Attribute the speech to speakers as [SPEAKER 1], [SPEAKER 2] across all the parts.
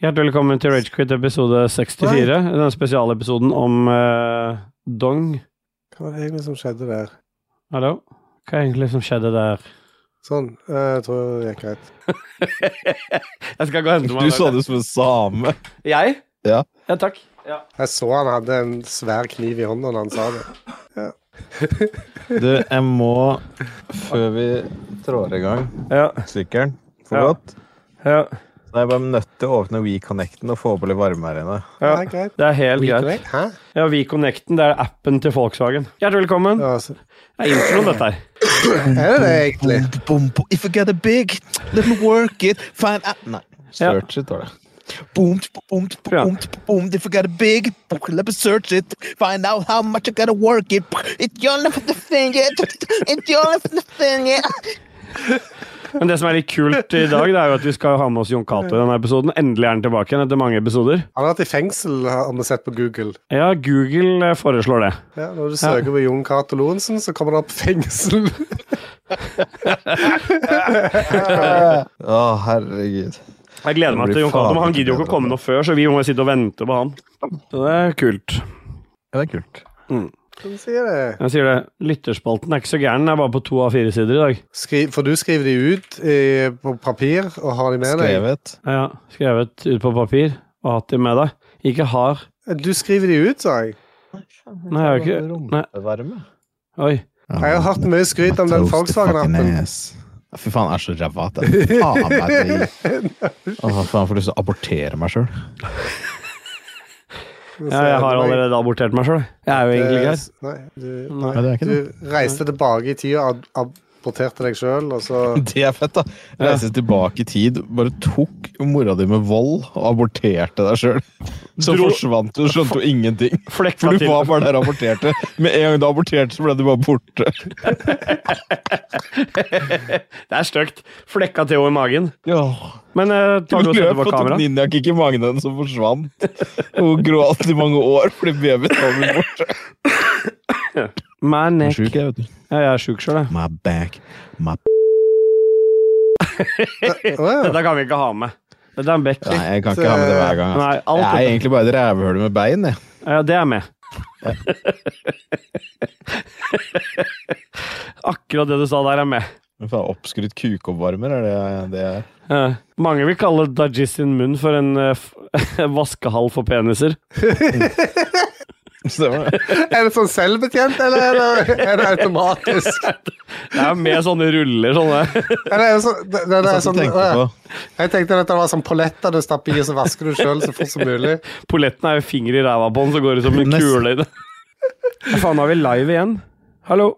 [SPEAKER 1] Hjertelig velkommen til Ragequit episode 64. Den spesialepisoden om eh, dong.
[SPEAKER 2] Hva var det egentlig som skjedde der?
[SPEAKER 1] Hallo? Hva er egentlig som skjedde der?
[SPEAKER 2] Sånn. eh, Jeg tror det gikk greit.
[SPEAKER 1] Jeg skal gå og hente meg.
[SPEAKER 3] Du så det som en same.
[SPEAKER 1] Jeg?
[SPEAKER 3] Ja.
[SPEAKER 1] Ja, takk. Ja.
[SPEAKER 2] Jeg så han hadde en svær kniv i hånda da han sa det.
[SPEAKER 3] Du, jeg må, før vi trår i gang
[SPEAKER 1] Ja.
[SPEAKER 3] sykkelen for
[SPEAKER 1] Ja.
[SPEAKER 3] godt Så er jeg bare nødt til å åpne WeConnecten og få på litt varme her inne.
[SPEAKER 1] Ja.
[SPEAKER 2] Nei, greit.
[SPEAKER 1] Det er helt greit.
[SPEAKER 2] Reconnect? Hæ?
[SPEAKER 1] Ja, WeConnecten, det er appen til Volkswagen. Hjertelig velkommen.
[SPEAKER 2] Ja, altså, så-
[SPEAKER 1] Det er introen, dette her.
[SPEAKER 2] Er det det egentlig?
[SPEAKER 3] Boom, boom. If you get it big, let me work it. Find out Nei. Search it, var det. Boom, boom,
[SPEAKER 1] Ja.
[SPEAKER 3] boom, boom. If you get it big, let me search it. Find out how much you gotta work it. It's your life to thing it. It's your life to thing it.
[SPEAKER 1] Men det som er litt kult i dag, det er jo at vi skal ha med oss Jon Cato i denne episoden. Endelig er han tilbake igjen etter mange episoder.
[SPEAKER 2] Han har vært i fengsel, har vi sett på Google.
[SPEAKER 1] Ja, Google eh, foreslår det.
[SPEAKER 2] Ja, når du søker på Jon Cato Lorentzen, så kommer det opp fengsel.
[SPEAKER 3] Å, herregud.
[SPEAKER 1] Jeg gleder meg til Jon Cato, men han gidder jo ikke å komme noe før, så vi må jo sitte og vente på han. Så det er kult.
[SPEAKER 3] Ja, det er kult.
[SPEAKER 2] Hvem Sånn sier det?
[SPEAKER 1] Jeg sier det. Lytterspalten er ikke så gæren, den er bare på to av fire sider i dag.
[SPEAKER 2] Skri, for du skriver de ut i, på papir og har de med deg?
[SPEAKER 3] Skrevet.
[SPEAKER 1] Ja, Ja, skrevet ut på papir og hatt dem med deg. Ikke har
[SPEAKER 2] Du skriver de ut, sa jeg.
[SPEAKER 1] Nei, jeg har ikke Nei,
[SPEAKER 3] Varme.
[SPEAKER 1] oi.
[SPEAKER 2] Jeg har hørt mye skryt om den Volkswagen-appen.
[SPEAKER 3] Fy faen, jeg er så ræva at jeg faen meg driver. Å, faen, jeg får lyst til å abortere meg sjøl.
[SPEAKER 1] Ja, jeg har allerede abortert meg sjøl. Jeg er jo egentlig grei.
[SPEAKER 2] eh, Nei, du,
[SPEAKER 1] Nei,
[SPEAKER 3] det er ikke
[SPEAKER 2] du reiste tilbake i tida og ab- aborterte deg sjøl, og så
[SPEAKER 3] Det er fett, da. Jeg Reiste tilbake i tid, bare tok mora di med vold og aborterte deg sjøl. Så
[SPEAKER 1] Dro-
[SPEAKER 3] forsvant du, skjønte jo ingenting.
[SPEAKER 1] Flekka
[SPEAKER 3] For du
[SPEAKER 1] til.
[SPEAKER 3] var bare der og aborterte. Med en gang du aborterte, så ble du bare borte.
[SPEAKER 1] Det er stygt. Flekka til henne i magen.
[SPEAKER 3] Ja.
[SPEAKER 1] Men eh,
[SPEAKER 3] Du
[SPEAKER 1] tar du og setter
[SPEAKER 3] løp
[SPEAKER 1] på
[SPEAKER 3] og tok
[SPEAKER 1] kamera?
[SPEAKER 3] ninjakick i magen hennes og forsvant. Hun gråt i mange år fordi babyen var borte.
[SPEAKER 1] My neck.
[SPEAKER 3] Sjuk, jeg, vet du.
[SPEAKER 1] Ja, jeg er sjuk sjøl, jeg.
[SPEAKER 3] My back, my
[SPEAKER 2] Å, ja.
[SPEAKER 1] Dette kan vi ikke ha med. Dette er en bekk.
[SPEAKER 3] Nei, jeg kan ikke ha med det hver gang.
[SPEAKER 1] Nei,
[SPEAKER 3] Altså.
[SPEAKER 1] alt
[SPEAKER 3] jeg er
[SPEAKER 1] dette.
[SPEAKER 3] egentlig bare et rævhøl med bein, jeg.
[SPEAKER 1] Ja, det er med. Akkurat det du sa der, er med.
[SPEAKER 3] Men faen, Oppskrytt kukoppvarmer, er det det jeg er?
[SPEAKER 1] Ja. Eh, Mange vil kalle Dajis sin munn for en eh, f- vaskehall for peniser.
[SPEAKER 3] Stemmer det?
[SPEAKER 2] Er det sånn selvbetjent, eller er det, er det automatisk?
[SPEAKER 1] Det er jo med sånne ruller, sånne.
[SPEAKER 2] Eller er det sånn, det, det, det
[SPEAKER 3] Jeg
[SPEAKER 2] er
[SPEAKER 3] satt og
[SPEAKER 2] sånn
[SPEAKER 3] tenkte
[SPEAKER 2] å,
[SPEAKER 3] på
[SPEAKER 2] ja. Jeg tenkte at det var sånn polletter du stapper i, og så vasker du sjøl så fort som mulig.
[SPEAKER 1] Polletten er jo finger i ræva på den, så går det som en
[SPEAKER 3] Nest-
[SPEAKER 1] kule i det. Faen, nå er vi live igjen. Hallo.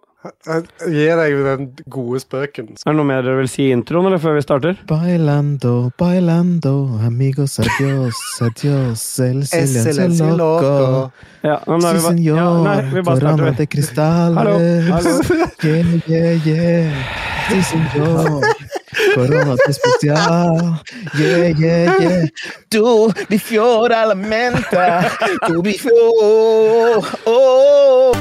[SPEAKER 2] Jeg gir deg den gode spøken.
[SPEAKER 1] Er det noe mer dere vil si i introen, eller før vi starter?
[SPEAKER 3] Bailando, bailando, amigos, adios, adios, el silencio
[SPEAKER 2] Excellency
[SPEAKER 3] loco.
[SPEAKER 2] loco.
[SPEAKER 1] Ja, men da er
[SPEAKER 3] Si
[SPEAKER 1] vi bare, ja, nei, vi
[SPEAKER 3] senor,
[SPEAKER 1] bare
[SPEAKER 3] corona
[SPEAKER 1] starter.
[SPEAKER 3] de cristales.
[SPEAKER 1] Hallo, hallo.
[SPEAKER 3] Yeah, yeah, yeah. Si senor, corona de especial. Yeah, yeah, yeah. Tu mi fiore alla menta, tu mi fiore. Oh.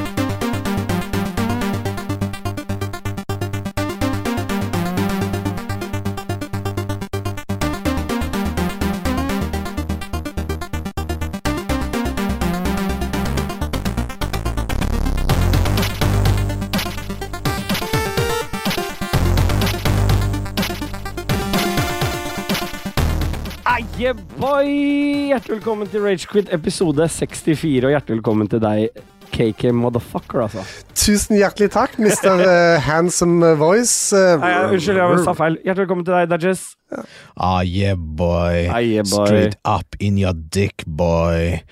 [SPEAKER 1] Eie boy! Hjertelig velkommen til Ragequit episode 64, og hjertelig velkommen til deg, KK Motherfucker, altså.
[SPEAKER 2] Tusen hjertelig takk, mister eh, Handsome Voice. eh.
[SPEAKER 1] Nei, jeg- unnskyld, jeg sa feil. Hjertelig velkommen til deg, Dajis.
[SPEAKER 3] Ah, yeah, boy.
[SPEAKER 1] Ah, yeah, boy.
[SPEAKER 3] Straight up in your dick, boy.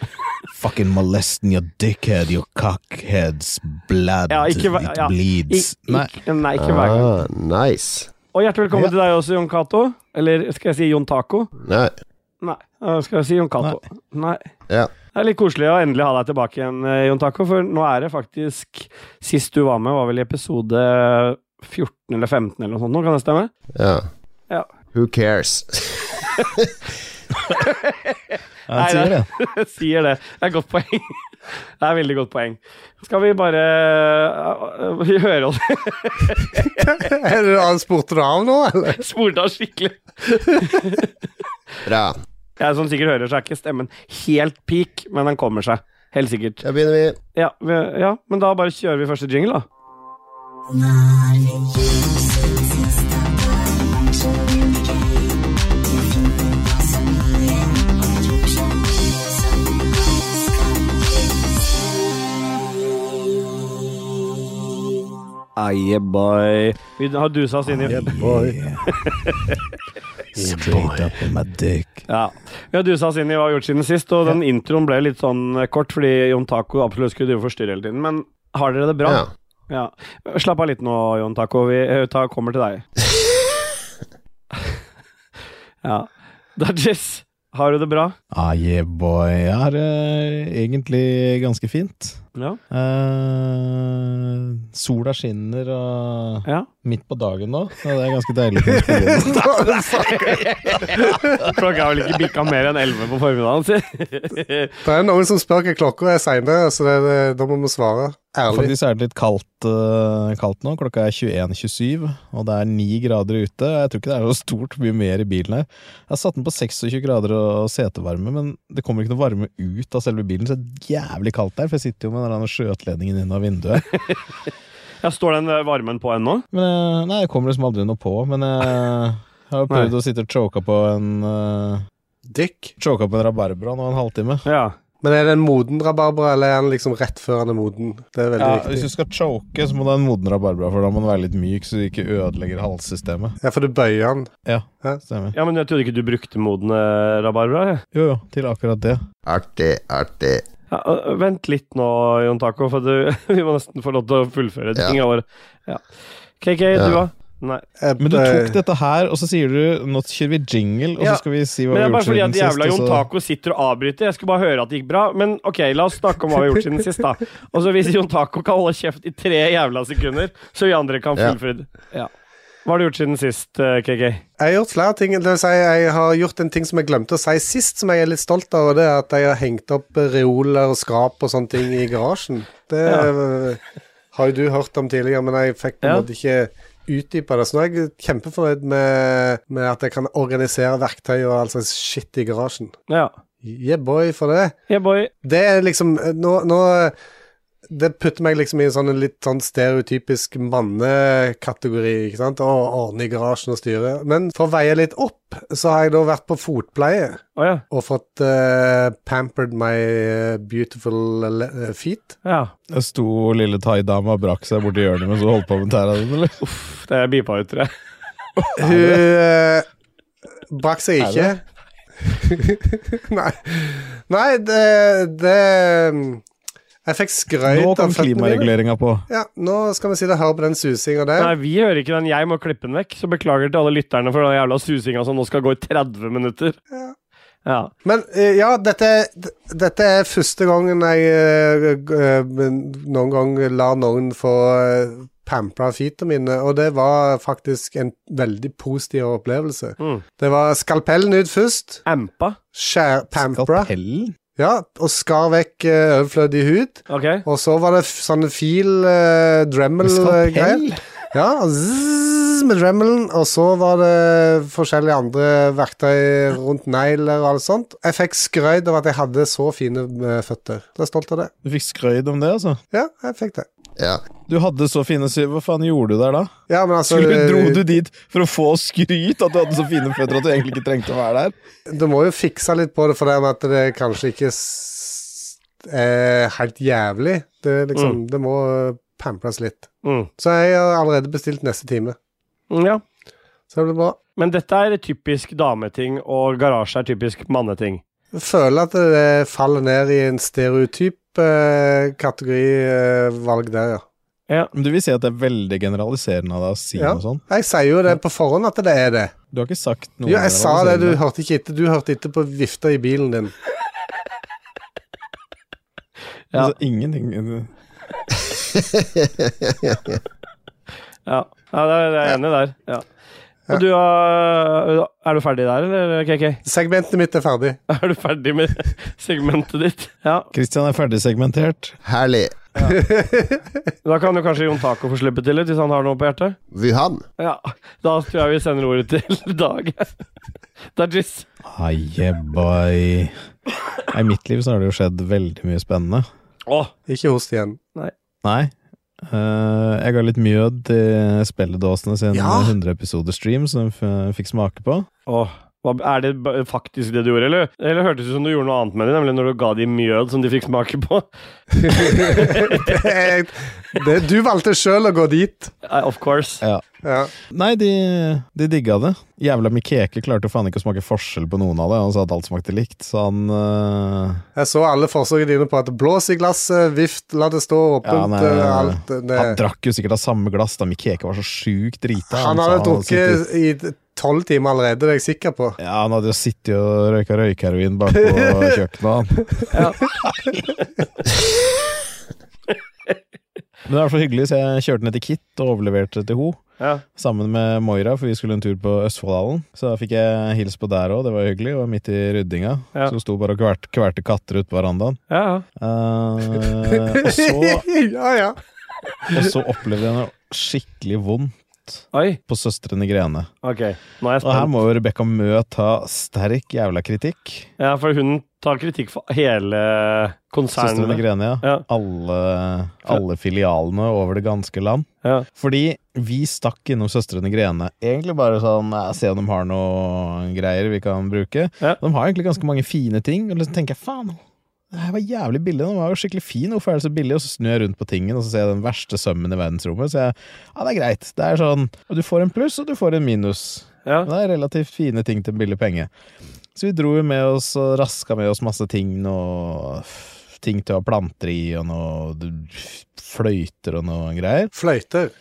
[SPEAKER 3] Fucking molesting your dickhead, your cockhead's blood.
[SPEAKER 1] Ja, ikke hver-
[SPEAKER 3] It
[SPEAKER 1] ja,
[SPEAKER 3] bleeds.
[SPEAKER 1] Ik
[SPEAKER 3] Nei.
[SPEAKER 1] ikke, nei, ikke hver gang.
[SPEAKER 4] Ah, nice.
[SPEAKER 1] Og hjertelig velkommen til deg også, Jon Cato. Eller skal jeg si Jon Taco?
[SPEAKER 4] Nei,
[SPEAKER 1] Nei, da skal jeg si Jon Cato. Nei.
[SPEAKER 4] ja.
[SPEAKER 1] Det er litt koselig å endelig ha deg tilbake igjen, eh, Jon Taco, for nå er det faktisk Sist du var med, var vel i episode 14 eller 15 eller noe sånt, nå kan det stemme?
[SPEAKER 4] ja.
[SPEAKER 1] Ja.
[SPEAKER 4] Who cares?
[SPEAKER 3] Han sier det.
[SPEAKER 1] Jeg sier det. Det er et godt poeng. Det er et veldig godt poeng. Skal vi bare eh, Vi hører oss
[SPEAKER 2] Er det- Spurte du av nå, eller?
[SPEAKER 1] spurt av skikkelig.
[SPEAKER 4] Bra.
[SPEAKER 1] Jeg som sikkert hører, så er ikke stemmen helt peak, men den kommer seg. Helt sikkert.
[SPEAKER 5] Da begynner vi.
[SPEAKER 1] Ja, vi, ja, men da bare kjører vi første jingle, da. Aye, boy. Vi har dusa oss inn i
[SPEAKER 3] Straight up on my dick.
[SPEAKER 1] Ja. Vi har dusa oss inn i hva vi har gjort siden sist, og den introen ble litt sånn eh, kort fordi Jon Taco absolutt skulle drive og forstyrre hele tiden. Men har dere det bra?
[SPEAKER 5] Ja.
[SPEAKER 1] Ja. Slapp av litt nå, Jon Taco. Vi eh, ta, kommer til deg. ja. Dodges, har du det bra?
[SPEAKER 3] Ah, yeah, boy. Jeg har det egentlig ganske fint.
[SPEAKER 1] Ja.
[SPEAKER 3] Eh, sola skinner og
[SPEAKER 1] ja.
[SPEAKER 3] midt på dagen nå. Ja, det er ganske deilig. for skolen.
[SPEAKER 1] Klokka har vel ikke bikka mer enn 11 på formiddagen, si.
[SPEAKER 2] Det er noen som spør hva klokka er seinere, så det, det, da må vi svare ærlig.
[SPEAKER 3] Faktisk er det litt kaldt, eh, kaldt nå. Klokka er 21.27, og det er 9 grader ute. Jeg tror ikke det er noe stort mye mer i bilen her. Jeg har satt den på 26 grader og setevarme, men det kommer ikke noe varme ut av selve bilen, så det er jævlig kaldt der, for jeg sitter jo med den der skjøtledningen inn av vinduet.
[SPEAKER 1] Ja, står den eh, varmen på ennå?
[SPEAKER 3] Men eh, nei, det kommer liksom aldri noe på, men eh, jeg har jo prøvd
[SPEAKER 1] Nei.
[SPEAKER 3] å sitte og choka på en eh,
[SPEAKER 5] Dykk.
[SPEAKER 3] Choka på en rabarbra nå en halvtime.
[SPEAKER 1] Ja.
[SPEAKER 2] Men er det en moden rabarbra, eller er den liksom rett før den er moden? Det er veldig
[SPEAKER 3] Ja, hvis
[SPEAKER 2] viktig.
[SPEAKER 3] du skal choke, så må du ha en moden rabarbra, for da må den være litt myk, så du ikke ødelegger halssystemet.
[SPEAKER 2] Ja, for du bøyer den.
[SPEAKER 3] Stemmer.
[SPEAKER 1] ja, men jeg trodde ikke du brukte modne rabarbra? jeg.
[SPEAKER 3] Jo, jo, til akkurat det.
[SPEAKER 5] Artig, artig.
[SPEAKER 1] Ja, øh, vent litt nå, Jon Taco, for du, vi må nesten få lov til å fullføre
[SPEAKER 5] Ja.
[SPEAKER 1] ting av året. Ja. KK,
[SPEAKER 5] Ja.
[SPEAKER 1] du hva? Nei.
[SPEAKER 2] Jeg
[SPEAKER 3] Men du
[SPEAKER 2] bøyer-
[SPEAKER 3] tok dette her, og så sier du 'nå kjører vi jingle', og
[SPEAKER 1] Ja,
[SPEAKER 3] så skal vi si
[SPEAKER 1] Men
[SPEAKER 3] hva
[SPEAKER 1] det er
[SPEAKER 3] vi har gjort
[SPEAKER 1] bare fordi
[SPEAKER 3] siden
[SPEAKER 1] at
[SPEAKER 3] sist. altså?
[SPEAKER 1] jævla Jon
[SPEAKER 3] og så-
[SPEAKER 1] Taco sitter og avbryter. Jeg skulle bare høre at det gikk bra. Men ok, la oss snakke om hva vi har gjort siden sist, da. Og så hvis Jon Taco kan holde kjeft i tre jævla sekunder, så vi andre kan
[SPEAKER 5] Ja.
[SPEAKER 1] fullføre. Ja. Hva har du gjort siden sist, eh, KK?
[SPEAKER 2] Jeg har gjort flere ting. Det vil si, jeg har gjort en ting som jeg glemte å si sist, som jeg er litt stolt av, og det er at jeg har hengt opp reoler og skrap og sånne ting i garasjen. Det eh, har jo du hørt om tidligere, men jeg fikk på en
[SPEAKER 1] Ja.
[SPEAKER 2] måte ikke utdypa det. Så nå er jeg kjempefornøyd med, med at jeg kan organisere verktøy og all slags shit i garasjen.
[SPEAKER 1] Ja.
[SPEAKER 2] Yeah boy for det.
[SPEAKER 1] Yeah, boy.
[SPEAKER 2] Det er liksom eh, Nå, nå eh, Det putter meg liksom i en sånn en litt sånn stereotypisk mannekategori, ikke sant? Å ordne i garasjen og styre. Men for å veie litt opp, så har jeg da vært på fotpleie
[SPEAKER 1] Å ja.
[SPEAKER 2] og fått eh, pampered my eh, beautiful le- eh, feet.
[SPEAKER 1] ja.
[SPEAKER 3] Jeg sto lille thaidama og brakk seg borti hjørnet mens hun holdt på med tæra di, eller?
[SPEAKER 1] Uff, det er beepa ut, tror jeg.
[SPEAKER 2] Hun eh, brakk seg
[SPEAKER 3] Er
[SPEAKER 2] ikke. Nei. Nei, det, det Jeg fikk skrøyt
[SPEAKER 3] Nå
[SPEAKER 2] føttene
[SPEAKER 3] kom
[SPEAKER 2] mine.
[SPEAKER 3] klimareguleringa på.
[SPEAKER 2] Ja, nå skal vi sitte og høre på den susinga der.
[SPEAKER 1] Nei, vi hører ikke den. Jeg må klippe den vekk. Så beklager til alle lytterne for den jævla susinga som nå skal gå i 30 minutter. Ja.
[SPEAKER 2] Men eh, ja, dette, d- dette er første gangen jeg eh, g- eh, men noen gang lar noen få eh, pampra feeta mine, og det var faktisk en veldig positiv opplevelse.
[SPEAKER 1] Mm.
[SPEAKER 2] Det var skalpellen ut først,
[SPEAKER 1] Ampa.
[SPEAKER 2] skjær, pampra,
[SPEAKER 3] Skalpellen?
[SPEAKER 2] ja, og skar vekk eh, overflødig hud.
[SPEAKER 1] Ok.
[SPEAKER 2] Og så var det f sånne fil, eh, Dremel-greier.
[SPEAKER 3] Skalpell?
[SPEAKER 2] Ja, zzz, med Dremelen, og så var det forskjellige andre verktøy rundt negler og alt sånt. Jeg fikk skrøyd av at jeg hadde så fine eh, føtter. Jeg er stolt av det.
[SPEAKER 3] Du fikk skrøyd om det, altså?
[SPEAKER 2] Ja, jeg fikk det.
[SPEAKER 5] Ja.
[SPEAKER 3] Du hadde så fine syv, hva faen gjorde du der da?
[SPEAKER 2] Ja, men altså,
[SPEAKER 3] Skulle du, dro du dit for å få skryt at du hadde så fine føtter at du egentlig ikke trengte å være der?
[SPEAKER 2] eh, du må jo fikse litt på det, for det med at det kanskje ikke s- er helt jævlig. Det, er
[SPEAKER 3] Mm.
[SPEAKER 2] liksom, det må eh, pampres litt.
[SPEAKER 1] Mm.
[SPEAKER 2] Så jeg har allerede bestilt neste time.
[SPEAKER 1] Mm, Ja.
[SPEAKER 2] Så det blir bra.
[SPEAKER 1] Men dette er typisk dameting, og garasje er typisk manneting.
[SPEAKER 2] Jeg føler at det faller ned i en stereotyp eh, kategori eh, valg der, ja.
[SPEAKER 3] Men du vil si at det er veldig generaliserende av deg å si
[SPEAKER 2] Ja.
[SPEAKER 3] noe sånt?
[SPEAKER 2] Jeg sier jo det på forhånd at det er det.
[SPEAKER 3] Du har ikke sagt noe
[SPEAKER 2] Jo, jeg sa det, du
[SPEAKER 3] generaliserende.
[SPEAKER 2] hørte ikke etter. Du hørte etter på vifta i bilen din.
[SPEAKER 1] Ja.
[SPEAKER 3] Altså, ingenting
[SPEAKER 1] Ja, ja det er det er jeg enig der. Ja. Og du har Er du ferdig der, eller, KK?
[SPEAKER 2] Segmentet mitt er ferdig.
[SPEAKER 1] Er du ferdig med segmentet ditt? Ja.
[SPEAKER 3] Kristian er ferdigsegmentert.
[SPEAKER 5] Herlig.
[SPEAKER 1] Da kan jo kanskje Jon Taco få slippe til litt, hvis han har noe på hjertet?
[SPEAKER 5] Wuhan.
[SPEAKER 1] Ja. Da tror jeg vi sender ordet til Dag. Dajis.
[SPEAKER 3] Ajebai. I mitt liv så har det jo skjedd veldig mye spennende.
[SPEAKER 1] Å,
[SPEAKER 2] Ikke host igjen.
[SPEAKER 3] Nei. Eh, jeg ga litt mjød til spilledåsene sin
[SPEAKER 2] Ja.
[SPEAKER 3] 100-episode-stream, som de f- fikk smake på.
[SPEAKER 1] Åh, hva, er det ba- faktisk det du gjorde, eller? Eller hørtes det ut som du gjorde noe annet med det, nemlig når du ga de mjød som de fikk smake på?
[SPEAKER 2] det, er- det, du valgte sjøl å gå dit.
[SPEAKER 1] Eh, Of course.
[SPEAKER 2] Ja.
[SPEAKER 3] Nei, de, de digga det. Jævla Mikeke klarte jo faen ikke å smake forskjell på noen av det. Han sa at alt smakte likt, så han eh,
[SPEAKER 2] Jeg så alle forsøkene dine på at blås i glasset, vift, la det stå åpent,
[SPEAKER 3] Ja, nei, nei,
[SPEAKER 2] eh,
[SPEAKER 3] nei.
[SPEAKER 2] alt det.
[SPEAKER 3] Han drakk jo sikkert av samme glass da Mikeke var så sjukt drita.
[SPEAKER 2] Han
[SPEAKER 3] sa
[SPEAKER 2] hadde
[SPEAKER 3] sittet-
[SPEAKER 2] drukket i tolv timer allerede, det er jeg sikker på.
[SPEAKER 3] Ja, han hadde jo sittet og røyka røykeheroin bak på kjøkkenet, han. Men det var i hvert fall hyggelig, så jeg kjørte ned til Kit og overleverte til ho
[SPEAKER 1] Ja.
[SPEAKER 3] Sammen med Moira, for vi skulle en tur på Østfoldhallen. Så da fikk jeg hils på der òg, det var hyggelig. Og midt i ryddinga.
[SPEAKER 1] Ja.
[SPEAKER 3] Så hun sto bare og kvert, kverte katter ute på verandaen.
[SPEAKER 1] Ja, ja.
[SPEAKER 3] Eh, og, så,
[SPEAKER 2] ja, ja.
[SPEAKER 3] og så opplevde jeg noe skikkelig vondt
[SPEAKER 1] Oi.
[SPEAKER 3] på Søstrene Grene.
[SPEAKER 1] Ok, nå er jeg
[SPEAKER 3] Og her
[SPEAKER 1] spent.
[SPEAKER 3] må jo Rebekka Mø ta sterk jævla kritikk.
[SPEAKER 1] Ja, for hun tar kritikk for hele
[SPEAKER 3] Søstrene
[SPEAKER 1] konsernet.
[SPEAKER 3] Grene, ja.
[SPEAKER 1] Ja.
[SPEAKER 3] Alle, alle filialene over det ganske land.
[SPEAKER 1] Ja.
[SPEAKER 3] Fordi vi stakk innom Søstrene Grene. Egentlig bare sånn ja, Se om de har noe greier vi kan bruke.
[SPEAKER 1] Ja.
[SPEAKER 3] De har egentlig ganske mange fine ting. Og liksom tenker jeg faen, det her var jævlig billig. Den var jo skikkelig fin. Hvorfor er det så billig? Og så snur jeg rundt på tingen, og så ser jeg den verste sømmen i verdensrommet. Så jeg ja, det er greit. Det er sånn Du får en pluss, og du får en minus.
[SPEAKER 1] Ja.
[SPEAKER 3] Det er relativt fine ting til en billig penge. Så vi dro jo med oss og raska med oss masse ting. Noe f- ting til å ha planter i, og noe d- f- fløyter og noe greier.
[SPEAKER 2] Fløyter.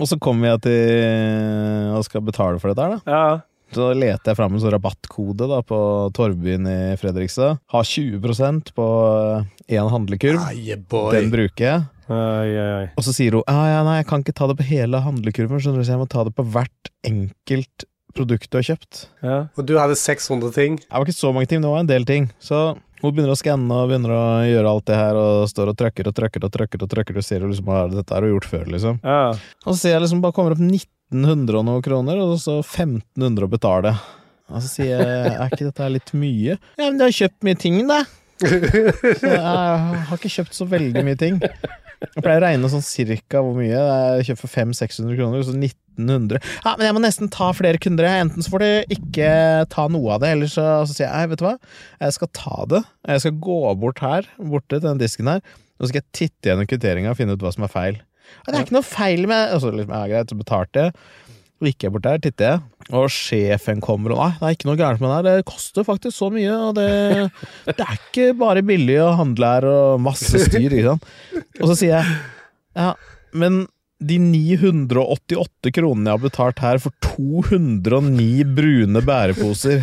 [SPEAKER 3] Og så kommer jeg til og skal betale for dette her, da.
[SPEAKER 1] Ja,
[SPEAKER 3] Så leter jeg fram en sånn rabattkode da på Torvbyen i Fredrikstad. Har 20 på én handlekurv.
[SPEAKER 2] Nei,
[SPEAKER 3] Den
[SPEAKER 2] boy.
[SPEAKER 3] bruker jeg.
[SPEAKER 1] Oi, oi, oi.
[SPEAKER 3] Og så sier hun «Ah, ja, ja, nei, jeg kan ikke ta det på hele handlekurven, skjønner du, så jeg må ta det på hvert enkelt produkt du har kjøpt.
[SPEAKER 1] Ja.
[SPEAKER 2] Og du hadde 600 ting.
[SPEAKER 3] Det var ikke så mange ting, men det var en del ting. Så hun begynner å skanne og begynner å gjøre alt det her, og står og trykker og trykker og trykker og trykker, og ser jo liksom hva er det dette har hun gjort før, liksom.
[SPEAKER 1] Ja.
[SPEAKER 3] Og så ser jeg liksom bare kommer opp 1900 og noen kroner, og så 1500 å betale. Og så sier jeg, er ikke dette her litt mye? Ja, men du har kjøpt mye ting, da. Så jeg har ikke kjøpt så veldig mye ting. Jeg pleier å regne sånn cirka hvor mye. Jeg har kjøpt for 500-600 kroner, så 1900. Ja, men jeg må nesten ta flere kunder. jeg. Enten så får du ikke ta noe av det, eller så, så sier jeg, «Nei, vet du hva, jeg skal ta det. Jeg skal gå bort her, borte til den disken her, og så skal jeg titte gjennom kvitteringa og finne ut hva som er feil. «Ja, Det er ikke noe feil med Og så liksom, ja, greit, så betalte jeg. Så gikk jeg bort der, titter jeg, og sjefen kommer og Nei, det er ikke noe gærent med det her, det koster faktisk så mye, og det, det er ikke bare billig å handle her, og masse styr, ikke sant. Og så sier jeg ja, men de 988 kronene jeg har betalt her for 209 brune bæreposer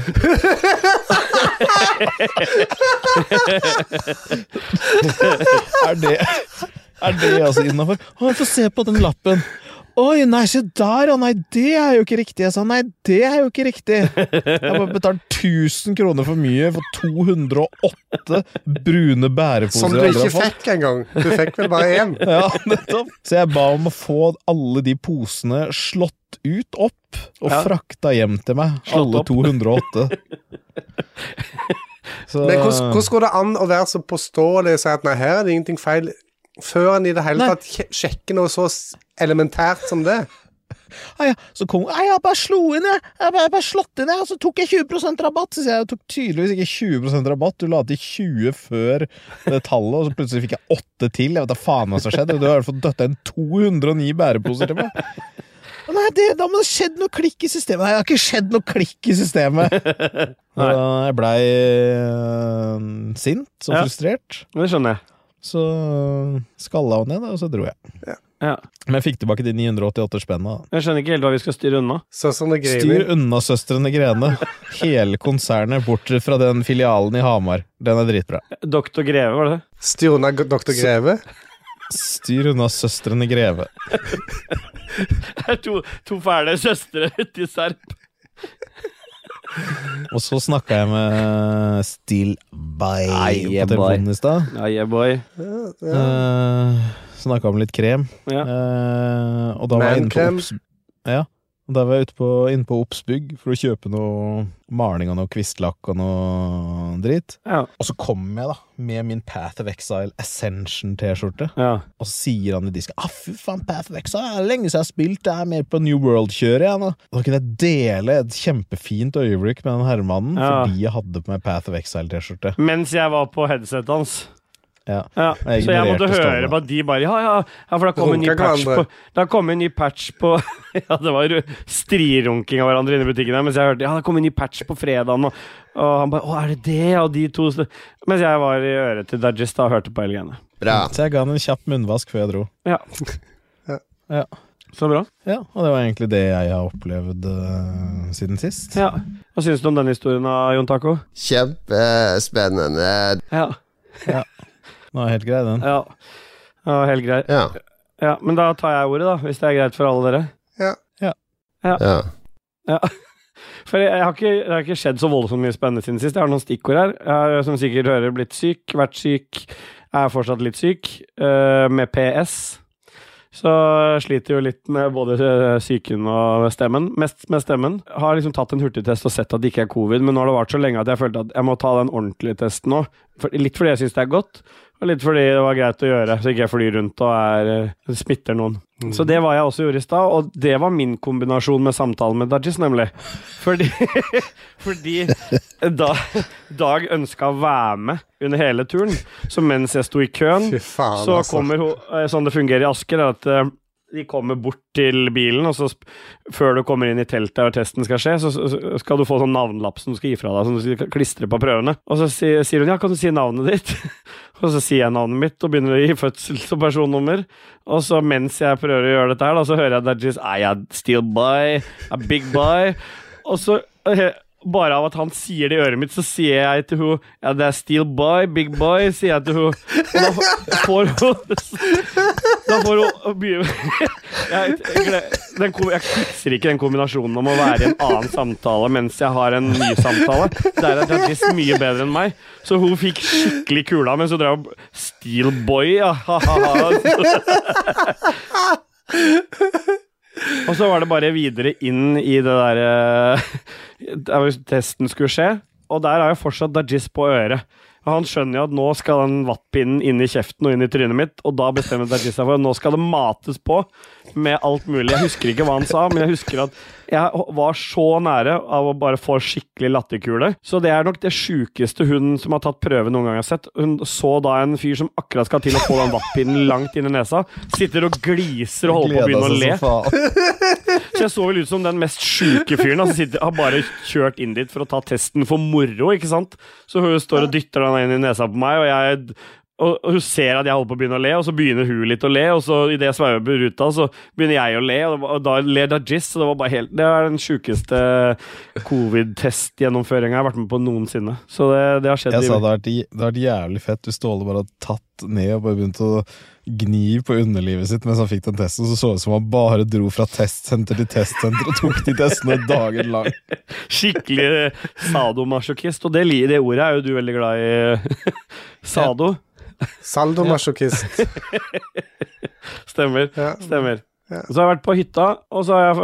[SPEAKER 3] Er det Er det altså innafor? Å, få se på den lappen. Oi, nei, se der, ja. Nei, det er jo ikke riktig. Jeg sa nei, det er jo ikke riktig. Jeg har bare betalt 1000 kroner for mye for 208 brune bæreposer.
[SPEAKER 2] Som du
[SPEAKER 3] jeg aldri har
[SPEAKER 2] ikke
[SPEAKER 3] fått.
[SPEAKER 2] fikk engang. Du fikk vel bare én.
[SPEAKER 3] Ja, nettopp. Så jeg ba om å få alle de posene slått ut opp og
[SPEAKER 1] Ja.
[SPEAKER 3] frakta hjem til meg.
[SPEAKER 1] Slått
[SPEAKER 3] alle
[SPEAKER 1] opp.
[SPEAKER 3] 208. Så,
[SPEAKER 2] Men hvordan, hvordan går det an å være så påståelig og si at nei, her er det ingenting feil, før en i det hele
[SPEAKER 3] Nei.
[SPEAKER 2] tatt kje- sjekker noe så s- elementært som det?
[SPEAKER 3] Ah, ja. Så kom hun. «Nei, Jeg bare slo inn, jeg. Jeg bare, jeg bare slått inn, jeg. Og så tok jeg 20 rabatt. Så sier jeg jeg tok tydeligvis ikke 20 rabatt. Du la til 20 før det tallet, og så plutselig fikk jeg 8 til. Jeg vet da faen hva som har skjedd. Du har i hvert fall døtta inn 209 bæreposer til meg. Å Nei, det, da må det ha skjedd noe klikk i systemet. Nei, det har ikke skjedd noe klikk i systemet.
[SPEAKER 1] Nei.
[SPEAKER 3] Og Jeg blei eh, sint og
[SPEAKER 1] Ja.
[SPEAKER 3] frustrert.
[SPEAKER 1] Det skjønner jeg.
[SPEAKER 3] Så skalla hun ned, da, og så dro jeg.
[SPEAKER 1] Ja.
[SPEAKER 3] Men jeg fikk tilbake de 988 spenna. da.
[SPEAKER 1] Jeg skjønner ikke helt hva vi skal styre unna.
[SPEAKER 2] Sånn som det griner.
[SPEAKER 3] Styr unna Søstrene Grene. Hele konsernet bort fra den filialen i Hamar. Den er dritbra.
[SPEAKER 1] Doktor Greve, var det det?
[SPEAKER 2] Styr unna g- Dr. Greve.
[SPEAKER 3] Styr unna Søstrene Greve.
[SPEAKER 1] Det er to, to fæle søstre uti serp.
[SPEAKER 3] Og så snakka jeg med Steel
[SPEAKER 4] boy.
[SPEAKER 3] Nei,
[SPEAKER 4] yeah,
[SPEAKER 3] på
[SPEAKER 4] boy.
[SPEAKER 3] telefonen i stad.
[SPEAKER 1] Ja, yeah, boy.
[SPEAKER 2] Ja, ja.
[SPEAKER 3] Uh, Snakka om litt krem.
[SPEAKER 1] Ja.
[SPEAKER 3] Eh, og da var jeg inne på
[SPEAKER 2] Mankrem.
[SPEAKER 3] Obs- Ja. Og Da var jeg ute på, inne på Obsbygg for å kjøpe noe maling og noe kvistlakk og noe dritt.
[SPEAKER 1] Ja.
[SPEAKER 3] Og så kommer jeg da med min Path of Exile Ascension-T-skjorte,
[SPEAKER 1] ja.
[SPEAKER 3] og så sier han i disken ah, 'Fy faen, Path of Exile, det er lenge siden jeg har spilt, jeg er mer på New World-kjøret', jeg nå. Og Da kunne jeg dele et kjempefint øyeblikk med den herremannen
[SPEAKER 1] Ja.
[SPEAKER 3] fordi jeg hadde på meg Path of Exile-T-skjorte.
[SPEAKER 1] Mens jeg var på headsetet hans.
[SPEAKER 3] Ja.
[SPEAKER 1] Ja.
[SPEAKER 3] Jeg
[SPEAKER 1] Så jeg måtte
[SPEAKER 3] ignorerte
[SPEAKER 1] høre
[SPEAKER 3] Ståle.
[SPEAKER 1] på at de bare Ja, ja, ja for da kom en ny
[SPEAKER 2] Runka
[SPEAKER 1] patch på
[SPEAKER 2] hverandre.
[SPEAKER 1] Da kom en ny patch på Ja, det var strirunking av hverandre inne i butikken her, mens jeg hørte Ja, det kom en ny patch på fredagen, og, og han bare Å, er det det? Og de to sl- Mens jeg var i øret til Dajis da og hørte på hele greiene.
[SPEAKER 5] Bra.
[SPEAKER 3] Så jeg ga han en kjapp munnvask før jeg dro.
[SPEAKER 1] Ja.
[SPEAKER 2] Ja.
[SPEAKER 3] Ja.
[SPEAKER 1] Så bra.
[SPEAKER 3] Ja, og det var egentlig det jeg har opplevd eh, siden sist.
[SPEAKER 1] Ja. Hva syns du om den historien, da, Jon Taco?
[SPEAKER 5] Kjempespennende.
[SPEAKER 1] Ja.
[SPEAKER 3] Den var helt grei, den.
[SPEAKER 1] ja. ja helt grei.
[SPEAKER 5] Ja.
[SPEAKER 1] Ja, men da tar jeg ordet, da, hvis det er greit for alle dere.
[SPEAKER 5] ja.
[SPEAKER 1] For jeg, jeg har ikke, det har ikke skjedd så voldsomt mye spennende siden sist. Jeg har noen stikkord her. Jeg har som sikkert hører blitt syk, vært syk, er fortsatt litt syk, eh, med PS. Så sliter jo litt med både eh, psyken og stemmen. Mest med stemmen. Har liksom tatt en hurtigtest og sett at det ikke er covid, men nå har det vart så lenge at jeg følte at jeg må ta den ordentlige testen nå. For, litt fordi jeg syns det er godt, og litt fordi det var greit å gjøre, så ikke jeg flyr rundt og er, eh, smitter noen. Så det var jeg også gjorde i stad, og det var min kombinasjon med samtalen med Dajis, nemlig. Fordi, fordi da, Dag ønska å være med under hele turen, så mens jeg sto i køen
[SPEAKER 2] Fy faen,
[SPEAKER 1] så
[SPEAKER 2] altså.
[SPEAKER 1] kommer hun eh, Sånn det fungerer i Asker, er at eh, de kommer bort til bilen, og så sp- før du kommer inn i teltet der testen skal skje, så så skal du få sånn navnlapp som du skal gi fra deg, som du skal klistre på prøvene. Og så si, sier hun ja, kan du si navnet ditt? og så sier jeg navnet mitt, og begynner å gi fødsels- og personnummer. Og så mens jeg prøver å gjøre dette her, da, så hører jeg Dajis I am still by, I'm big by. Og så eh, bare av at han sier det i øret mitt, så sier jeg til henne Ja, det er Steel Boy, Big Boy, sier jeg til henne. Og da f- får hun Da får hun begynne jeg, jeg gle- den, kom- jeg fikser ikke den kombinasjonen om å være i en annen samtale mens jeg har en ny samtale. Der er Dajis mye bedre enn meg, så hun fikk skikkelig kula, men så drev hun Steel Boy, ja. ha, ha, ha. Og så var det bare videre inn i det derre der hvor testen skulle skje. Og der er jo fortsatt Dajis på øret. Og han skjønner jo at nå skal den vattpinnen inn i kjeften og inn i trynet mitt, og da bestemmer Dajis seg for at nå skal det mates på med alt mulig. Jeg husker ikke hva han sa, men jeg husker at jeg var så nære av å bare få skikkelig latterkule. Så det er nok det sjukeste hun som har tatt prøve noen gang har sett. Hun så da en fyr som akkurat skal til å få den vattpinnen langt inn i nesa, sitter og gliser og holder på å begynne å le.
[SPEAKER 3] faen.
[SPEAKER 1] Så jeg så vel ut som den mest sjuke fyren. Altså, sitter, har bare kjørt inn dit for å ta testen for moro, ikke sant? Så hun står og dytter den inn i nesa på meg, og jeg og og hun ser at jeg holder på å begynne å le, og så begynner hun litt å le. Og så i det jeg sveiver ruta, så begynner jeg å le, og, det var- og da ler Dajis. Så det var bare helt Det er den sjukeste covid-testgjennomføringa jeg har vært med på noensinne. Så det, det har skjedd i-
[SPEAKER 3] Jeg sa det hadde vært j- det hadde vært jævlig fett hvis Ståle bare hadde tatt ned og bare begynt å gni på underlivet sitt mens han fikk den testen, så så det ut som han bare dro fra testsenter til testsenter og tok de testene dagen lang.
[SPEAKER 1] skikkelig sadomasochist. Og det, li- det ordet er jo du veldig glad i, Sado.
[SPEAKER 2] Saldomasochist.
[SPEAKER 1] Stemmer.
[SPEAKER 2] Ja.
[SPEAKER 1] Stemmer.
[SPEAKER 2] Ja.
[SPEAKER 1] Så har jeg vært på hytta, og så har jeg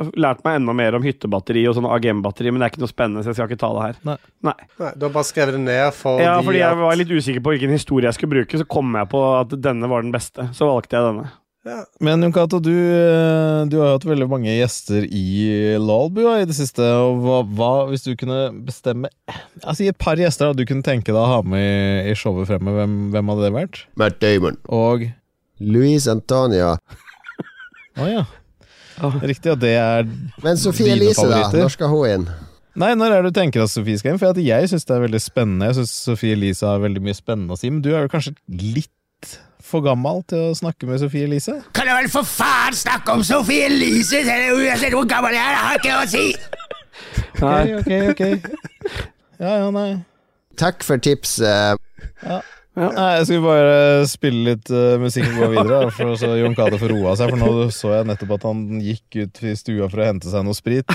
[SPEAKER 1] f- lært meg enda mer om hyttebatteri og sånn AGM-batteri, men det er ikke noe spennende, så jeg skal ikke ta det her.
[SPEAKER 3] Nei.
[SPEAKER 2] Nei, du har bare skrevet det ned fordi,
[SPEAKER 1] Ja, fordi jeg
[SPEAKER 2] at-
[SPEAKER 1] var litt usikker på hvilken historie jeg skulle bruke, så kom jeg på at denne var den beste. Så valgte jeg denne.
[SPEAKER 3] Men Jon Cato, du, eh, du har jo hatt veldig mange gjester i Lalbua i det siste. Og hva, hva hvis du kunne bestemme Altså, i et par gjester da, du kunne tenke deg å ha med i, i showet fremme, hvem, hvem hadde det vært?
[SPEAKER 5] Matt Damon.
[SPEAKER 3] Og
[SPEAKER 5] Louise Antonia.
[SPEAKER 3] Å ja. Riktig, og det er
[SPEAKER 5] Men Sofie
[SPEAKER 3] Dine
[SPEAKER 5] Elise, da?
[SPEAKER 3] favoritter?
[SPEAKER 5] Når skal hun inn?
[SPEAKER 3] Nei, når er det du tenker at Sofie skal inn? For at jeg syns det er veldig spennende. Jeg syns Sofie Elise har veldig mye spennende å si, men du er jo kanskje litt for gammel til å snakke med Sofie Elise?
[SPEAKER 6] Kan du vel for faen snakke om Sophie Elise? Det er jo- Uansett hvor gammel jeg er, det har ikke noe å si!
[SPEAKER 1] Nei,
[SPEAKER 3] ok, ok. Ja, ja, nei.
[SPEAKER 5] Takk for tipset.
[SPEAKER 3] Nei, jeg skulle bare spille litt eh, musikk og gå videre, da, for så Jon Cato får roa seg. For nå så jeg nettopp at han gikk ut i stua for å hente seg noe sprit.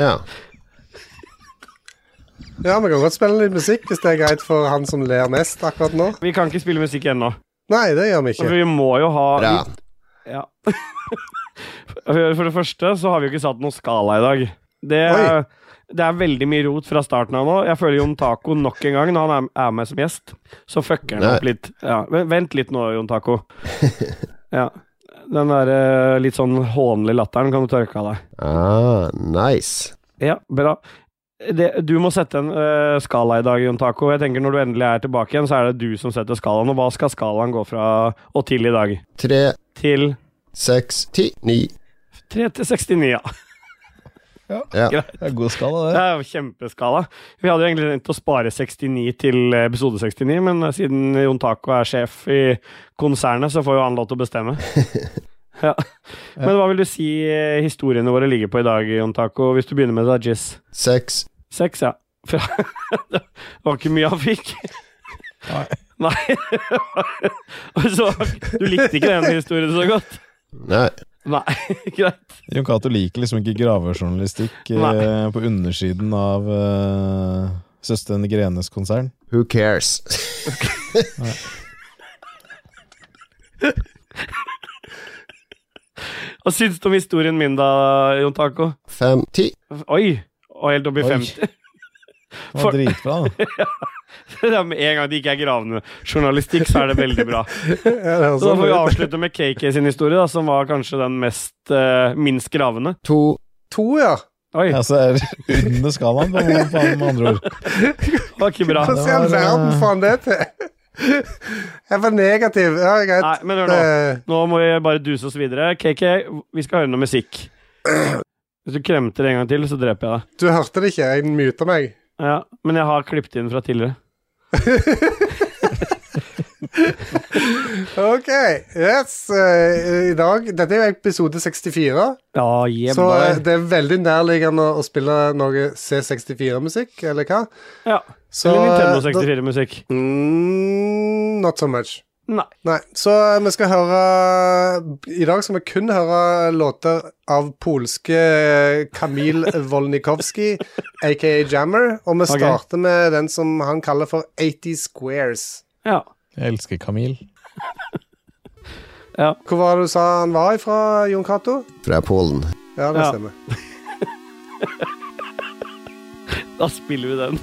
[SPEAKER 5] Ja.
[SPEAKER 2] Ja, vi kan godt spille litt musikk hvis det er greit for han som ler mest akkurat nå.
[SPEAKER 1] Vi kan ikke spille musikk ennå.
[SPEAKER 2] Nei, det gjør vi
[SPEAKER 1] For
[SPEAKER 2] ikke.
[SPEAKER 1] vi må jo ha
[SPEAKER 5] Bra.
[SPEAKER 1] Ja. For det første så har vi jo ikke satt noen skala i dag. Det,
[SPEAKER 2] Oi.
[SPEAKER 1] det er veldig mye rot fra starten av nå. Jeg føler Jon Taco nok en gang, når han er er med som gjest, så fucker han
[SPEAKER 5] Nei.
[SPEAKER 1] opp litt. Ja, men vent litt nå, Jon Taco. Ja. Den derre litt sånn hånlige latteren kan du tørke av deg.
[SPEAKER 5] Ah, nice.
[SPEAKER 1] Ja, bra. Det, du må sette en eh, skala i dag, Jon Taco. Jeg tenker Når du endelig er tilbake igjen, så er det du som setter skalaen. Og hva skal skalaen gå fra og til i dag?
[SPEAKER 5] Tre,
[SPEAKER 1] Til
[SPEAKER 5] seks, ti, ni.
[SPEAKER 1] 3 til 69, ja.
[SPEAKER 3] Det er god skala,
[SPEAKER 1] Det
[SPEAKER 3] det.
[SPEAKER 1] er jo kjempeskala. Vi hadde jo egentlig tenkt å spare 69 til episode 69, men siden Jon Taco er sjef i konsernet, så får jo han lov til å bestemme. Ja. Men hva vil du si eh, historiene våre ligger på i dag, Jon Taco, hvis du begynner med Dajis?
[SPEAKER 5] Seks.
[SPEAKER 1] Seks, ja. Fra det var ikke mye han fikk.
[SPEAKER 3] Nei.
[SPEAKER 1] Nei. Og så, du likte ikke den historien så godt?
[SPEAKER 5] Nei.
[SPEAKER 1] Nei, greit.
[SPEAKER 3] Jon Cato liker liksom ikke gravejournalistikk eh, på undersiden av eh, Søstrene Grenes konsern.
[SPEAKER 5] Who cares?
[SPEAKER 1] Hva syns du om historien min da, Jon Taco?
[SPEAKER 5] Fem, ti.
[SPEAKER 1] Oi! Og helt opp i
[SPEAKER 3] Oi.
[SPEAKER 1] 50.
[SPEAKER 3] Det
[SPEAKER 1] For-
[SPEAKER 3] var dritbra, da.
[SPEAKER 1] Det er med en gang det ikke er gravende journalistikk, så er det veldig bra.
[SPEAKER 2] Ja, det er
[SPEAKER 1] Så da får vi
[SPEAKER 2] sånn.
[SPEAKER 1] avslutte med KK sin historie, da, som var kanskje den mest eh, minst gravende.
[SPEAKER 5] To.
[SPEAKER 2] To, ja.
[SPEAKER 1] Oi,
[SPEAKER 3] Ja, så er det under skalaen, på på- med andre ord.
[SPEAKER 1] det var ikke bra.
[SPEAKER 2] Hvordan i all
[SPEAKER 3] det var,
[SPEAKER 2] verden
[SPEAKER 3] eh,
[SPEAKER 2] får han det til? Jeg var negativ. Ja, greit. Eh,
[SPEAKER 1] Nei, men hør nå.
[SPEAKER 2] Det-
[SPEAKER 1] Nå må vi bare duse oss videre. KK, vi skal høre noe musikk. Hvis du kremter en gang til, så dreper jeg deg.
[SPEAKER 2] Du hørte det ikke, jeg muta meg.
[SPEAKER 1] Ja, men jeg har klippet inn fra tidligere.
[SPEAKER 2] OK. Yes. eh, I dag Dette er jo episode 64,
[SPEAKER 1] Ja,
[SPEAKER 2] så eh,
[SPEAKER 1] jebba.
[SPEAKER 2] det er veldig nærliggende å spille noe C64-musikk, eller hva?
[SPEAKER 1] Ja.
[SPEAKER 2] Så,
[SPEAKER 1] Eller
[SPEAKER 2] eh,
[SPEAKER 1] Nintendo
[SPEAKER 2] da-
[SPEAKER 1] 64-musikk.
[SPEAKER 2] Mm, not so much.
[SPEAKER 1] Nei.
[SPEAKER 2] Nei, så eh, vi skal høre I dag skal vi kun høre låter av polske eh, Kamil Wolnikowski, aka Jammer, og vi
[SPEAKER 1] Ok.
[SPEAKER 2] starter med den som han kaller for 80 Squares.
[SPEAKER 1] Ja.
[SPEAKER 3] Jeg elsker Kamil.
[SPEAKER 2] Hvor var det du sa han var ifra, Jon Cato?
[SPEAKER 5] Fra Polen.
[SPEAKER 2] Ja, det
[SPEAKER 1] Ja.
[SPEAKER 2] stemmer.
[SPEAKER 1] Da spiller vi den.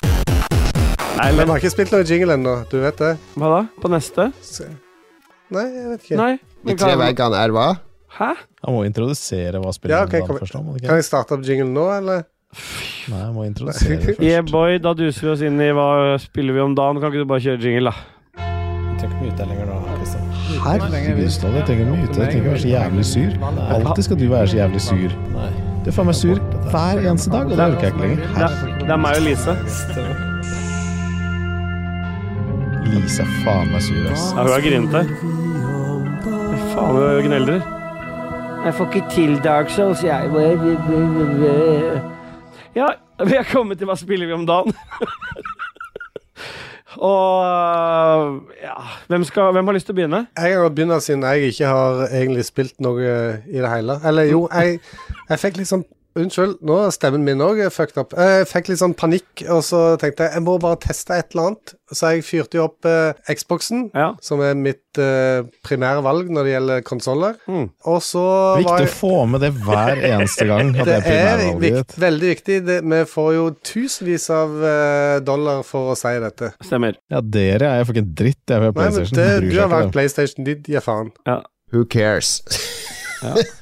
[SPEAKER 1] Nei,
[SPEAKER 2] Men vi
[SPEAKER 1] men
[SPEAKER 2] har ikke spilt noe jingle ennå, du vet det?
[SPEAKER 1] hva da? På neste?
[SPEAKER 2] Så- Nei, jeg vet ikke.
[SPEAKER 1] Nei.
[SPEAKER 5] De tre veggene er hva?
[SPEAKER 1] Hæ?
[SPEAKER 3] Han må introdusere hva
[SPEAKER 2] Ja,
[SPEAKER 3] spilleren
[SPEAKER 2] ok,
[SPEAKER 3] var
[SPEAKER 2] kom-
[SPEAKER 3] først. da, må du
[SPEAKER 2] Kan
[SPEAKER 3] ikke?
[SPEAKER 2] jeg starte opp jingle nå, eller?
[SPEAKER 3] Nei, jeg må introdusere det først.
[SPEAKER 1] Yeah, boy, da duser vi oss inn i hva spiller vi om dagen. Kan ikke du bare kjøre jingle, da?
[SPEAKER 3] Jeg trenger ikke mute deg lenger nå, Kristian. Herregud, Ståle, jeg trenger å mute deg. Jeg trenger å være så jævlig sur. Alltid skal du være så jævlig sur. Du er faen meg sur hver eneste dag, og det orker jeg ikke lenger.
[SPEAKER 1] Det er, det er meg og Lise.
[SPEAKER 3] Lise er faen meg sur, ass.
[SPEAKER 1] Ja, hun er grinete. Fy Faen, hun gneldrer. Jeg får ikke til Dark Souls, jeg. Ja, vi er kommet til Hva spiller vi om dagen? Og eh, ja hvem, skal, hvem har lyst til å begynne?
[SPEAKER 2] Jeg kan godt begynne siden jeg ikke har egentlig spilt noe i det hele. Eller jo, jeg, jeg fikk litt sånn unnskyld, nå er stemmen min òg fucked up. Eh, Jeg fikk litt sånn panikk, og så tenkte jeg jeg må bare teste et eller annet. Så jeg fyrte jo opp eh, Xboxen,
[SPEAKER 1] Ja.
[SPEAKER 2] som er mitt eh, primære valg når det gjelder konsoller.
[SPEAKER 1] Mm.
[SPEAKER 2] Og så var
[SPEAKER 3] Viktig
[SPEAKER 2] jeg
[SPEAKER 3] å få med det hver eneste gang.
[SPEAKER 2] det
[SPEAKER 3] At det
[SPEAKER 2] er
[SPEAKER 3] primærvalget
[SPEAKER 2] vikt,
[SPEAKER 3] ditt.
[SPEAKER 2] veldig viktig. Det, vi får jo tusenvis av eh, dollar for å si dette.
[SPEAKER 1] Stemmer.
[SPEAKER 3] Ja, dere er jo fucking dritt. Jeg er på
[SPEAKER 2] Nei, men
[SPEAKER 3] PlayStation.
[SPEAKER 2] det,
[SPEAKER 3] bryr
[SPEAKER 2] du
[SPEAKER 3] seg
[SPEAKER 2] har
[SPEAKER 3] ikke,
[SPEAKER 2] valgt
[SPEAKER 3] da.
[SPEAKER 2] PlayStation, de gir faen.
[SPEAKER 5] Who cares?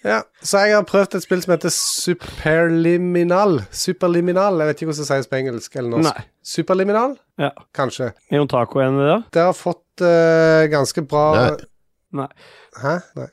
[SPEAKER 2] Ja, så jeg har prøvd et spill som heter Superliminal. Superliminal, jeg vet ikke hvordan det sies på engelsk eller norsk.
[SPEAKER 1] Nei.
[SPEAKER 2] Superliminal?
[SPEAKER 1] Ja.
[SPEAKER 2] Kanskje.
[SPEAKER 1] Er Jon Taco enig i det?
[SPEAKER 2] Det har fått eh, ganske bra
[SPEAKER 5] Nei.
[SPEAKER 1] Nei.
[SPEAKER 2] Hæ? Nei.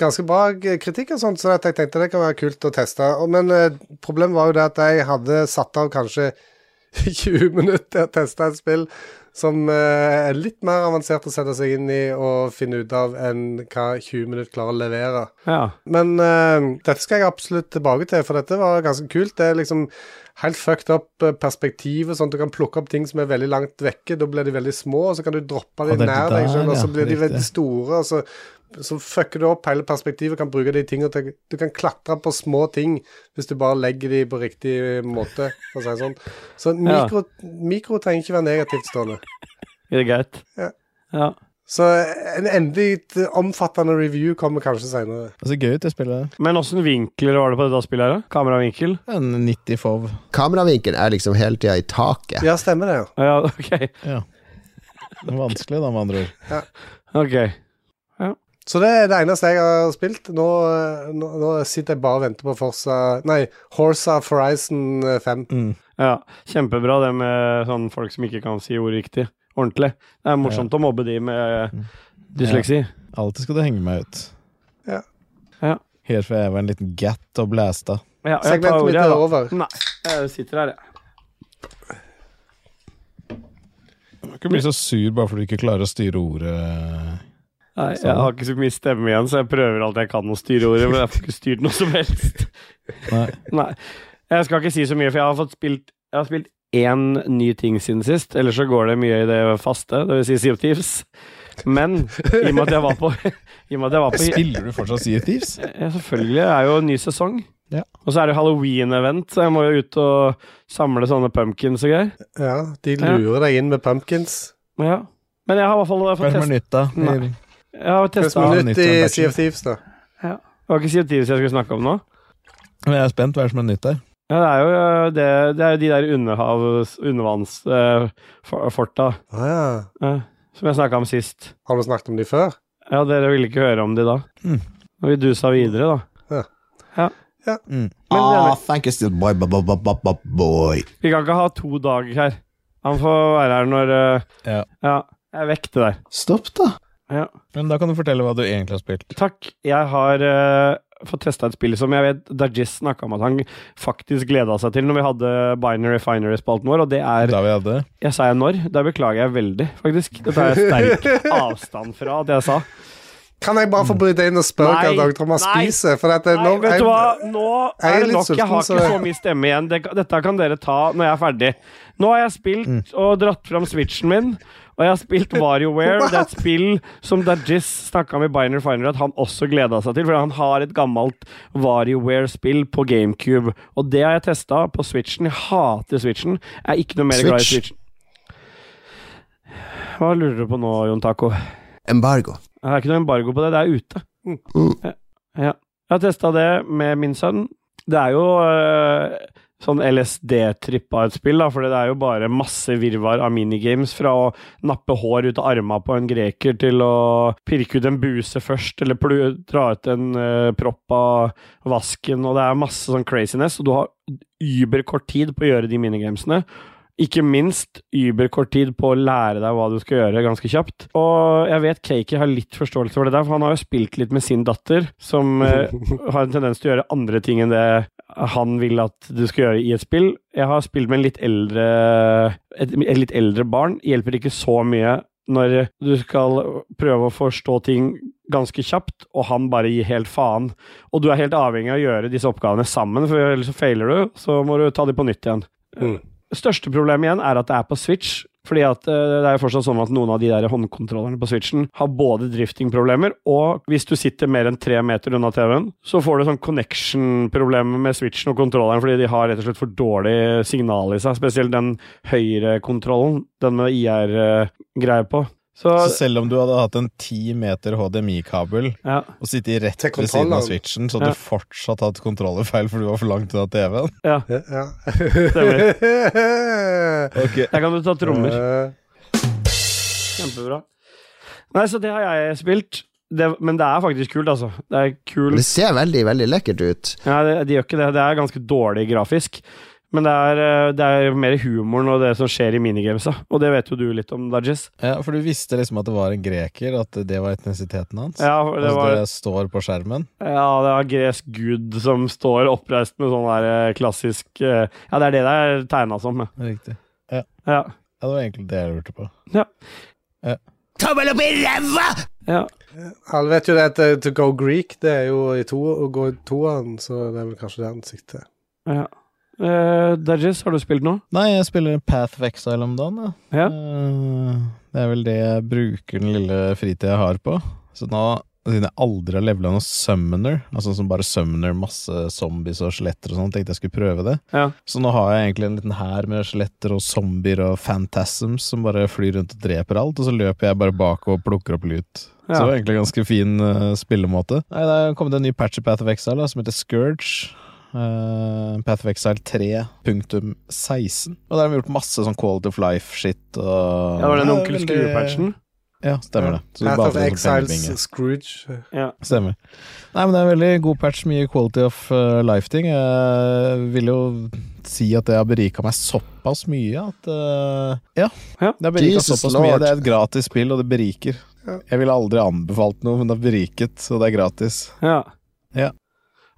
[SPEAKER 2] Ganske bra k- kritikk og sånt, så at jeg tenkte det kan være kult å teste. Og- Men eh, problemet var jo det at jeg hadde satt av kanskje 20 minutter til å teste et spill som eh, er litt mer avansert å sette seg inn i og finne ut av enn hva 20 minutter klarer å levere.
[SPEAKER 1] Ja.
[SPEAKER 2] Men eh, dette skal jeg absolutt tilbake til, for dette var ganske kult. Det er liksom helt fucked up eh, perspektiv og sånt. Du kan plukke opp ting som er veldig langt vekke, da blir de veldig små, og så kan du droppe
[SPEAKER 3] Og
[SPEAKER 2] de
[SPEAKER 3] det er
[SPEAKER 2] nær
[SPEAKER 3] det
[SPEAKER 2] deg
[SPEAKER 3] der,
[SPEAKER 2] selv, og
[SPEAKER 3] ja,
[SPEAKER 2] så blir de
[SPEAKER 3] riktig.
[SPEAKER 2] veldig store, og så, så fucker du opp hele perspektivet og kan bruke de tingene til Du kan klatre på små ting hvis du bare legger de på riktig måte, for å si det sånn. Så
[SPEAKER 1] Ja.
[SPEAKER 2] mikro, mikro trenger ikke være negativt stående.
[SPEAKER 1] Er det greit?
[SPEAKER 2] Ja.
[SPEAKER 1] ja.
[SPEAKER 2] Så en endelig t- omfattende review kommer kanskje seinere.
[SPEAKER 3] Det er så Altså, gøy ut, det spillet.
[SPEAKER 1] Men åssen vinkler var det på dette spillet? her da? Kameravinkel?
[SPEAKER 3] En 90 fov.
[SPEAKER 5] Kameravinkelen er liksom hele tida i taket.
[SPEAKER 2] Ja, stemmer det. ja.
[SPEAKER 1] Ja, ok.
[SPEAKER 3] Ja. Vanskelig, da, med andre ord.
[SPEAKER 1] Ok.
[SPEAKER 2] Så det er det eneste jeg har spilt. Nå, nå, nå sitter jeg bare og venter på Forza Nei, Horsa Horizon 5.
[SPEAKER 3] Mm.
[SPEAKER 1] Ja, Kjempebra det med sånn folk som ikke kan si ord riktig. Ordentlig. Det er morsomt å mobbe de med eh, dysleksi.
[SPEAKER 3] Alltid skal du henge meg ut.
[SPEAKER 2] Ja.
[SPEAKER 1] Ja.
[SPEAKER 3] Helt fra jeg var en liten gatt og blæsta.
[SPEAKER 1] Ja, jeg tar
[SPEAKER 2] Segmentet mitt
[SPEAKER 1] ordet, jeg,
[SPEAKER 2] er
[SPEAKER 1] da.
[SPEAKER 2] over.
[SPEAKER 1] Nei, jeg sitter her, jeg.
[SPEAKER 3] Du kan bli så sur bare fordi du ikke klarer å styre ordet.
[SPEAKER 1] Nei, jeg har ikke så mye stemme igjen, så jeg prøver alt jeg kan å styre ordet, men jeg får ikke styrt noe som helst.
[SPEAKER 3] Nei.
[SPEAKER 1] Nei. Jeg skal ikke si så mye, for jeg har fått spilt Jeg har spilt én ny ting siden sist. Ellers så går det mye i det faste, det vil si Sea of Thieves. Men i og med at jeg var på I og med at jeg var på
[SPEAKER 3] Spiller du fortsatt Sea of Thieves?
[SPEAKER 1] Ja, selvfølgelig. Det er jo en ny sesong.
[SPEAKER 3] Ja.
[SPEAKER 1] Og så er det halloween-event, så jeg må jo ut og samle sånne pumpkins og greier.
[SPEAKER 2] Ja, de lurer deg inn med pumpkins.
[SPEAKER 1] Men Ja. Men jeg har i hvert fall
[SPEAKER 3] Hva
[SPEAKER 1] fått
[SPEAKER 3] er det som er
[SPEAKER 1] test.
[SPEAKER 3] nytt, da?
[SPEAKER 1] Nei. Jeg har
[SPEAKER 2] Hva
[SPEAKER 1] testet-
[SPEAKER 2] som er nytt i
[SPEAKER 3] nytt,
[SPEAKER 2] Sea of Thieves, da?
[SPEAKER 1] Det var ikke Sea of Thieves jeg skulle snakke om nå.
[SPEAKER 3] Men jeg er spent. Hva er det som er nytt der?
[SPEAKER 1] Ja, det er jo øh, det, det er jo de der underhavs, eh, undervannsforta
[SPEAKER 2] Å ja.
[SPEAKER 1] eh, som jeg snakka om sist.
[SPEAKER 2] Har du snakket om de før?
[SPEAKER 1] Ja, dere ville ikke høre om de da.
[SPEAKER 3] Mm.
[SPEAKER 1] Og vi dusa videre, da.
[SPEAKER 2] Ja.
[SPEAKER 1] Ja.
[SPEAKER 2] Ja.
[SPEAKER 3] Mm.
[SPEAKER 1] Men
[SPEAKER 5] Ah,
[SPEAKER 1] dere,
[SPEAKER 5] thank you still, boy, boy, boy, boy, boy, boy.
[SPEAKER 1] vi kan ikke ha to dager her. Han får være her når øh,
[SPEAKER 3] Ja.
[SPEAKER 1] ja. Jeg er vekk, det der.
[SPEAKER 5] Stopp, da.
[SPEAKER 3] Men da kan du fortelle hva du egentlig har spilt.
[SPEAKER 1] Takk. Jeg har eh, fått testa et spill som jeg vet Dajis snakka om at han faktisk gleda seg til når vi hadde Binary Finery-spalten vår, og det er
[SPEAKER 3] Da vi hadde
[SPEAKER 1] Jeg sa jeg når. Der beklager jeg veldig, faktisk. Det tar jeg sterk avstand fra at jeg sa.
[SPEAKER 2] Kan jeg bare få bryte inn og spørre
[SPEAKER 1] Mm. Nei.
[SPEAKER 2] hva Dag Thomas
[SPEAKER 1] Nei.
[SPEAKER 2] spiser? For dette,
[SPEAKER 1] Nei,
[SPEAKER 2] nå-
[SPEAKER 1] vet
[SPEAKER 2] jeg-
[SPEAKER 1] du hva, nå
[SPEAKER 2] jeg er
[SPEAKER 1] er det
[SPEAKER 2] litt
[SPEAKER 1] nok. Jeg
[SPEAKER 2] sulten,
[SPEAKER 1] har
[SPEAKER 2] så
[SPEAKER 1] ikke
[SPEAKER 2] det-
[SPEAKER 1] så mye stemme igjen. Det, dette kan dere ta når jeg er ferdig. Nå har jeg
[SPEAKER 2] Mm.
[SPEAKER 1] spilt og dratt fram switchen min, og jeg har spilt WarioWare. Det er et spill som Dajis snakka om i Biner Finer at han også gleda seg til, for han har et gammelt WarioWare-spill på GameCube, og det har jeg testa på switchen. Jeg hater switchen. Jeg er ikke noe mer glad i
[SPEAKER 5] Switch.
[SPEAKER 1] switchen. Hva lurer du på nå, Jon Taco?
[SPEAKER 5] Embargo.
[SPEAKER 1] Det er ikke noe embargo på det, det er ute.
[SPEAKER 5] Mm.
[SPEAKER 1] Ja. Ja. Jeg har testa det med min sønn. Det er jo øh, sånn LSD-tripp av et spill, da, for det er jo bare masse virvar av minigames, fra å nappe hår ut av arma på en greker til å pirke ut en buse først, eller plu dra ut en øh, propp av vasken, og det er masse sånn craziness, og du har überkort tid på å gjøre de minigamesene. Ikke minst überkort tid på å lære deg hva du skal gjøre, ganske kjapt. Og jeg vet Cakey har litt forståelse for det der, for han har jo spilt litt med sin datter, som eh, har en tendens til å gjøre andre ting enn det han vil at du skal gjøre i et spill. Jeg har spilt med en litt eldre et, et litt eldre barn. Hjelper ikke så mye når du skal prøve å forstå ting ganske kjapt, og han bare gir helt faen. Og du er helt avhengig av å gjøre disse oppgavene sammen, for ellers så feiler du, så må du ta de på nytt igjen.
[SPEAKER 2] Mm.
[SPEAKER 1] Største problemet igjen er at det er på Switch. Fordi at eh, det er jo fortsatt sånn at noen av de der håndkontrollerne på Switchen har både drifting-problemer, og hvis du sitter mer enn tre meter unna TV-en, så får du sånn connection-problemer med Switchen og kontrolleren, fordi de har rett og slett for dårlig signal i seg. Spesielt den høyrekontrollen, den med IR-greie på. Så,
[SPEAKER 3] Så selv om du hadde hatt en ti meter HDMI-kabel
[SPEAKER 1] ja.
[SPEAKER 3] og sittet rett
[SPEAKER 2] Til
[SPEAKER 3] ved siden av
[SPEAKER 2] kontrolleren.
[SPEAKER 3] switchen, så
[SPEAKER 1] Ja.
[SPEAKER 3] hadde du fortsatt hatt kontrollerfeil fordi du var for langt unna TV-en?
[SPEAKER 1] ja.
[SPEAKER 2] Ja.
[SPEAKER 1] Der kan du ta trommer.
[SPEAKER 2] Eh,
[SPEAKER 1] Kjempebra. Nei, så det har jeg spilt. Det, men det er faktisk kult, altså. Det er kul
[SPEAKER 5] Men Det ser veldig, veldig lekkert ut.
[SPEAKER 1] Ja, det, de gjør ikke det. Det er ganske dårlig grafisk. Men det er, eh, det er mer humoren og det som skjer i minigamesa, og det vet jo du litt om, Dodges.
[SPEAKER 3] Ja, for du visste liksom at det var en greker, at det var etnisiteten hans?
[SPEAKER 1] Ja, for det
[SPEAKER 3] altså,
[SPEAKER 1] var, ja,
[SPEAKER 3] det står på skjermen?
[SPEAKER 1] det er gresk gud som står oppreist med sånn der eh, klassisk eh, Ja, det er det det er tegna som. ja.
[SPEAKER 3] Riktig.
[SPEAKER 1] Ja.
[SPEAKER 3] Ja, det var egentlig det jeg lurte på.
[SPEAKER 6] Tommel opp i ræva!
[SPEAKER 1] ja.
[SPEAKER 2] Alle vet jo det at eh, To Go Greek, det er jo i to, å gå i toeren, så det er vel kanskje det han sikter til.
[SPEAKER 1] ja. Eh, Dodges, har du spilt noe?
[SPEAKER 3] Nei, jeg spiller Path of Exile om dagen, da.
[SPEAKER 1] Ja.
[SPEAKER 3] Eh, Det er vel det jeg bruker den lille fritida jeg har på. Så nå, siden jeg aldri har levela noen summoner, altså som bare summoner masse zombies og skjeletter og sånn, tenkte jeg skulle prøve det.
[SPEAKER 1] Ja.
[SPEAKER 3] Så nå har jeg egentlig en liten hær med skjeletter og zombier og phantasms som bare flyr rundt og dreper alt, og så løper jeg bare bak og plukker opp lut.
[SPEAKER 1] Ja.
[SPEAKER 3] Så det var egentlig en ganske fin eh, spillemåte. Nei, det er kommet en ny patch i Path of Exile da, som heter Scourge. Eh, Path of Exile 3.16. Og der har de gjort masse sånn quality of life-shit. Og...
[SPEAKER 1] Ja, det var den
[SPEAKER 3] Ja,
[SPEAKER 1] onkel
[SPEAKER 3] veldig-
[SPEAKER 1] Skrue-patchen.
[SPEAKER 3] Ja, stemmer det. Så
[SPEAKER 2] Path
[SPEAKER 3] bare
[SPEAKER 2] of
[SPEAKER 3] sånn
[SPEAKER 2] Exiles
[SPEAKER 3] pengebinge.
[SPEAKER 2] Scrooge.
[SPEAKER 3] Stemmer. Nei, men det er en veldig god patch, mye quality of eh, life-ting. Jeg vil jo si at det har berika meg såpass mye at eh, Ja.
[SPEAKER 1] Ja.
[SPEAKER 3] Det har berika
[SPEAKER 5] Jesus
[SPEAKER 3] såpass mye.
[SPEAKER 5] Lord.
[SPEAKER 3] Det er et gratis spill, og det beriker. Jeg ville aldri anbefalt noe, men det har beriket, og det er gratis.
[SPEAKER 1] Ja.
[SPEAKER 3] Ja.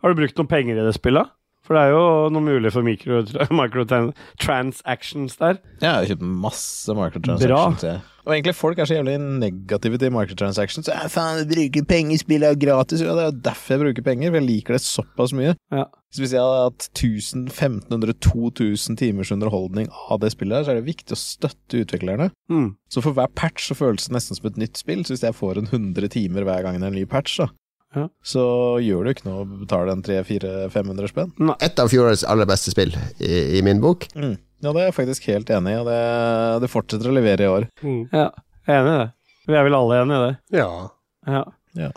[SPEAKER 1] Har du brukt noen penger i det spillet? For det er jo noe mulig for micro- microtransactions der.
[SPEAKER 3] Jeg har kjøpt masse
[SPEAKER 1] Bra.
[SPEAKER 3] microtransactions. jeg. Og egentlig folk er så jævlig negative til microtransactions. Ja, faen, jeg bruker penger, spill er gratis. Ja, det er jo derfor jeg bruker penger, for jeg liker det såpass mye.
[SPEAKER 1] Ja.
[SPEAKER 3] Så hvis jeg hadde hatt 1000, 1500, 2000 timers underholdning av det spillet, her, så er det viktig å støtte utviklerne.
[SPEAKER 1] Mm.
[SPEAKER 3] Så for hver patch så føles det nesten som et nytt spill. Så hvis jeg får en 100 timer hver gang det er en ny patch, da,
[SPEAKER 1] Ja.
[SPEAKER 3] så gjør det jo ikke noe å betale en 300-400-500 spenn.
[SPEAKER 5] Et av fjorårets aller beste spill, i, i min bok.
[SPEAKER 3] Mm. Ja, det er jeg faktisk helt enig i, og det, det fortsetter å levere i år.
[SPEAKER 2] Mm.
[SPEAKER 1] Ja, jeg er enig i det. Vi er vel alle enig i det.
[SPEAKER 2] Ja.
[SPEAKER 1] Ja.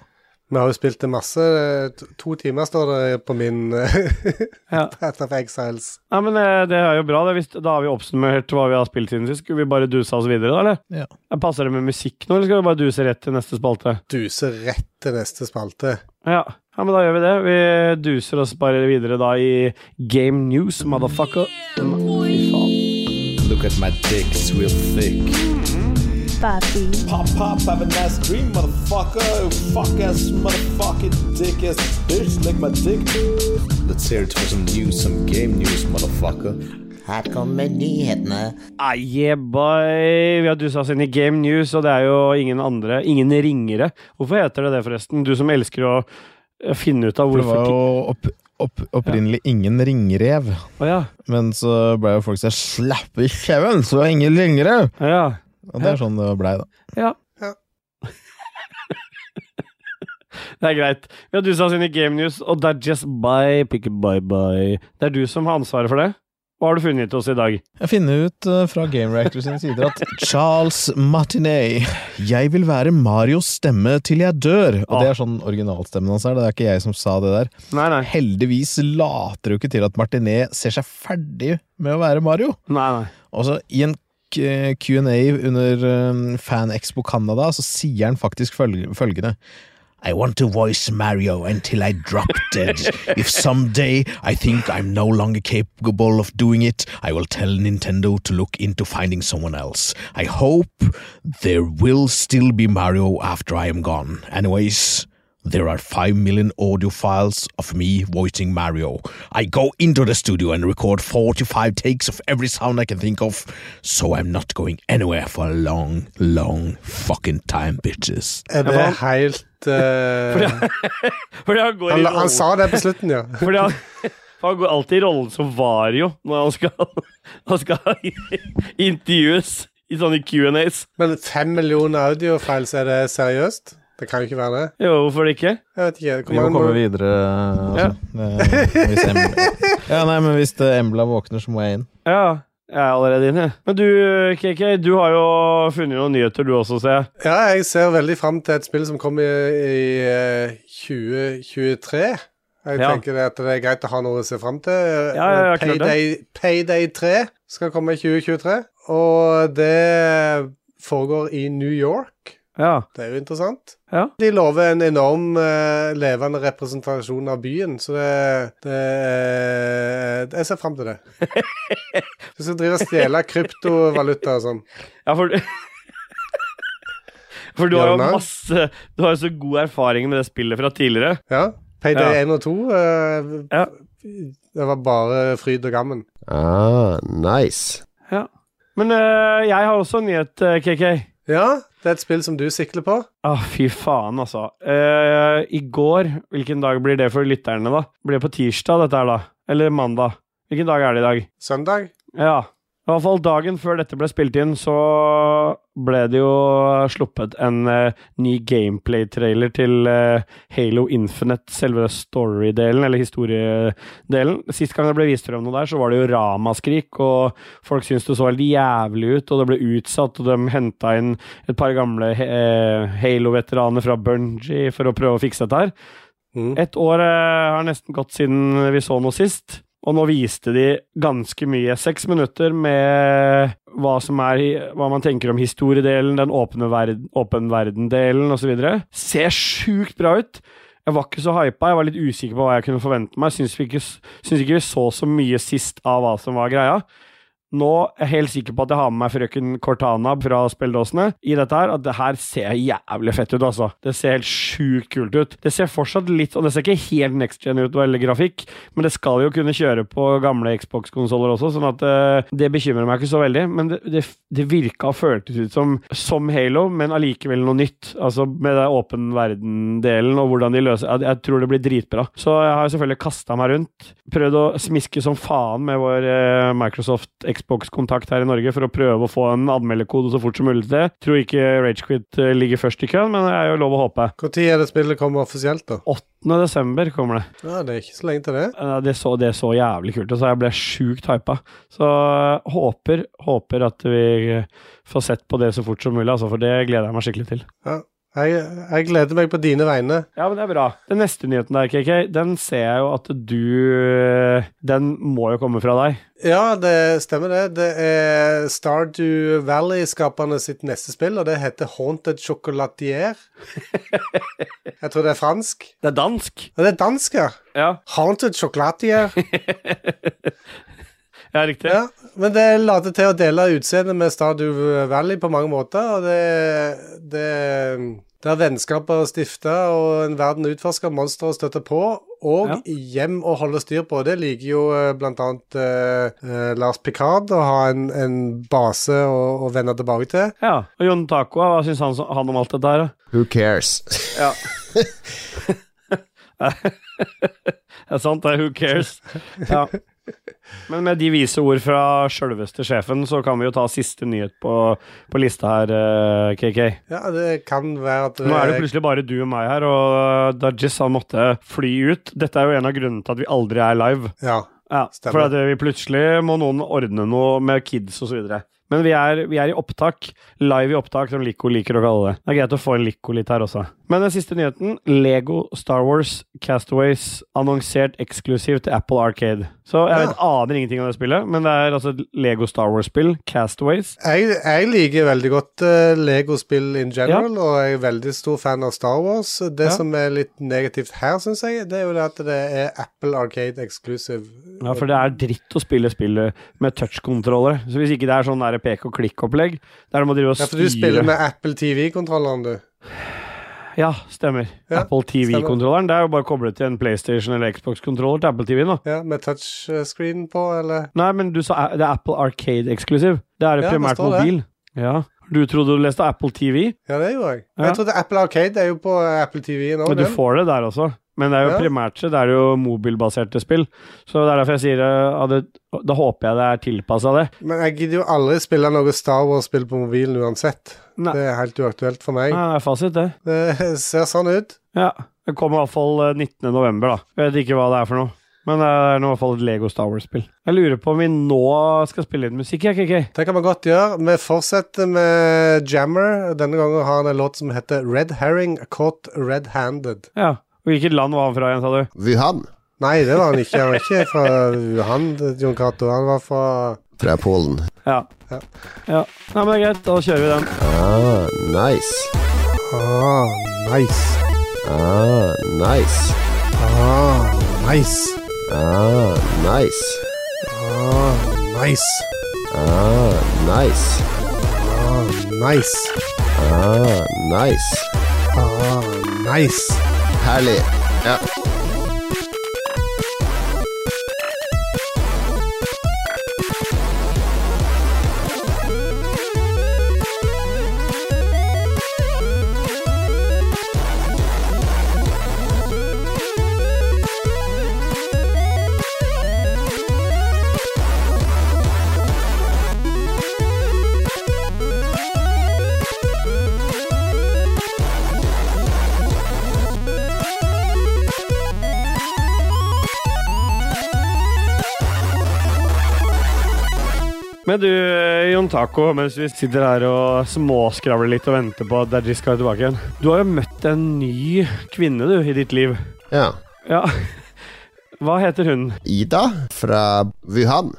[SPEAKER 2] Vi har jo spilt det masse. eh, to- To timer står det på min eh,
[SPEAKER 1] Ja.
[SPEAKER 2] Path of Exiles.
[SPEAKER 1] Nei, men eh, det er jo bra. Det. Hvis, da har vi oppsummert hva vi har spilt siden sist. Skulle vi bare duse oss videre, da, eller?
[SPEAKER 3] Ja.
[SPEAKER 1] Passer det med musikk nå, eller skal vi bare duse rett til neste spalte?
[SPEAKER 2] Duse rett til neste spalte.
[SPEAKER 1] Ja. ja, men da gjør vi det. Vi duser oss bare videre da i Game News, motherfucker. Fy faen.
[SPEAKER 3] Look at my dicks real thick.
[SPEAKER 7] Papi.
[SPEAKER 3] Pop pop, have a nice dream, motherfucker. Fuck ass, motherfucking dick ass bitch, lick my dick. Let's hear it for some news, some game news, motherfucker.
[SPEAKER 6] Her kommer nyhetene.
[SPEAKER 1] Ah, yeah, boy. Vi har dusa oss inn i Game News, og det er jo ingen andre, ingen ringere. Hvorfor heter det det, forresten? Du som elsker å eh, finne ut av
[SPEAKER 3] Det
[SPEAKER 1] hvorfor
[SPEAKER 3] var jo opp, opp, opprinnelig ingen ringrev,
[SPEAKER 1] ting- Å ja.
[SPEAKER 3] men så ble jo folk så slappe i kjeven, så ingen ringrev.
[SPEAKER 1] Å ja.
[SPEAKER 3] Og det er sånn det blei, da.
[SPEAKER 1] Ja.
[SPEAKER 2] Ja.
[SPEAKER 1] det er greit. Vi har dusa oss inn i Game News, og det er just bye, pick bye bye. Det er du som har ansvaret for det. Hva har du funnet til oss i dag?
[SPEAKER 3] Jeg finner ut eh, fra Game Reactor sine sider at Charles Martinet Jeg vil være Marios stemme til jeg dør. Og det er sånn originalstemmen hans er, det er ikke jeg som sa det der.
[SPEAKER 1] Nei, nei.
[SPEAKER 3] Heldigvis later jo ikke til at Martinet ser seg ferdig med å være Mario.
[SPEAKER 1] nei, nei.
[SPEAKER 3] Altså, i en Q- Q&A under um, Fan Expo Canada, så sier han faktisk følge- følgende. I want to voice Mario until I drop dead. If someday I think I'm no longer capable of doing it, I will tell Nintendo to look into finding someone else. I hope there will still be Mario after I am gone. Anyways, there are 5 million audio files of me voicing Mario. I go into the studio and record 45 takes of every sound I can think of, so I'm not going anywhere for a long, long fucking time, bitches.
[SPEAKER 2] Er det
[SPEAKER 1] Ja, for
[SPEAKER 2] helt eh,
[SPEAKER 1] Fordi han går i
[SPEAKER 2] han,
[SPEAKER 1] rollen
[SPEAKER 2] han sa det på slutten, ja.
[SPEAKER 1] Fordi han, han går alltid i rollen som Vario når han skal, han skal intervjues i sånne Q&As.
[SPEAKER 2] Men fem millioner audiofiles, er det seriøst? Det kan jo ikke være det.
[SPEAKER 1] Jo, hvorfor det ikke?
[SPEAKER 2] Jeg vet ikke.
[SPEAKER 3] Vi må
[SPEAKER 2] Hvor
[SPEAKER 3] komme
[SPEAKER 2] mange,
[SPEAKER 3] videre. Altså. Eh, Hvis Embla... Ja, nei, men hvis eh, Embla våkner, så må jeg inn.
[SPEAKER 1] Ja, jeg er allerede inne. Men du, KK, du har jo funnet noen nyheter du også, ser jeg.
[SPEAKER 2] ja, jeg ser veldig fram til et spill som kommer i, i eh, 2023. Jeg
[SPEAKER 1] Ja.
[SPEAKER 2] tenker det at det er greit å ha noe å se fram til.
[SPEAKER 1] Ja, ja, ja, klart det.
[SPEAKER 2] Payday, Payday 3 skal komme i 2023, og det foregår i New York.
[SPEAKER 1] Ja.
[SPEAKER 2] Det er jo interessant.
[SPEAKER 1] Ja.
[SPEAKER 2] De lover en enorm eh, levende representasjon av byen, så det, det eh, Jeg ser fram til det. Du skal drive og stjele kryptovaluta og sånn.
[SPEAKER 1] ja, for For du har jo
[SPEAKER 2] Bjørnar?
[SPEAKER 1] masse Du har jo så god erfaring med det spillet fra tidligere.
[SPEAKER 2] Ja. Payday
[SPEAKER 1] Ja.
[SPEAKER 2] 1 og 2 eh,
[SPEAKER 1] Ja.
[SPEAKER 2] Det var bare fryd og gammen.
[SPEAKER 5] Ah, nice.
[SPEAKER 1] Men eh, jeg har også en nyhet, eh, KK.
[SPEAKER 2] Ja, det er et spill som du sikler på.
[SPEAKER 1] Å, fy faen, altså. Eh, I går Hvilken dag blir det for lytterne, da? Blir det på tirsdag, dette her, da? Eller mandag? Hvilken dag er det i dag?
[SPEAKER 2] Søndag.
[SPEAKER 1] Ja. I hvert fall dagen før dette ble spilt inn, så ble det jo sluppet en eh, ny gameplay-trailer til eh, Halo Infinite, selve story-delen, eller historiedelen. Sist gang det ble vist frem noe der, så var det jo ramaskrik, og folk syntes det så helt jævlig ut, og det ble utsatt, og de henta inn et par gamle eh, Halo-veteraner fra Bungie for å prøve å fikse dette her.
[SPEAKER 2] Mm.
[SPEAKER 1] Et år eh, har nesten gått siden vi så noe sist, og nå viste de ganske mye. Seks minutter med hva, som er, i- hva man tenker om historiedelen, den åpne verden, åpen verden-delen osv. Ser sjukt bra ut. Jeg var ikke så hypa, jeg var litt usikker på hva jeg kunne forvente meg. Syns, vi ikke, syns ikke vi så så mye sist av hva som var greia. Nå er jeg helt sikker på at jeg har med meg frøken Cortana fra spilledåsene i dette her, at det her ser jævlig fett ut, altså. Det ser helt sjukt kult ut. Det ser fortsatt litt, og det ser ikke helt next gen ut, eller grafikk, men det skal jo kunne kjøre på gamle Xbox-konsoller også, sånn at eh, det bekymrer meg ikke så veldig. Men det, det, det virka og føltes ut som, som Halo, men allikevel noe nytt. Altså med den åpen verden-delen og hvordan de løser jeg, jeg tror det blir dritbra. Så jeg har jo selvfølgelig kasta meg rundt. Prøvd å smiske som faen med vår eh, Microsoft Xbox-kontakt her i Norge for å prøve å få en anmelderkode så fort som mulig til det. Tror ikke Ragequit eh, ligger først i køen, men det er jo lov å håpe.
[SPEAKER 2] Når er det spillet kommer offisielt, da?
[SPEAKER 1] 8. desember kommer det.
[SPEAKER 2] Ja, Det er ikke så lenge til det.
[SPEAKER 1] Ja, Det så, det så jævlig kult ut, så jeg ble sjukt hypa. Så eh, håper, håper at vi eh, får sett på det så fort som mulig, altså, for det gleder jeg meg skikkelig til.
[SPEAKER 2] Jeg, jeg gleder meg på dine vegne.
[SPEAKER 1] Ja, men det er bra. Den neste nyheten der, KK, den ser jeg jo at du eh, Den må jo komme fra deg.
[SPEAKER 2] Ja, det stemmer det. Det er Stardew Valley-skaperne sitt neste spill, og det heter Haunted Chocolatier. Jeg tror det er fransk.
[SPEAKER 1] Det er dansk.
[SPEAKER 2] Og det er dansk, ja.
[SPEAKER 1] Ja,
[SPEAKER 2] Haunted Chocolatier.
[SPEAKER 1] ja riktig.
[SPEAKER 2] Ja, men det later til å dele utseendet med Stardew Valley på mange måter, og det, det der vennskaper er stifta og en verden utforsker, monstre å støtte på, og
[SPEAKER 1] Ja.
[SPEAKER 2] hjem å holde styr på. Det liker jo eh, blant annet eh, eh, Lars Picard å ha en, en base å, å vende tilbake til.
[SPEAKER 1] Ja, Og Jon Taco, hva syns han, så- han om alt dette her, da?
[SPEAKER 5] Who cares?
[SPEAKER 1] Det er sant, det er who cares. Ja. Men med de vise ord fra sjølveste sjefen, så kan vi jo ta siste nyhet på, på lista her, eh, KK.
[SPEAKER 2] Ja, det kan være at eh,
[SPEAKER 1] Nå er det plutselig bare du og meg her, og Dajis han måtte fly ut. Dette er jo en av grunnene til at vi aldri er live.
[SPEAKER 2] Ja.
[SPEAKER 1] Ja,
[SPEAKER 2] Stemmer.
[SPEAKER 1] For at vi plutselig må noen ordne noe med kids og så videre. Men vi er, vi er i opptak. Live i opptak, som Lico liker å kalle det. Det er greit å få en Lico litt her også. Men den siste nyheten. Lego Star Wars Castaways annonsert eksklusivt til Apple Arcade. Så jeg vet, aner ingenting om det spillet, men det er altså et Lego Star Wars-spill, Castaways.
[SPEAKER 2] Jeg, jeg liker veldig godt eh, Lego-spill in general, og jeg er veldig stor fan av Star Wars. Det
[SPEAKER 1] Ja.
[SPEAKER 2] som er litt negativt her, syns jeg, det er jo det at det er Apple Arcade Exclusive.
[SPEAKER 1] Ja, for det er dritt å spille spillet med touchkontroller. Så hvis ikke det er sånn der pek og klikk-opplegg, der du må drive og
[SPEAKER 2] Ja,
[SPEAKER 1] styre
[SPEAKER 2] for du spiller med Apple TV-kontrolleren, du.
[SPEAKER 1] Ja, stemmer.
[SPEAKER 2] Ja,
[SPEAKER 1] Apple TV-kontrolleren. Det er jo bare koblet til en PlayStation eller Xbox-kontroller til Apple TV, da.
[SPEAKER 2] Ja, Med touchscreen på, eller
[SPEAKER 1] Nei, men du sa eh, det er Apple Arcade-eksklusiv. Det er
[SPEAKER 2] Ja, det
[SPEAKER 1] primært
[SPEAKER 2] står det.
[SPEAKER 1] mobil. Ja. Du trodde du leste Apple TV,
[SPEAKER 2] Ja, det gjorde jeg.
[SPEAKER 1] Ja.
[SPEAKER 2] Jeg trodde Apple Arcade er jo på eh, Apple TV nå.
[SPEAKER 1] men du
[SPEAKER 2] den.
[SPEAKER 1] får det der også. Men det er jo
[SPEAKER 2] Ja.
[SPEAKER 1] primært sett det er jo mobilbaserte spill. Så det er derfor jeg sier eh, at det, da håper jeg det er tilpassa det.
[SPEAKER 2] Men jeg gidder jo aldri spille noe Star Wars-spill på mobilen uansett.
[SPEAKER 1] Nei.
[SPEAKER 2] Det er helt uaktuelt for meg.
[SPEAKER 1] Ja, det er fasit, det.
[SPEAKER 2] Det ser sånn ut.
[SPEAKER 1] Ja. Det kommer i hvert fall eh, 19. november, da. Jeg vet ikke hva det er for noe. Men eh, det er nå i hvert fall et Lego Star Wars-spill. Jeg lurer på om vi nå skal spille inn musikk, jeg, KK.
[SPEAKER 2] Det kan man godt gjøre. Vi fortsetter med Jammer. Denne gangen har han en låt som heter Red Herring Caught Red-Handed.
[SPEAKER 1] Ja. Og hvilket land var han fra igjen, sa du?
[SPEAKER 5] Wuhan
[SPEAKER 2] Nei, det var han ikke. Han var ikke fra Wuhan, Jon Cato. Han var fra
[SPEAKER 5] fra Polen.
[SPEAKER 1] Ja.
[SPEAKER 2] Ja.
[SPEAKER 1] ja. Nei, men det er greit. Da kjører vi den.
[SPEAKER 5] Ah, nice.
[SPEAKER 2] Ah, nice.
[SPEAKER 5] Ah, nice.
[SPEAKER 2] Ah, nice.
[SPEAKER 5] Ah, nice.
[SPEAKER 2] Ah, nice.
[SPEAKER 5] Ah, nice.
[SPEAKER 2] Ah, nice.
[SPEAKER 5] Ah, nice.
[SPEAKER 2] Ah, nice.
[SPEAKER 5] Herlig. Ja.
[SPEAKER 1] Men du, Jon Taco, mens vi sitter her og småskravler litt og venter på at Dajis skal være tilbake igjen. Du har jo møtt en ny kvinne, du, i ditt liv.
[SPEAKER 5] ja.
[SPEAKER 1] Ja. Hva heter hun?
[SPEAKER 5] Ida fra Wuhan.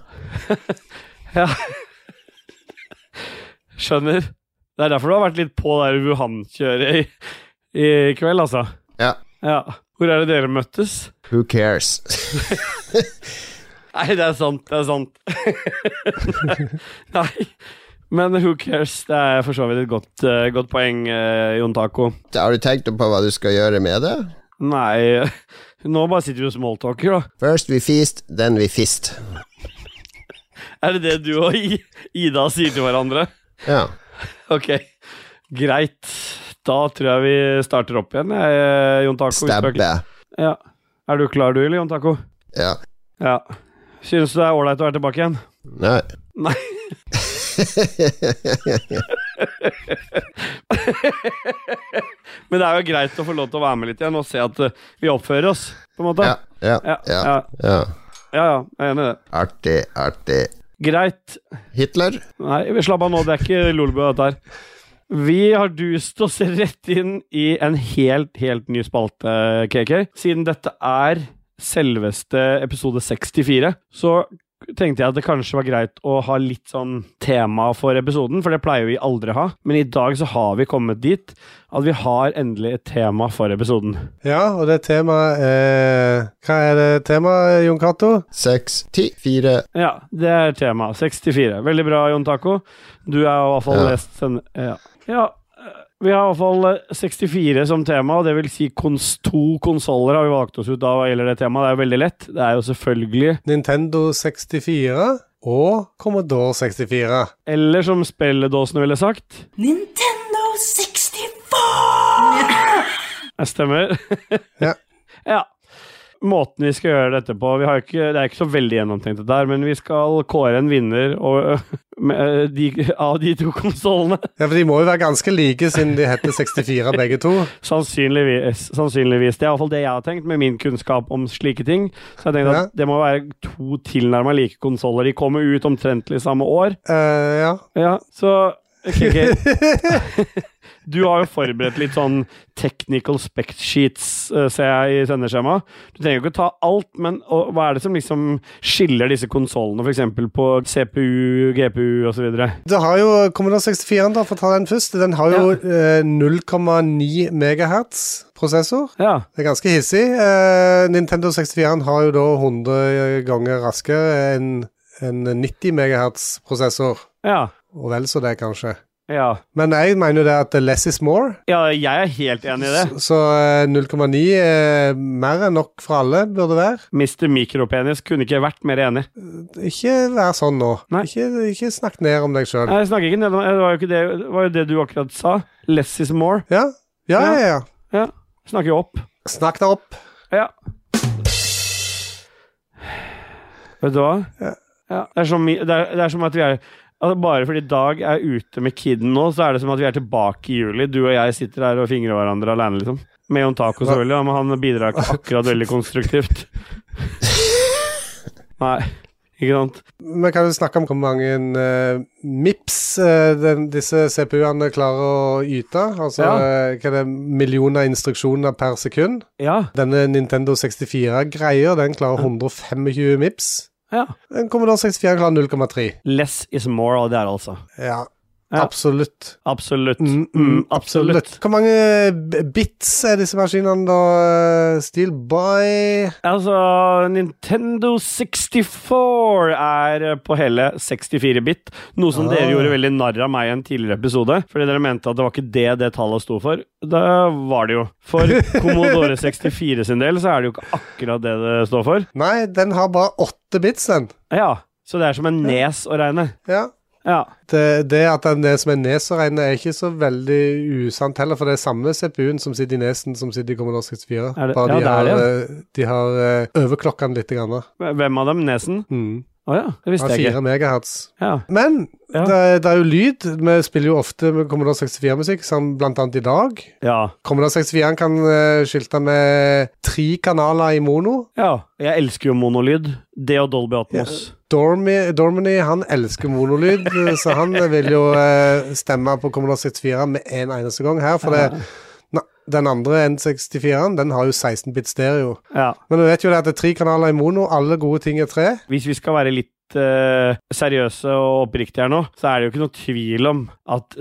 [SPEAKER 1] Skjønner. Det er derfor du har vært litt på det der Wuhan-kjøret i, i kveld, altså.
[SPEAKER 5] Ja.
[SPEAKER 1] Ja. Hvor er det dere møttes?
[SPEAKER 5] Who cares?
[SPEAKER 1] Nei, det er sant, det er sant. Nei. Men who cares? Det er for så vidt et godt, eh, godt poeng, eh, Jon Taco.
[SPEAKER 5] Har du tenkt på hva du skal gjøre med det?
[SPEAKER 1] Nei, nå bare sitter vi og smalltalker, da.
[SPEAKER 5] First we feast, then we fist.
[SPEAKER 1] Er det det du og I Ida sier til hverandre?
[SPEAKER 5] Ja.
[SPEAKER 1] Ok, greit. Da tror jeg vi starter opp igjen, eh, Jon Taco. hvis du er-
[SPEAKER 5] Stabbe.
[SPEAKER 1] Ja. Er du klar du, eller, Jon Taco?
[SPEAKER 5] Ja.
[SPEAKER 1] Ja. Synes du det er ålreit å være tilbake igjen?
[SPEAKER 5] Nei.
[SPEAKER 1] Nei. Men det er jo greit å få lov til å være med litt igjen og se at eh, vi oppfører oss, på en måte.
[SPEAKER 5] Ja. Ja.
[SPEAKER 1] ja,
[SPEAKER 5] Ja.
[SPEAKER 1] ja,
[SPEAKER 5] ja.
[SPEAKER 1] ja, ja, jeg er enig i det.
[SPEAKER 5] Artig, artig.
[SPEAKER 1] Greit.
[SPEAKER 5] Hitler?
[SPEAKER 1] Nei, vi slapp av nå, det er ikke Lolebø dette her. Vi har dust oss rett inn i en helt, helt ny spalte, KK. Siden dette er selveste episode 64, så tenkte jeg at det kanskje var greit å ha litt sånn tema for episoden, for det pleier vi aldri å ha. Men i dag så har vi kommet dit at vi har endelig et tema for episoden.
[SPEAKER 2] Ja, og det temaet er Hva er det temaet, Jon Cato?
[SPEAKER 5] Seks, ti, fire
[SPEAKER 1] Ja, det er tema. 64. Veldig bra, Jon Taco. Du er i hvert fall
[SPEAKER 5] Ja.
[SPEAKER 1] lest sende... Ja. ja. eh, Vi har i hvert fall eh, 64 som tema, og det vil si kons to konsoller har vi valgt oss ut av hva gjelder det temaet. Det er jo veldig lett. Det er jo selvfølgelig
[SPEAKER 2] Nintendo 64 og Commodore 64.
[SPEAKER 1] Eller som spilledåsene ville sagt.
[SPEAKER 8] Nintendo 64!
[SPEAKER 1] Jeg stemmer.
[SPEAKER 2] Ja.
[SPEAKER 1] ja. Måten vi skal gjøre dette på vi har ikke, Det er ikke så veldig gjennomtenkt, dette her, men vi skal kåre en vinner og, med, eh, de, av de to konsollene.
[SPEAKER 2] Ja, for de må jo være ganske like siden de heter 64 begge to.
[SPEAKER 1] Sannsynligvis, sannsynligvis. Det er iallfall det jeg har tenkt, med min kunnskap om slike ting. Så jeg tenkte at det må være to tilnærma like konsoller. De kommer ut omtrentlig samme år.
[SPEAKER 2] Eh, ja.
[SPEAKER 1] Ja, så ok, ok. Du har jo forberedt litt sånn technical spec sheets, eh, ser jeg i sendeskjemaet. Du trenger jo ikke ta alt, men og, hva er det som liksom skiller disse konsollene, f.eks. på CPU, GPU osv.?
[SPEAKER 2] Det har jo Commodore 64, da, for å ta den først. Den har jo eh, 0,9 megahertz prosessor.
[SPEAKER 1] Ja.
[SPEAKER 2] Det er ganske hissig. Eh, Nintendo 64 har jo da 100 ganger raskere enn en 90 megahertz prosessor.
[SPEAKER 1] Ja.
[SPEAKER 2] Og vel så det, kanskje.
[SPEAKER 1] Ja.
[SPEAKER 2] Men jeg mener jo det at less is more.
[SPEAKER 1] ja jeg er helt enig i det.
[SPEAKER 2] Så eh, 0,9 er eh, mer enn nok for alle, burde det være.
[SPEAKER 1] Mr. Mikropenis kunne ikke vært mer enig.
[SPEAKER 2] Ikke vær sånn nå.
[SPEAKER 1] Nei. Eh.
[SPEAKER 2] Ikke, ikke snakk ned om deg sjøl.
[SPEAKER 1] Nei, jeg snakker ikke ned om det. Var jo ikke det, det var jo det du akkurat sa. Less is more.
[SPEAKER 2] Ja? Ja, ja, ja.
[SPEAKER 1] Jeg snakker jo opp.
[SPEAKER 2] Snakk deg opp.
[SPEAKER 1] Ja. Vet du hva?
[SPEAKER 2] Ja.
[SPEAKER 1] Ja, det, er som, det, er, det er som at vi er altså Bare fordi Dag er ute med kiden nå, så er det som at vi er tilbake i juli. Du og jeg sitter her og fingrer hverandre alene, liksom. Med Jon Taco, selvfølgelig, ja, men han bidrar ikke akkurat veldig konstruktivt. Nei, ikke sant?
[SPEAKER 2] Vi kan jo snakke om hvor mange eh, MIPS eh, den, disse CPU-ene klarer å yte. Altså
[SPEAKER 1] Ja.
[SPEAKER 2] eh, hva er det, millioner instruksjoner per sekund.
[SPEAKER 1] Ja.
[SPEAKER 2] Denne Nintendo 64-greia, den klarer 125 MIPS.
[SPEAKER 1] ja.
[SPEAKER 2] Den Commodore 64 klarer 0,3.
[SPEAKER 1] Less is more, og det er det altså.
[SPEAKER 2] Ja,
[SPEAKER 1] Ja.
[SPEAKER 2] absolutt.
[SPEAKER 1] Absolutt.
[SPEAKER 2] Mm,
[SPEAKER 1] Mm, absolutt.
[SPEAKER 2] Hvor mange b- bits er disse maskinene, da? eh, Steelboy
[SPEAKER 1] Altså, Nintendo 64 er eh, på hele 64 bit, noe som dere gjorde veldig narr av meg i en tidligere episode, fordi dere mente at det var ikke det det tallet sto for. Det var det jo. For Commodore 64 sin del så er det jo ikke akkurat det det står for.
[SPEAKER 2] Nei, den har bare åtte bits, den.
[SPEAKER 1] Ja, så det er som en nes å regne.
[SPEAKER 2] Ja.
[SPEAKER 1] Ja.
[SPEAKER 2] Det, det at den er som er nes å regne, er ikke så veldig usant heller, for det er samme CPU-en som sitter i nesen, som sitter i Commodore 64.
[SPEAKER 1] Er det- ja,
[SPEAKER 2] Bare de,
[SPEAKER 1] det er
[SPEAKER 2] har,
[SPEAKER 1] det,
[SPEAKER 2] eh, de har eh, overklokka den litt. Grann, da.
[SPEAKER 1] Hvem av dem? Nesen?
[SPEAKER 2] mm.
[SPEAKER 1] Å ja, det
[SPEAKER 2] Av
[SPEAKER 1] visste jeg ikke.
[SPEAKER 2] 4 megahertz.
[SPEAKER 1] Ja.
[SPEAKER 2] Men
[SPEAKER 1] Ja.
[SPEAKER 2] det, er- det er jo lyd. Vi spiller jo ofte med Commodore 64-musikk, som blant annet i dag.
[SPEAKER 1] ja.
[SPEAKER 2] Commodore 64 kan eh, skilte med tre kanaler i mono.
[SPEAKER 1] Ja. Jeg elsker jo monolyd. Det og Dolby Atmos.
[SPEAKER 2] Dormy, Dormany han elsker monolyd, så han vil jo eh, stemme på Commodore 64 med en eneste gang her. For det, na, den andre N64-en den har jo 16-bit stereo.
[SPEAKER 1] Ja.
[SPEAKER 2] Men du vet jo det at det er tre kanaler i mono, alle gode ting er tre.
[SPEAKER 1] Hvis vi skal være litt eh, seriøse og oppriktige her nå, så er det jo ikke noe tvil om at,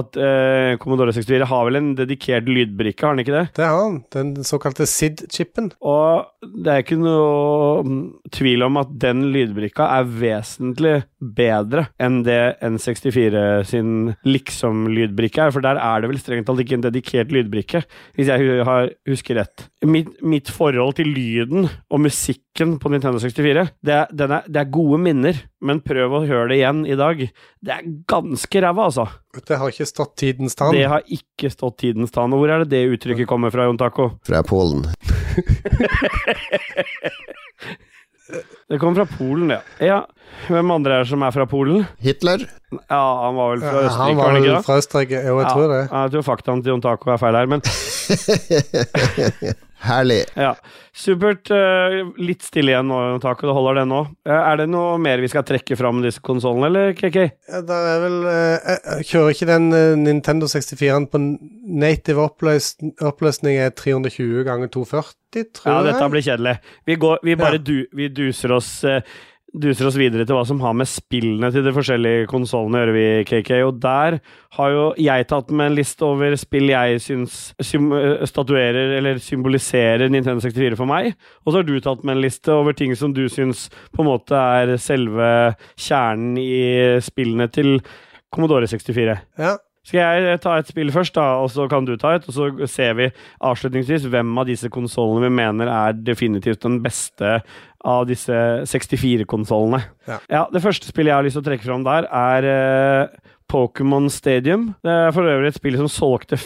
[SPEAKER 1] at eh, Commodore 64 har vel en dedikert lydbrikke, har den ikke det?
[SPEAKER 2] Det har han. Den såkalte SID-chipen.
[SPEAKER 1] Og det er ikke noe mm, tvil om at den lydbrikka er vesentlig bedre enn det N64 sin liksom-lydbrikke er, for der er det vel strengt talt ikke en dedikert lydbrikke, hvis jeg hu- har, husker rett. Mitt, mitt forhold til lyden og musikken på Nintendo 64, det, er- den er, det er gode minner, men prøv å høre det igjen i dag. Det er ganske ræva, altså.
[SPEAKER 2] Det har ikke stått tidens tann.
[SPEAKER 1] Det har ikke stått tidens tann. Og Hvor er det det uttrykket kommer fra, Jon Taco?
[SPEAKER 5] fra Polen.
[SPEAKER 1] Det kommer fra Polen, ja. ja. Hvem andre er det som er fra Polen?
[SPEAKER 5] Hitler.
[SPEAKER 1] Ja, han var vel fra
[SPEAKER 2] Ja,
[SPEAKER 1] Østerrike,
[SPEAKER 2] han
[SPEAKER 1] var
[SPEAKER 2] var
[SPEAKER 1] han ikke
[SPEAKER 2] vel
[SPEAKER 1] det?
[SPEAKER 2] fra Østerrike, jo, jeg
[SPEAKER 1] Ja,
[SPEAKER 2] tror det.
[SPEAKER 1] Jeg tror faktaen til Jon Taco er feil her, men
[SPEAKER 5] Herlig.
[SPEAKER 1] ja. Supert. eh, Litt stille igjen nå, Jon Taco. Det holder, det nå. Eh, Er det noe mer vi skal trekke fram med disse konsollene, eller, KK?
[SPEAKER 2] Ja, Det er vel eh, jeg- jeg Kjører ikke den eh, Nintendo 64-en på native oppløs oppløsning er 320 ganger 240, tror
[SPEAKER 1] Ja,
[SPEAKER 2] jeg?
[SPEAKER 1] dette blir kjedelig. Vi, går, vi bare
[SPEAKER 2] Ja.
[SPEAKER 1] du, vi duser oss eh, Duser oss videre til hva som har med spillene til de forskjellige konsollene å gjøre, vi, KK. Og der har jo jeg tatt med en liste over spill jeg syns sym eh, statuerer eller symboliserer Nintendo 64 for meg. Og så har du tatt med en liste over ting som du syns på en måte er selve kjernen i spillene til Commodore 64.
[SPEAKER 2] Ja.
[SPEAKER 1] Skal jeg eh, ta et spill først, da, og så kan du ta et? Og så ser vi avslutningsvis hvem av disse konsollene vi mener er definitivt den beste av disse 64-konsollene.
[SPEAKER 2] Ja.
[SPEAKER 1] Det første spillet jeg har lyst til å trekke fram der, er eh, Pokémon Stadium. Det er for øvrig et spill som solgte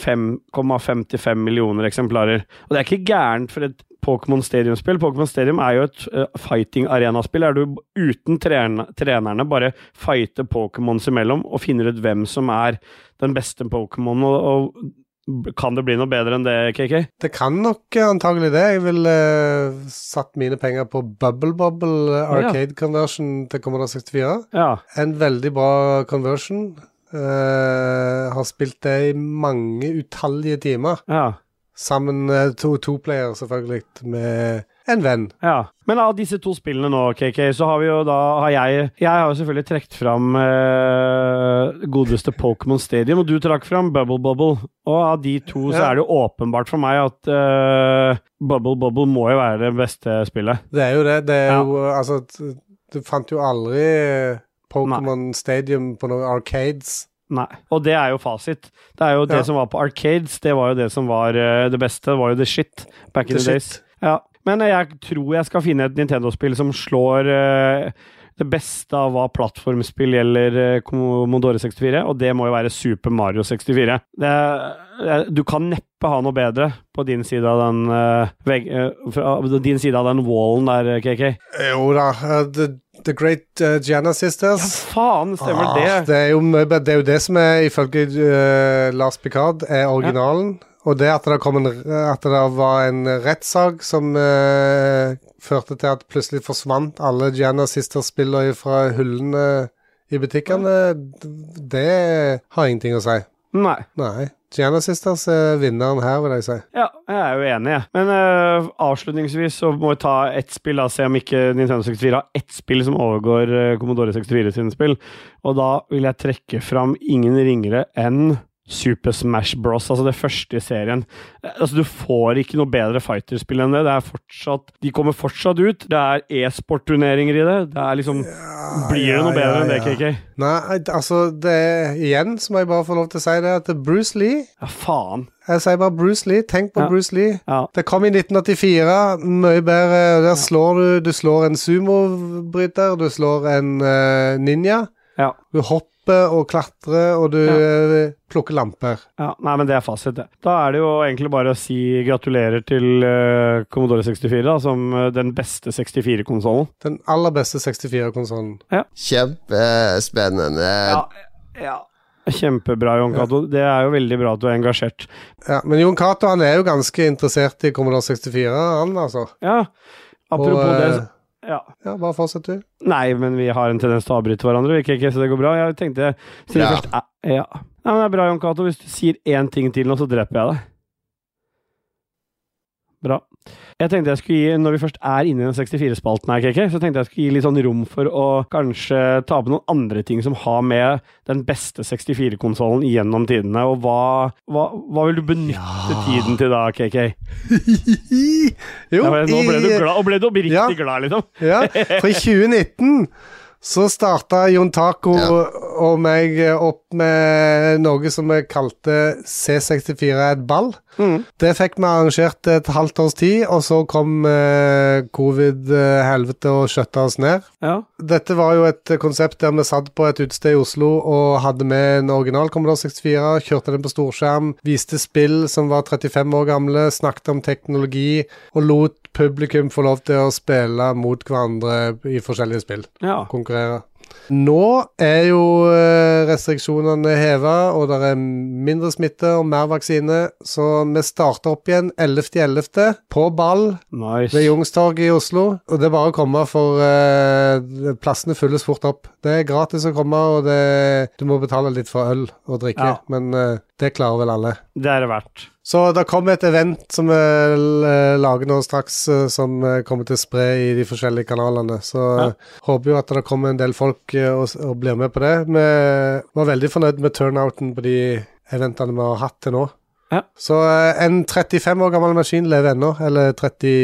[SPEAKER 1] 5,55 millioner eksemplarer. Og det er ikke gærent for et Pokémon Stadium-spill. Pokémon Stadium er jo et eh, fighting arena-spill, der du uten trene- trenerne bare fighter Pokémons imellom og finner ut hvem som er den beste Pokémon, og, og kan det bli noe bedre enn det, KK?
[SPEAKER 2] Det kan nok eh, antagelig det. Jeg ville eh, satt mine penger på Bubble Bubble eh,
[SPEAKER 1] Ja.
[SPEAKER 2] Arcade Conversion til Commodore 64.
[SPEAKER 1] Ja.
[SPEAKER 2] En veldig bra conversion. Eh, har spilt det i mange utallige timer.
[SPEAKER 1] Ja.
[SPEAKER 2] Sammen eh, to toplayer, selvfølgelig, med en venn.
[SPEAKER 1] ja. Men av disse to spillene nå, KK, så har vi jo da har Jeg Jeg har jo selvfølgelig trukket fram eh, godeste Pokémon Stadium, og du trakk fram Bubble Bubble. Og av de to så
[SPEAKER 2] Ja.
[SPEAKER 1] er det jo åpenbart for meg at eh, Bubble Bubble må jo være det beste spillet.
[SPEAKER 2] Det er jo det. Det er
[SPEAKER 1] Ja.
[SPEAKER 2] jo Altså, t- du fant jo aldri eh, Pokémon Stadium på noen arcades.
[SPEAKER 1] Nei. Og det er jo fasit. Det er jo det
[SPEAKER 2] Ja.
[SPEAKER 1] som var på Arcades, det var jo det som var eh, det beste. Det var jo the shit back in
[SPEAKER 2] The
[SPEAKER 1] the, days.
[SPEAKER 2] shit.
[SPEAKER 1] Ja. Men jeg tror jeg skal finne et Nintendo-spill som slår eh, det beste av hva plattformspill gjelder eh, Commodore 64, og det må jo være Super Mario 64. Det, er- eh, du kan neppe neppe ha noe bedre på din side av den eh, vegg... eh, fra, din side av den wallen der, KK.
[SPEAKER 2] Jo da, eh, The, the Great eh, Jana Sisters.
[SPEAKER 1] Faen, stemmer
[SPEAKER 2] Ah,
[SPEAKER 1] det?
[SPEAKER 2] det, er jo, mye bedre- det er jo det som er, ifølge eh, Lars Picard, er originalen. Og det at det, kom en, at det var en rettssak som eh, førte til at plutselig forsvant alle Jana Sisters-spillene fra hyllene i butikkene, d- det har ingenting å si.
[SPEAKER 1] Nei.
[SPEAKER 2] Nei. Jana Sisters er vinneren her, vil jeg si.
[SPEAKER 1] Ja, jeg er jo enig, jeg. Men eh, avslutningsvis så må vi ta ett spill, da. Se om ikke Nintendo 64 har ett spill som overgår eh, Commodore 64 sine spill. Og da vil jeg trekke fram ingen ringere enn Super Smash Bros., altså det første i serien. Eh, Altså, du får ikke noe bedre fighterspill enn det. Det er fortsatt De kommer fortsatt ut. Det er e-sportturneringer i det. Det er liksom Blir det
[SPEAKER 2] ja,
[SPEAKER 1] noe bedre
[SPEAKER 2] ja,
[SPEAKER 1] enn det,
[SPEAKER 2] ja.
[SPEAKER 1] KK?
[SPEAKER 2] Nei, altså, det er igjen, så må jeg bare få lov til å si det, at Bruce Lee
[SPEAKER 1] Ja, faen.
[SPEAKER 2] Jeg sier bare Bruce Lee. Tenk på
[SPEAKER 1] Ja.
[SPEAKER 2] Bruce Lee.
[SPEAKER 1] Ja.
[SPEAKER 2] Det kom i 1984. Mye bedre. Der slår du Du slår en sumobryter, du slår en eh, ninja.
[SPEAKER 1] Ja.
[SPEAKER 2] Du hopper og klatrer, og du eh, plukker lamper.
[SPEAKER 1] Ja, nei, men det er fasit, det. Da er det jo egentlig bare å si gratulerer til eh, Commodore 64, da, som eh, den beste 64-konsollen.
[SPEAKER 2] Den aller beste 64-konsollen.
[SPEAKER 5] Kjempespennende.
[SPEAKER 1] ja. Kjempebra, Jon Cato. Det er jo veldig bra at du er engasjert.
[SPEAKER 2] Ja, men Jon Cato han er jo ganske interessert i Commodore 64, han altså.
[SPEAKER 1] Ja, apropos
[SPEAKER 2] og, eh,
[SPEAKER 1] det ja.
[SPEAKER 2] Ja, bare fortsett, du.
[SPEAKER 1] Nei, men vi har en tendens til å avbryte hverandre, vi, KK, så det går bra. Jeg tenkte siden
[SPEAKER 5] Bra.
[SPEAKER 1] først eh, ja. Nei, men det er bra, Jon Cato. Hvis du sier én ting til nå, så dreper jeg deg. Bra. Jeg tenkte jeg skulle gi, Når vi først er inne i den 64-spalten, her, KK, så tenkte jeg skulle gi litt sånn rom for å kanskje ta opp noen andre ting som har med den beste 64-konsollen gjennom tidene. Og hva, hva, hva vil du benytte tiden til da, KK?
[SPEAKER 2] Jo,
[SPEAKER 1] Ja, men nå ble du
[SPEAKER 2] i-
[SPEAKER 1] glad, og ble du oppriktig
[SPEAKER 2] Ja.
[SPEAKER 1] glad, liksom.
[SPEAKER 2] Ja, for i 2019 så starta Jon Taco
[SPEAKER 5] Ja.
[SPEAKER 2] og meg opp med noe som vi kalte C64 er et ball. Det fikk vi arrangert et halvt års tid, og så kom eh, covid-helvete og skjøtta oss ned.
[SPEAKER 1] Ja.
[SPEAKER 2] Dette var jo et konsept der vi satt på et utested i Oslo og hadde med en original Commodore 64, kjørte den på storskjerm, viste spill som var 35 år gamle, snakket om teknologi og lot publikum få lov til å spille mot hverandre i forskjellige spill.
[SPEAKER 1] ja.
[SPEAKER 2] Konkurrere. Nå er jo eh, restriksjonene heva, og det er mindre smitte og mer vaksine, så vi starter opp igjen 11.11. på ball
[SPEAKER 1] Nice.
[SPEAKER 2] ved Youngstorget i Oslo. Og det er bare å komme, for eh, plassene fylles fort opp. Det er gratis å komme, og det, du må betale litt for øl og drikke,
[SPEAKER 1] Ja.
[SPEAKER 2] men eh, det klarer vel alle.
[SPEAKER 1] Det er det verdt.
[SPEAKER 2] Så det kommer et event som vi eh, lager nå straks, eh, som eh, kommer til å spre i de forskjellige kanalene. Så eh, håper jo at det kommer en del folk eh, og, s- og blir med på det. Vi var veldig fornøyd med turnouten på de eventene vi har hatt til nå.
[SPEAKER 1] Ja.
[SPEAKER 2] Så eh, en 35 år gammel maskin lever ennå, eller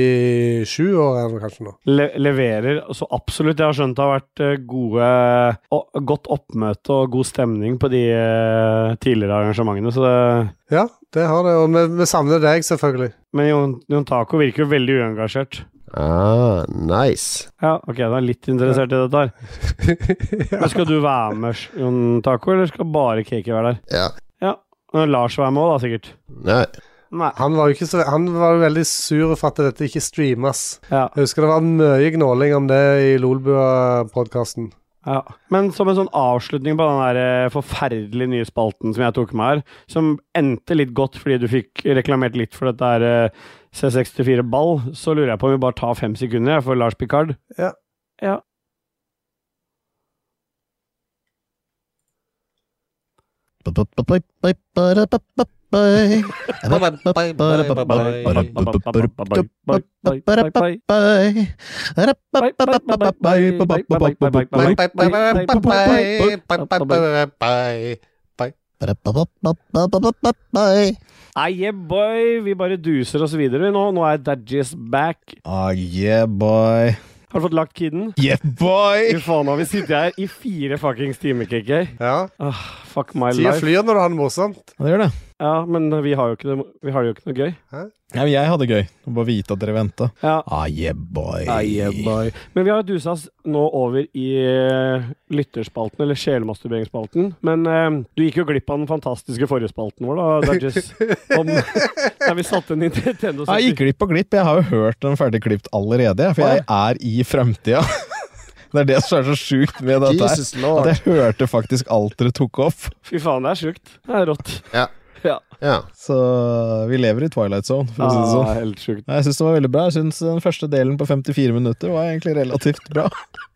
[SPEAKER 2] 37 år er den kanskje nå.
[SPEAKER 1] Le leverer så absolutt. Jeg har skjønt det har vært eh, gode, og godt oppmøte og god stemning på de eh, tidligere arrangementene. Så det,
[SPEAKER 2] Ja, det har det, og vi, vi savner deg selvfølgelig.
[SPEAKER 1] men Jon, Jon Taco virker jo veldig uengasjert.
[SPEAKER 5] Ah, nice.
[SPEAKER 1] Ja, ok, da er jeg litt interessert i dette her. Men skal du være med, Jon Taco, eller skal bare Kiki være der?
[SPEAKER 5] Ja.
[SPEAKER 1] Og Lars være med òg, da, sikkert.
[SPEAKER 5] Nei.
[SPEAKER 1] Nei.
[SPEAKER 2] Han var jo ikke så, han var jo veldig sur for at dette ikke streames.
[SPEAKER 1] Ja,
[SPEAKER 2] Jeg husker det var mye gnåling om det i Lolbua-podkasten.
[SPEAKER 1] ja. Men som en sånn avslutning på den der eh, forferdelige nye spalten som jeg tok med her, som endte litt godt fordi du fikk reklamert litt for dette her eh, C64 Ball, så lurer jeg på om vi bare tar fem sekunder jeg, for Lars Picard.
[SPEAKER 2] Ja.
[SPEAKER 1] ja. Nei, yeah, boy! Vi bare duser oss videre nå. Nå er Dadgies back.
[SPEAKER 3] Ah, yeah, boy.
[SPEAKER 1] Har du fått lagt kiden?
[SPEAKER 3] Yeah,
[SPEAKER 1] Fy
[SPEAKER 3] boy!
[SPEAKER 1] faen, nå har vi sittet her i fire fuckings timer, KK.
[SPEAKER 2] Ja.
[SPEAKER 1] Åh, Fuck my
[SPEAKER 2] Tida
[SPEAKER 1] life.
[SPEAKER 2] flyr når du har det morsomt.
[SPEAKER 3] Ja, det gjør det.
[SPEAKER 1] Ja, men vi har jo ikke det, vi har det jo ikke noe gøy.
[SPEAKER 3] Ja, men jeg hadde gøy. Å Bare vite at dere venta.
[SPEAKER 1] Ja.
[SPEAKER 3] Ah, yeah, boy.
[SPEAKER 1] Men vi har dusa oss nå over i eh, lytterspalten, eller sjelmasturberingsspalten. Men eh, du gikk jo glipp av den fantastiske forrige spalten vår, da, Dodges. Om, der vi satte en Nintendo
[SPEAKER 3] Jeg gikk glipp og glipp. Jeg har jo hørt den ferdig klipt allerede, jeg, for jeg er i fremtida. Det er det som er så sjukt med dette her.
[SPEAKER 5] Jesus
[SPEAKER 3] At
[SPEAKER 5] lord.
[SPEAKER 3] jeg hørte faktisk alt dere tok opp.
[SPEAKER 1] Fy faen, det er sjukt. Det er rått.
[SPEAKER 5] Ja.
[SPEAKER 1] Ja.
[SPEAKER 5] Ja.
[SPEAKER 3] Så vi lever i Twilight Zone, for å si det
[SPEAKER 1] Ah,
[SPEAKER 3] sånn.
[SPEAKER 1] helt sjukt.
[SPEAKER 3] Jeg syns det var veldig bra. Jeg synes Den første delen på 54 minutter var egentlig relativt bra.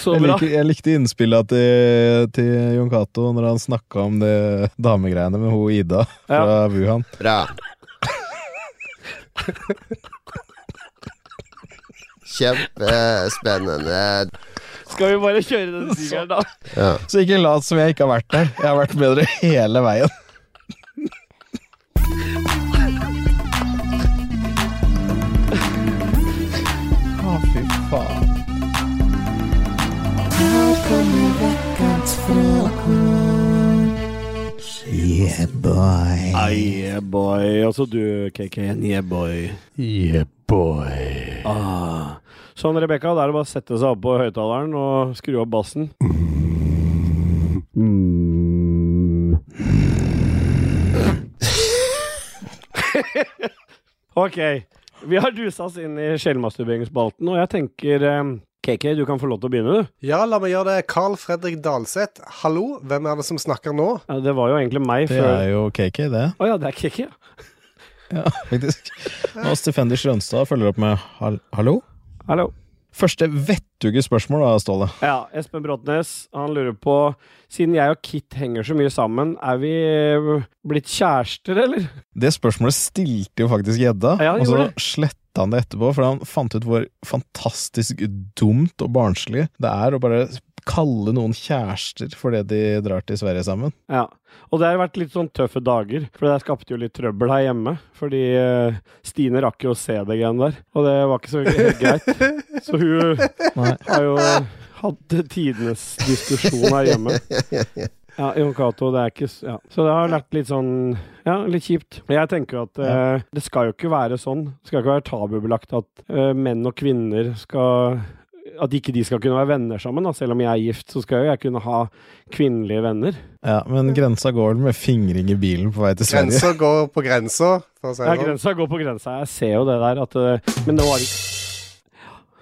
[SPEAKER 1] Så bra.
[SPEAKER 3] Jeg, liker, jeg likte innspillet til, til Jon Cato når han snakka om det damegreiene med hun Ida fra Wuhan.
[SPEAKER 5] Bra. Kjempespennende.
[SPEAKER 1] Skal vi bare kjøre den singelen, da?
[SPEAKER 5] Ja.
[SPEAKER 3] Så ikke lat som jeg ikke har vært der. Jeg har vært med dere hele veien. Å, fy faen. Yeah, boy.
[SPEAKER 1] Yeah, boy. Altså du, KK. Yeah, boy.
[SPEAKER 3] Yeah, boy.
[SPEAKER 1] Ah. Sånn, Rebekka, da er det bare å sette seg opp på høyttaleren og skru opp bassen. ok. Vi har dusa oss inn i sjelmasturberingsspalten, og jeg tenker eh, KK, du kan få lov til å begynne, du.
[SPEAKER 2] Ja, la meg gjøre det. Carl Fredrik Dalseth, hallo, hvem er det som snakker nå?
[SPEAKER 1] Ja, Det var jo egentlig meg
[SPEAKER 3] Det
[SPEAKER 1] før Å
[SPEAKER 3] er jo KK, det.
[SPEAKER 1] ja, det er KK, ja.
[SPEAKER 3] Ja, faktisk. Og Stefendi Strønstad følger opp med hal hallo?
[SPEAKER 1] Hallo.
[SPEAKER 3] Første vettuge spørsmål, da, Ståle.
[SPEAKER 1] Ja, Espen Bråtnes, han lurer på Siden jeg og Kit henger så mye sammen, er vi eh, blitt kjærester, eller?
[SPEAKER 3] Det spørsmålet stilte jo faktisk gjedda,
[SPEAKER 1] Ja, han
[SPEAKER 3] og så
[SPEAKER 1] gjorde
[SPEAKER 3] sletta han det etterpå, for han fant ut hvor fantastisk dumt og barnslig det er å bare kalle noen kjærester fordi de drar til Sverige sammen.
[SPEAKER 1] Ja. Og det har vært litt sånn tøffe dager, for det skapte jo litt trøbbel her hjemme. Fordi eh, Stine rakk jo å se det greiene der, og det var ikke så helt greit. Så hun
[SPEAKER 3] Nei.
[SPEAKER 1] har jo hatt tidenes diskusjon her hjemme. Ja, Jon Cato, det er ikke s- ja. Så det har vært litt sånn Ja, litt kjipt. Men Jeg tenker jo at eh, det skal jo ikke være sånn. Det skal ikke være tabubelagt at eh, menn og kvinner skal At ikke de skal kunne være venner sammen. Da. Selv om jeg er gift, så skal jo jeg kunne ha kvinnelige venner.
[SPEAKER 3] Ja, men grensa går vel med fingring i bilen på vei til Sverige.
[SPEAKER 2] Grensa går på grensa, for å si
[SPEAKER 1] Ja,
[SPEAKER 2] det sånn.
[SPEAKER 1] grensa går på grensa. Jeg ser jo det der at eh, Men det var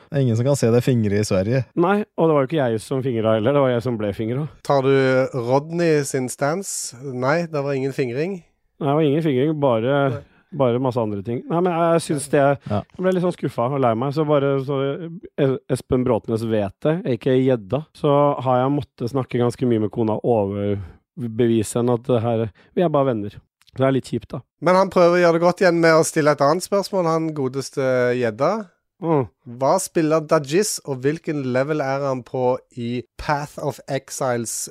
[SPEAKER 3] Det er ingen som kan se deg fingre i Sverige.
[SPEAKER 1] Nei, og det var jo ikke jeg som fingra heller. Det var jeg som ble fingra.
[SPEAKER 2] Tar du Rodney sin stans? Nei, det var ingen fingring.
[SPEAKER 1] Det var ingen fingring, bare, bare masse andre ting. Nei, men jeg syns det
[SPEAKER 3] Ja.
[SPEAKER 1] Jeg ble litt sånn skuffa og lei meg. Så bare så Es- Espen Bråtnes vet det, ikke gjedda, så har jeg måttet snakke ganske mye med kona og overbevise henne at det her Vi er bare venner. Så Det er litt kjipt, da.
[SPEAKER 2] Men han prøver å gjøre det godt igjen med å stille et annet spørsmål, han godeste gjedda.
[SPEAKER 1] Mm.
[SPEAKER 2] Hva spiller Dajis, og hvilken level er han på i Path of Exiles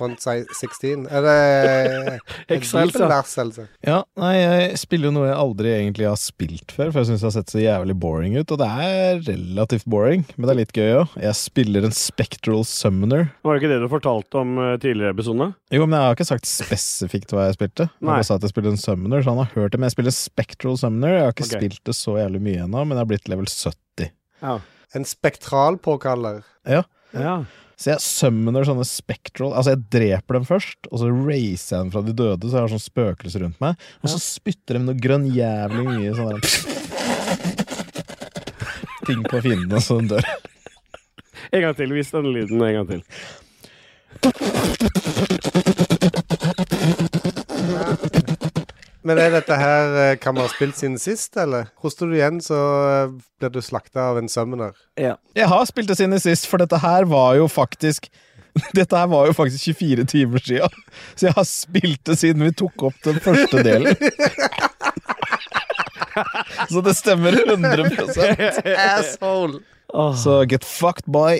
[SPEAKER 2] 3.16? Er det
[SPEAKER 1] Exiles, ja.
[SPEAKER 2] bibelvers, altså?
[SPEAKER 3] Ja, nei, jeg spiller jo noe jeg aldri egentlig har spilt før, for jeg syns det har sett så jævlig boring ut. Og det er relativt boring, men det er litt gøy òg. Jeg spiller en Spectral Summoner.
[SPEAKER 1] Var det ikke det du fortalte om eh, tidligere i episoden?
[SPEAKER 3] Jo, men jeg har ikke sagt spesifikt hva jeg spilte. Jeg
[SPEAKER 1] Nei.
[SPEAKER 3] bare sa at jeg spilte en Summoner, så han har hørt det. Men jeg spiller Spectral Summoner. Jeg har ikke
[SPEAKER 1] Ok.
[SPEAKER 3] spilt det så jævlig mye ennå, men jeg har blitt level 70.
[SPEAKER 1] Ja.
[SPEAKER 2] En spektralpåkaller.
[SPEAKER 1] ja.
[SPEAKER 3] Så jeg summoner sånne spectral Altså jeg dreper dem først, og så raiser jeg dem fra de døde, så jeg har sånne spøkelser rundt meg. Og så spytter de noe grønn jævlig mye sånn der Ting på fiendene, så de dør.
[SPEAKER 1] En gang til. Vis den lyden en gang til.
[SPEAKER 2] Men er dette her eh, hva vi har spilt siden sist, eller? Hoster du igjen, så eh, blir du slakta av en summoner.
[SPEAKER 3] Jeg har spilt det siden sist, for dette her var jo faktisk dette her var jo faktisk 24 timer sia, så jeg har spilt det siden vi tok opp den første delen. Så det stemmer 100
[SPEAKER 2] Asshole!
[SPEAKER 1] Åh.
[SPEAKER 3] Så get fucked, boy.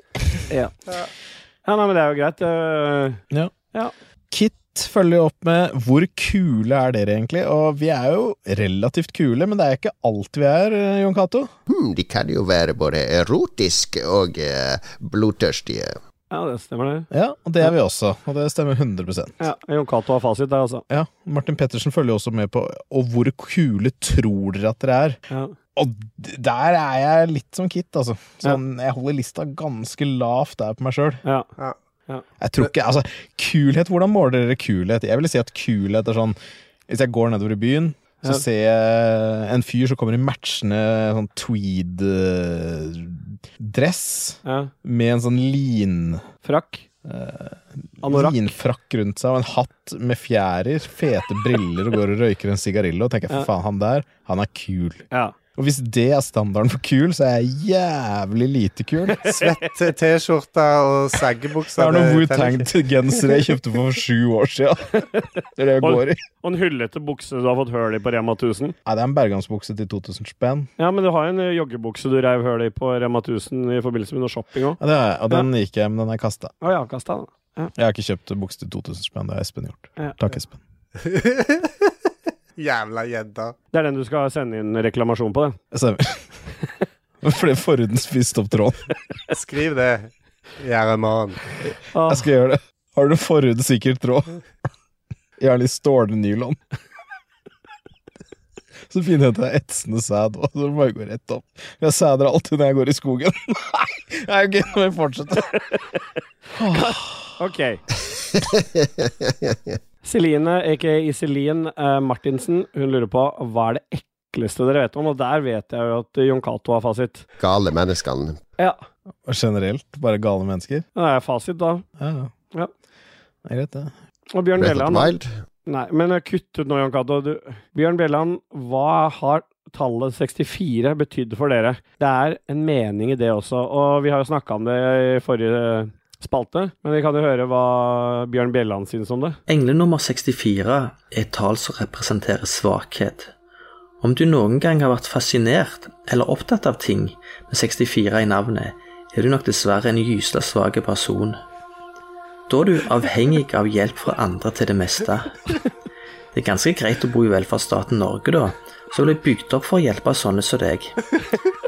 [SPEAKER 1] Ja, nei, men det er jo greit. eh,
[SPEAKER 3] Kit følger jo opp med 'Hvor kule er dere egentlig?' Og vi er jo relativt kule, men det er ikke alt vi er, eh, Jon Cato.
[SPEAKER 5] Hmm, de kan jo være både erotiske og eh, blodtørstige.
[SPEAKER 1] Ja, det stemmer, det.
[SPEAKER 3] Ja, og det er vi også, og det stemmer 100
[SPEAKER 1] Ja, Jon Cato har fasit der, altså.
[SPEAKER 3] Ja, Martin Pettersen følger jo også med på Og hvor kule tror dere at dere er?
[SPEAKER 1] Ja.
[SPEAKER 3] Og d- der er jeg litt som Kit, altså. Sånn, Jeg holder lista ganske lavt der på meg sjøl.
[SPEAKER 1] Ja.
[SPEAKER 3] Jeg tror ikke, altså, kulhet, Hvordan måler dere kulhet? Jeg ville si at kulhet er sånn Hvis jeg går nedover i byen, så
[SPEAKER 1] Ja.
[SPEAKER 3] ser jeg en fyr som kommer i matchende sånn tweed-dress
[SPEAKER 1] ja.
[SPEAKER 3] med en sånn lin
[SPEAKER 1] Frakk. Anorakk.
[SPEAKER 3] linfrakk rundt seg og en hatt med fjærer, fete briller og går og røyker en sigarillo. Og tenker jeg, for faen, han der, han er kul.
[SPEAKER 1] Ja.
[SPEAKER 3] Og hvis det er standarden for kul, så er jeg jævlig lite kul.
[SPEAKER 2] Svett T-skjorte og saggebukser.
[SPEAKER 3] Det er noen
[SPEAKER 2] det teller ikke.
[SPEAKER 3] Wu-Tang-gensere jeg kjøpte for sju år siden. Det er det jeg går i.
[SPEAKER 1] Og en hullete bukse du har fått høl i på Rema 1000.
[SPEAKER 3] Nei, det er en bergansbukse til 2000 spenn.
[SPEAKER 1] Ja, men du har jo en eh, joggebukse du reiv høl i på Rema 1000 i forbindelse med noe shopping òg.
[SPEAKER 3] Ja, det er, jeg, og den gikk jeg, men den er kasta.
[SPEAKER 1] Å ja, kasta den.
[SPEAKER 3] Jeg har ikke kjøpt bukse til 2000 spenn, det har Espen gjort.
[SPEAKER 1] Ja.
[SPEAKER 3] Takk, Espen.
[SPEAKER 2] Jævla gjedda.
[SPEAKER 1] Det er den du skal sende inn reklamasjon på, det.
[SPEAKER 3] Jeg ser- Fordi forhuden spiste opp tråden.
[SPEAKER 2] Skriv det, Gjerdemann.
[SPEAKER 1] Åh,
[SPEAKER 3] Jeg skal gjøre det. Har du forhud sikkert tråd? Gjerne i stålnylon. Så finner jeg at det er etsende sæd òg, så bare går rett opp. Jeg sæder alltid når jeg går i skogen. Nei, Nei, ok, nå må vi fortsette.
[SPEAKER 1] Ok. Celine, aka Iselin eh, Martinsen, hun lurer på hva er det ekleste dere vet om, og der vet jeg jo at eh, Jon Cato har fasit.
[SPEAKER 5] Gale menneskene.
[SPEAKER 1] Ja,
[SPEAKER 3] Og Generelt, bare gale mennesker.
[SPEAKER 1] det er fasit, da.
[SPEAKER 3] Ja, ja.
[SPEAKER 1] Ja.
[SPEAKER 3] Det er greit, det.
[SPEAKER 1] Og Bjørn
[SPEAKER 5] Red Hot
[SPEAKER 1] Bjelland
[SPEAKER 5] Wild.
[SPEAKER 1] Nei, men eh, kutt ut nå, Jan Cato. Du- Bjørn Bjelland, hva har tallet 64 betydd for dere? Det er en mening i det også, og vi har jo snakka om det i forrige spalte, men vi kan jo høre hva Bjørn Bjelland syns om det.
[SPEAKER 8] Engle nummer 64 er et tall som representerer svakhet. Om du noen gang har vært fascinert eller opptatt av ting med 64 i navnet, er du nok dessverre en gysla svak person. Da er du avhengig av hjelp fra andre til det meste. Det er ganske greit å bo i velferdsstaten Norge, da, som ble bygd opp for å hjelpe sånne som deg.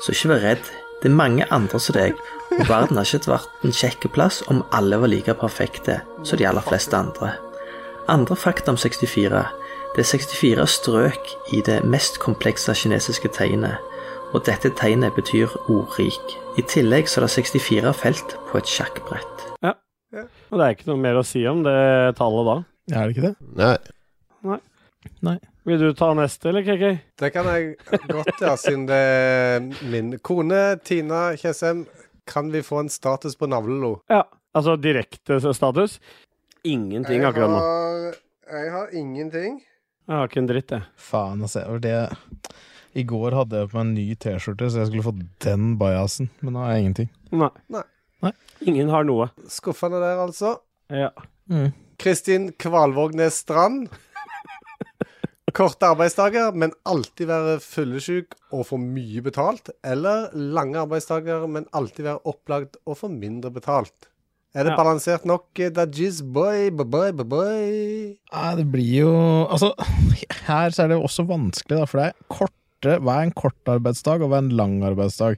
[SPEAKER 8] Så ikke vær redd, det er mange andre som deg, og verden har ikke vært en kjekk plass om alle var like perfekte som de aller fleste andre. Andre fakta om 64. Det er 64 strøk i det mest komplekse kinesiske tegnet, og dette tegnet betyr ordrik. I tillegg så er det 64 felt på et sjakkbrett.
[SPEAKER 1] Og det er ikke noe mer å si om det tallet da.
[SPEAKER 3] Er det ikke det?
[SPEAKER 5] Nei.
[SPEAKER 1] Vil du ta neste, eller KK?
[SPEAKER 2] Det kan jeg godt gjøre, siden det er min kone Tina Tjessem. Kan vi få en status på navlelo?
[SPEAKER 1] Ja. Altså direkte status? Ingenting akkurat nå.
[SPEAKER 2] jeg har ingenting.
[SPEAKER 1] Jeg har ikke en dritt, jeg.
[SPEAKER 3] Faen, altså. jeg var Det. I går hadde jeg på meg en ny T-skjorte, så jeg skulle få den bajasen. Men nå har jeg ingenting.
[SPEAKER 1] Nei.
[SPEAKER 2] Nei.
[SPEAKER 3] Nei.
[SPEAKER 1] Ingen har noe.
[SPEAKER 2] Skuffende der, altså.
[SPEAKER 1] Ja.
[SPEAKER 2] Kristin Kvalvågnes Strand. Korte arbeidsdager, men alltid være fyllesyk og få mye betalt. Eller lange arbeidsdager, men alltid være opplagt og få mindre betalt. Er det
[SPEAKER 1] Ja.
[SPEAKER 2] balansert nok, eh, Dajis boy, boy, boy, boy, boy?
[SPEAKER 3] Nei, det blir jo Altså, her så er det jo også vanskelig, da, for det er korte Hva er en kort arbeidsdag, og hva er en lang arbeidsdag?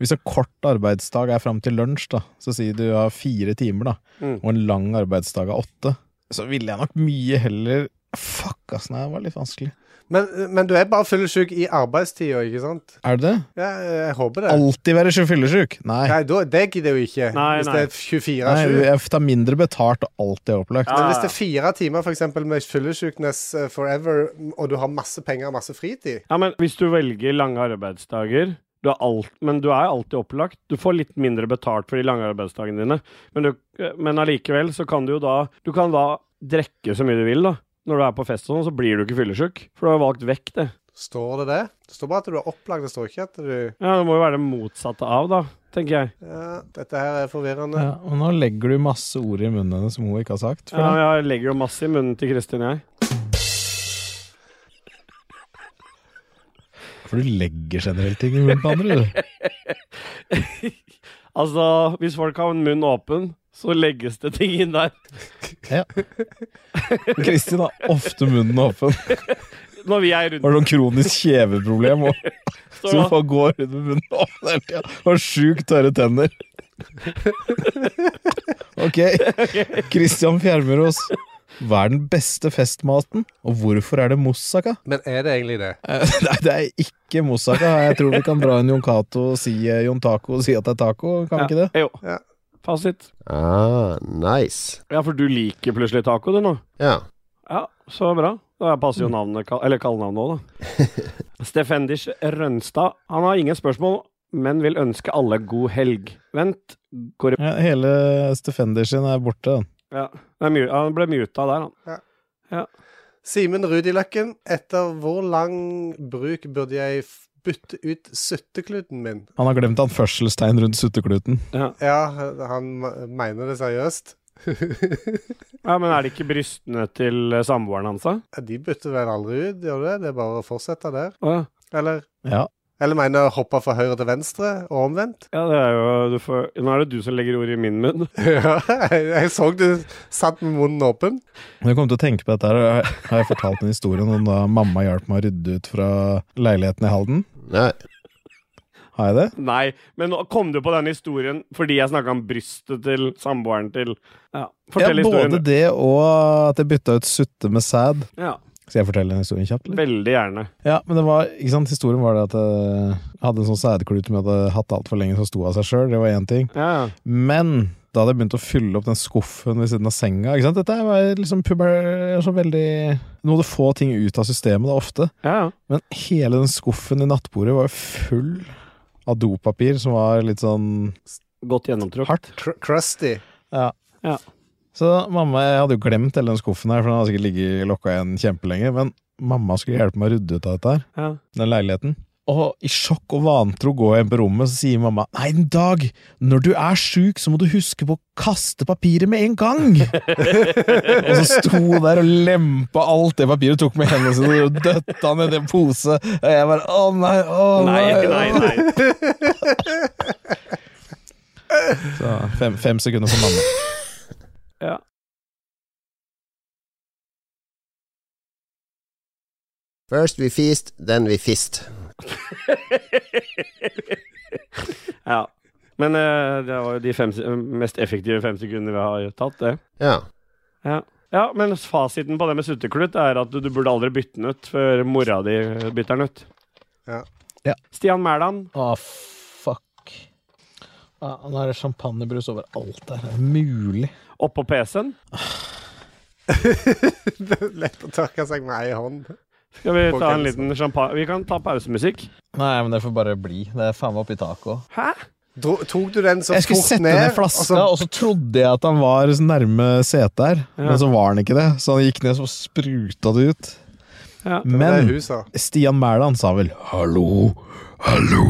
[SPEAKER 3] Hvis en kort arbeidsdag er fram til lunsj, da, så sier du har fire timer, da,
[SPEAKER 1] Mm.
[SPEAKER 3] og en lang arbeidsdag er åtte, så ville jeg nok mye heller Fuck, ass, nei, det var litt vanskelig.
[SPEAKER 2] Men, men du er bare fyllesyk i arbeidstida, ikke sant?
[SPEAKER 3] Er det det?
[SPEAKER 2] Ja, jeg håper det.
[SPEAKER 3] Alltid være sju- fyllesyk? Nei.
[SPEAKER 2] Nei, da, det gidder jeg jo ikke.
[SPEAKER 1] Nei,
[SPEAKER 2] hvis
[SPEAKER 1] nei.
[SPEAKER 2] det
[SPEAKER 3] nei.
[SPEAKER 2] er 24-7.
[SPEAKER 3] Jeg tar mindre betalt, og alt er opplagt.
[SPEAKER 2] Men hvis det er fire timer for eksempel, med fyllesykness eh, forever, og du har masse penger og masse fritid
[SPEAKER 1] Ja, men hvis du velger lange arbeidsdager du er alt, Men du er alltid opplagt. Du får litt mindre betalt for de lange arbeidsdagene dine, men, du, eh, men allikevel så kan du jo da Du kan da drikke så mye du vil, da. Når du er på fest og sånn, så blir du ikke fyllesyk. For du har valgt vekk det.
[SPEAKER 2] Står det det? Det står bare at du er opplagt, det står ikke at du
[SPEAKER 1] Ja, Det må jo være det motsatte av, da, tenker jeg.
[SPEAKER 2] ja, Dette her er forvirrende.
[SPEAKER 3] Ja, og nå legger du masse ord i munnen hennes som hun ikke har sagt.
[SPEAKER 1] Ja, men jeg legger jo masse i munnen til Kristin, jeg.
[SPEAKER 3] For du legger generelt ting i munnen på andre, du.
[SPEAKER 1] Altså, hvis folk har en munn åpen, så legges det ting inn der.
[SPEAKER 3] Ja. Kristin har ofte munnen åpen.
[SPEAKER 1] Når vi er rundt
[SPEAKER 3] Har sånn kronisk kjeveproblem. og-
[SPEAKER 1] så-
[SPEAKER 3] Så hun bare går rundt med munnen åpen hele tida. Har sjukt tørre tenner. Ok. Christian Fjermerås. Hva er den beste festmaten, og hvorfor er det moussaka?
[SPEAKER 2] Men er det egentlig det?
[SPEAKER 3] Eh, Nei, det er ikke moussaka. Jeg tror vi kan dra en Jon Cato og si eh, Jon Taco og si at det er taco, kan vi ikke det?
[SPEAKER 1] Eh, Jo.
[SPEAKER 2] Ja.
[SPEAKER 1] Fasit.
[SPEAKER 5] Ah, nice.
[SPEAKER 1] Ja, for du liker plutselig taco, du nå.
[SPEAKER 5] Ja.
[SPEAKER 1] Ja, så bra. Da passer jo navnet, kal- eller kallenavnet òg, da. Stefendish Rønstad. Han har ingen spørsmål, men vil ønske alle god helg. Vent, går det
[SPEAKER 3] Ja, hele Stefender sin er borte.
[SPEAKER 1] Ja, det er mu- han ble muta der, han.
[SPEAKER 2] Simen Rudiløkken, etter hvor lang bruk burde jeg f- bytte ut suttekluten min?
[SPEAKER 3] Han har glemt anførselstegn rundt suttekluten.
[SPEAKER 2] Ja, han me- mener det seriøst.
[SPEAKER 1] Ja, Men er det ikke brystene til eh, samboeren hans, da?
[SPEAKER 2] De bytter vel aldri ut, gjør det? Det er bare å fortsette der.
[SPEAKER 1] Å ja.
[SPEAKER 2] Eller,
[SPEAKER 3] Ja.
[SPEAKER 2] eller mener jeg hoppe fra høyre til venstre, og omvendt?
[SPEAKER 1] Ja, det er jo du får, Nå er det du som legger ordet i min munn.
[SPEAKER 2] Ja, jeg, jeg så du satt med munnen åpen.
[SPEAKER 3] Når jeg kom til å tenke på dette, her, og jeg- har jeg fortalt en historie om da mamma hjalp meg å rydde ut fra leiligheten i Halden.
[SPEAKER 5] Nei.
[SPEAKER 3] Har jeg det?
[SPEAKER 1] Nei, men nå kom du på denne historien fordi jeg snakka om brystet til samboeren til Ja,
[SPEAKER 3] Ja,
[SPEAKER 1] fortell
[SPEAKER 3] både
[SPEAKER 1] historien.
[SPEAKER 3] det og at jeg bytta ut sutte med sæd.
[SPEAKER 1] Ja,
[SPEAKER 3] Skal jeg fortelle den historien kjapt? eller?
[SPEAKER 1] Veldig gjerne.
[SPEAKER 3] Ja, men det var, ikke sant, historien var det at jeg hadde en sånn sædklut som jeg hadde hatt altfor lenge, som sto av seg sjøl. Det var én ting.
[SPEAKER 1] Ja, ja.
[SPEAKER 3] Men da hadde jeg begynt å fylle opp den skuffen ved siden av senga. ikke sant? Dette var liksom puber... Så veldig Noe av det få ting ut av systemet, da, ofte.
[SPEAKER 1] ja. ja.
[SPEAKER 3] Men hele den skuffen i nattbordet var jo full av dopapir som var litt sånn
[SPEAKER 1] Godt gjennomtrådt.
[SPEAKER 3] hardt.
[SPEAKER 2] Cr crusty.
[SPEAKER 3] Så mamma jeg hadde jo glemt hele den skuffen her, for den hadde sikkert ligget lokka igjen kjempelenge. Men mamma skulle hjelpe meg å rydde ut av dette her,
[SPEAKER 1] Ja.
[SPEAKER 3] den leiligheten. Og i sjokk og vantro går jeg inn på rommet, så sier mamma Nei, en dag, når du er sjuk, så må du huske på å kaste papiret med en gang! og så sto hun der og lempa alt det papiret hun tok med hendene sine, og døtta ned i en pose. Og jeg bare Å nei, å
[SPEAKER 1] Nei, nei, nei.
[SPEAKER 3] Så fem, fem sekunder for mamma.
[SPEAKER 5] First we feast, then we fist.
[SPEAKER 1] ja. Men eh, det var jo de fem, se- mest effektive fem sekundene vi har tatt, det.
[SPEAKER 5] Ja.
[SPEAKER 1] Ja, men fasiten på det med sutteklutt er at du, du burde aldri bytte den ut før mora di bytter den ut.
[SPEAKER 2] Ja.
[SPEAKER 3] Ja.
[SPEAKER 1] Stian Mæland,
[SPEAKER 3] Å, fuck. Ja, nå er det champagnebrus overalt her. Er det mulig?
[SPEAKER 1] oppå PC-en.
[SPEAKER 2] Lett å tørke seg med ei hånd.
[SPEAKER 1] Skal vi
[SPEAKER 2] På
[SPEAKER 1] ta en
[SPEAKER 2] PC-en.
[SPEAKER 1] liten champagne Vi kan ta pausemusikk.
[SPEAKER 3] Nei, men det får bare bli. Det er faen meg oppi taket òg.
[SPEAKER 1] Hæ?
[SPEAKER 2] Dro, tok du den så
[SPEAKER 3] Jeg skulle
[SPEAKER 2] fort
[SPEAKER 3] sette
[SPEAKER 2] ned?
[SPEAKER 3] ned flaska, og så trodde jeg at han var så nærme setet her, men så var han ikke det. Så han gikk ned, så spruta det ut.
[SPEAKER 1] Ja.
[SPEAKER 2] Men
[SPEAKER 3] Men
[SPEAKER 2] hun sa.
[SPEAKER 3] Stian Mæland sa vel 'hallo, hallo,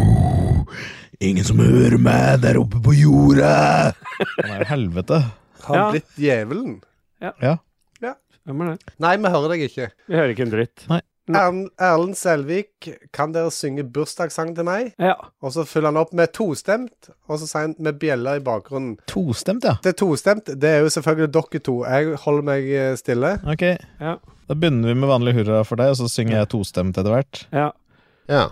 [SPEAKER 3] ingen som hører meg der oppe på jordet'? Han er jo helvete.
[SPEAKER 2] Har han
[SPEAKER 1] Ja.
[SPEAKER 2] blitt djevelen?
[SPEAKER 1] Hvem er det?
[SPEAKER 2] Nei, vi hører deg ikke.
[SPEAKER 1] Vi hører ikke en dritt. Nei.
[SPEAKER 2] Erl- Erlend Selvik, kan dere synge bursdagssang til meg?
[SPEAKER 1] Ja.
[SPEAKER 2] Og så fyller han opp med tostemt, og så sier han med bjeller i bakgrunnen.
[SPEAKER 3] Tostemt, ja.
[SPEAKER 2] Det tostemt, det er jo selvfølgelig dere to. Jeg holder meg eh, stille.
[SPEAKER 3] Ok,
[SPEAKER 1] Ja.
[SPEAKER 3] da begynner vi med vanlig hurra for deg, og så synger jeg tostemt etter hvert.
[SPEAKER 1] ja.
[SPEAKER 5] Ja.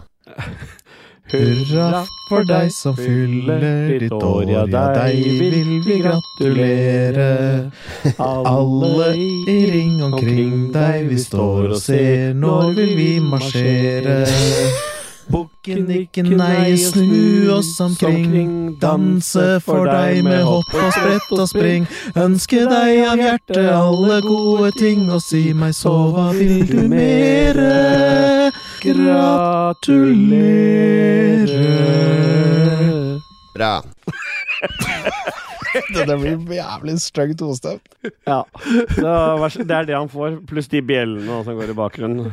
[SPEAKER 3] Hurra for deg som fyller ditt år, ja deg vil vi gratulere. Alle i ring omkring deg vi står og ser, når vil vi marsjere? Bukken ikke nei, snu oss omkring. Danse for deg med hopp og sprett og spring. Ønske deg av hjertet alle gode ting, og si meg så hva vil du mere? Gratulere.
[SPEAKER 5] Bra.
[SPEAKER 3] Det blir jævlig stygg tostemt.
[SPEAKER 1] Ja. Så, vær så- det er det han får, pluss de bjellene da, som går i bakgrunnen.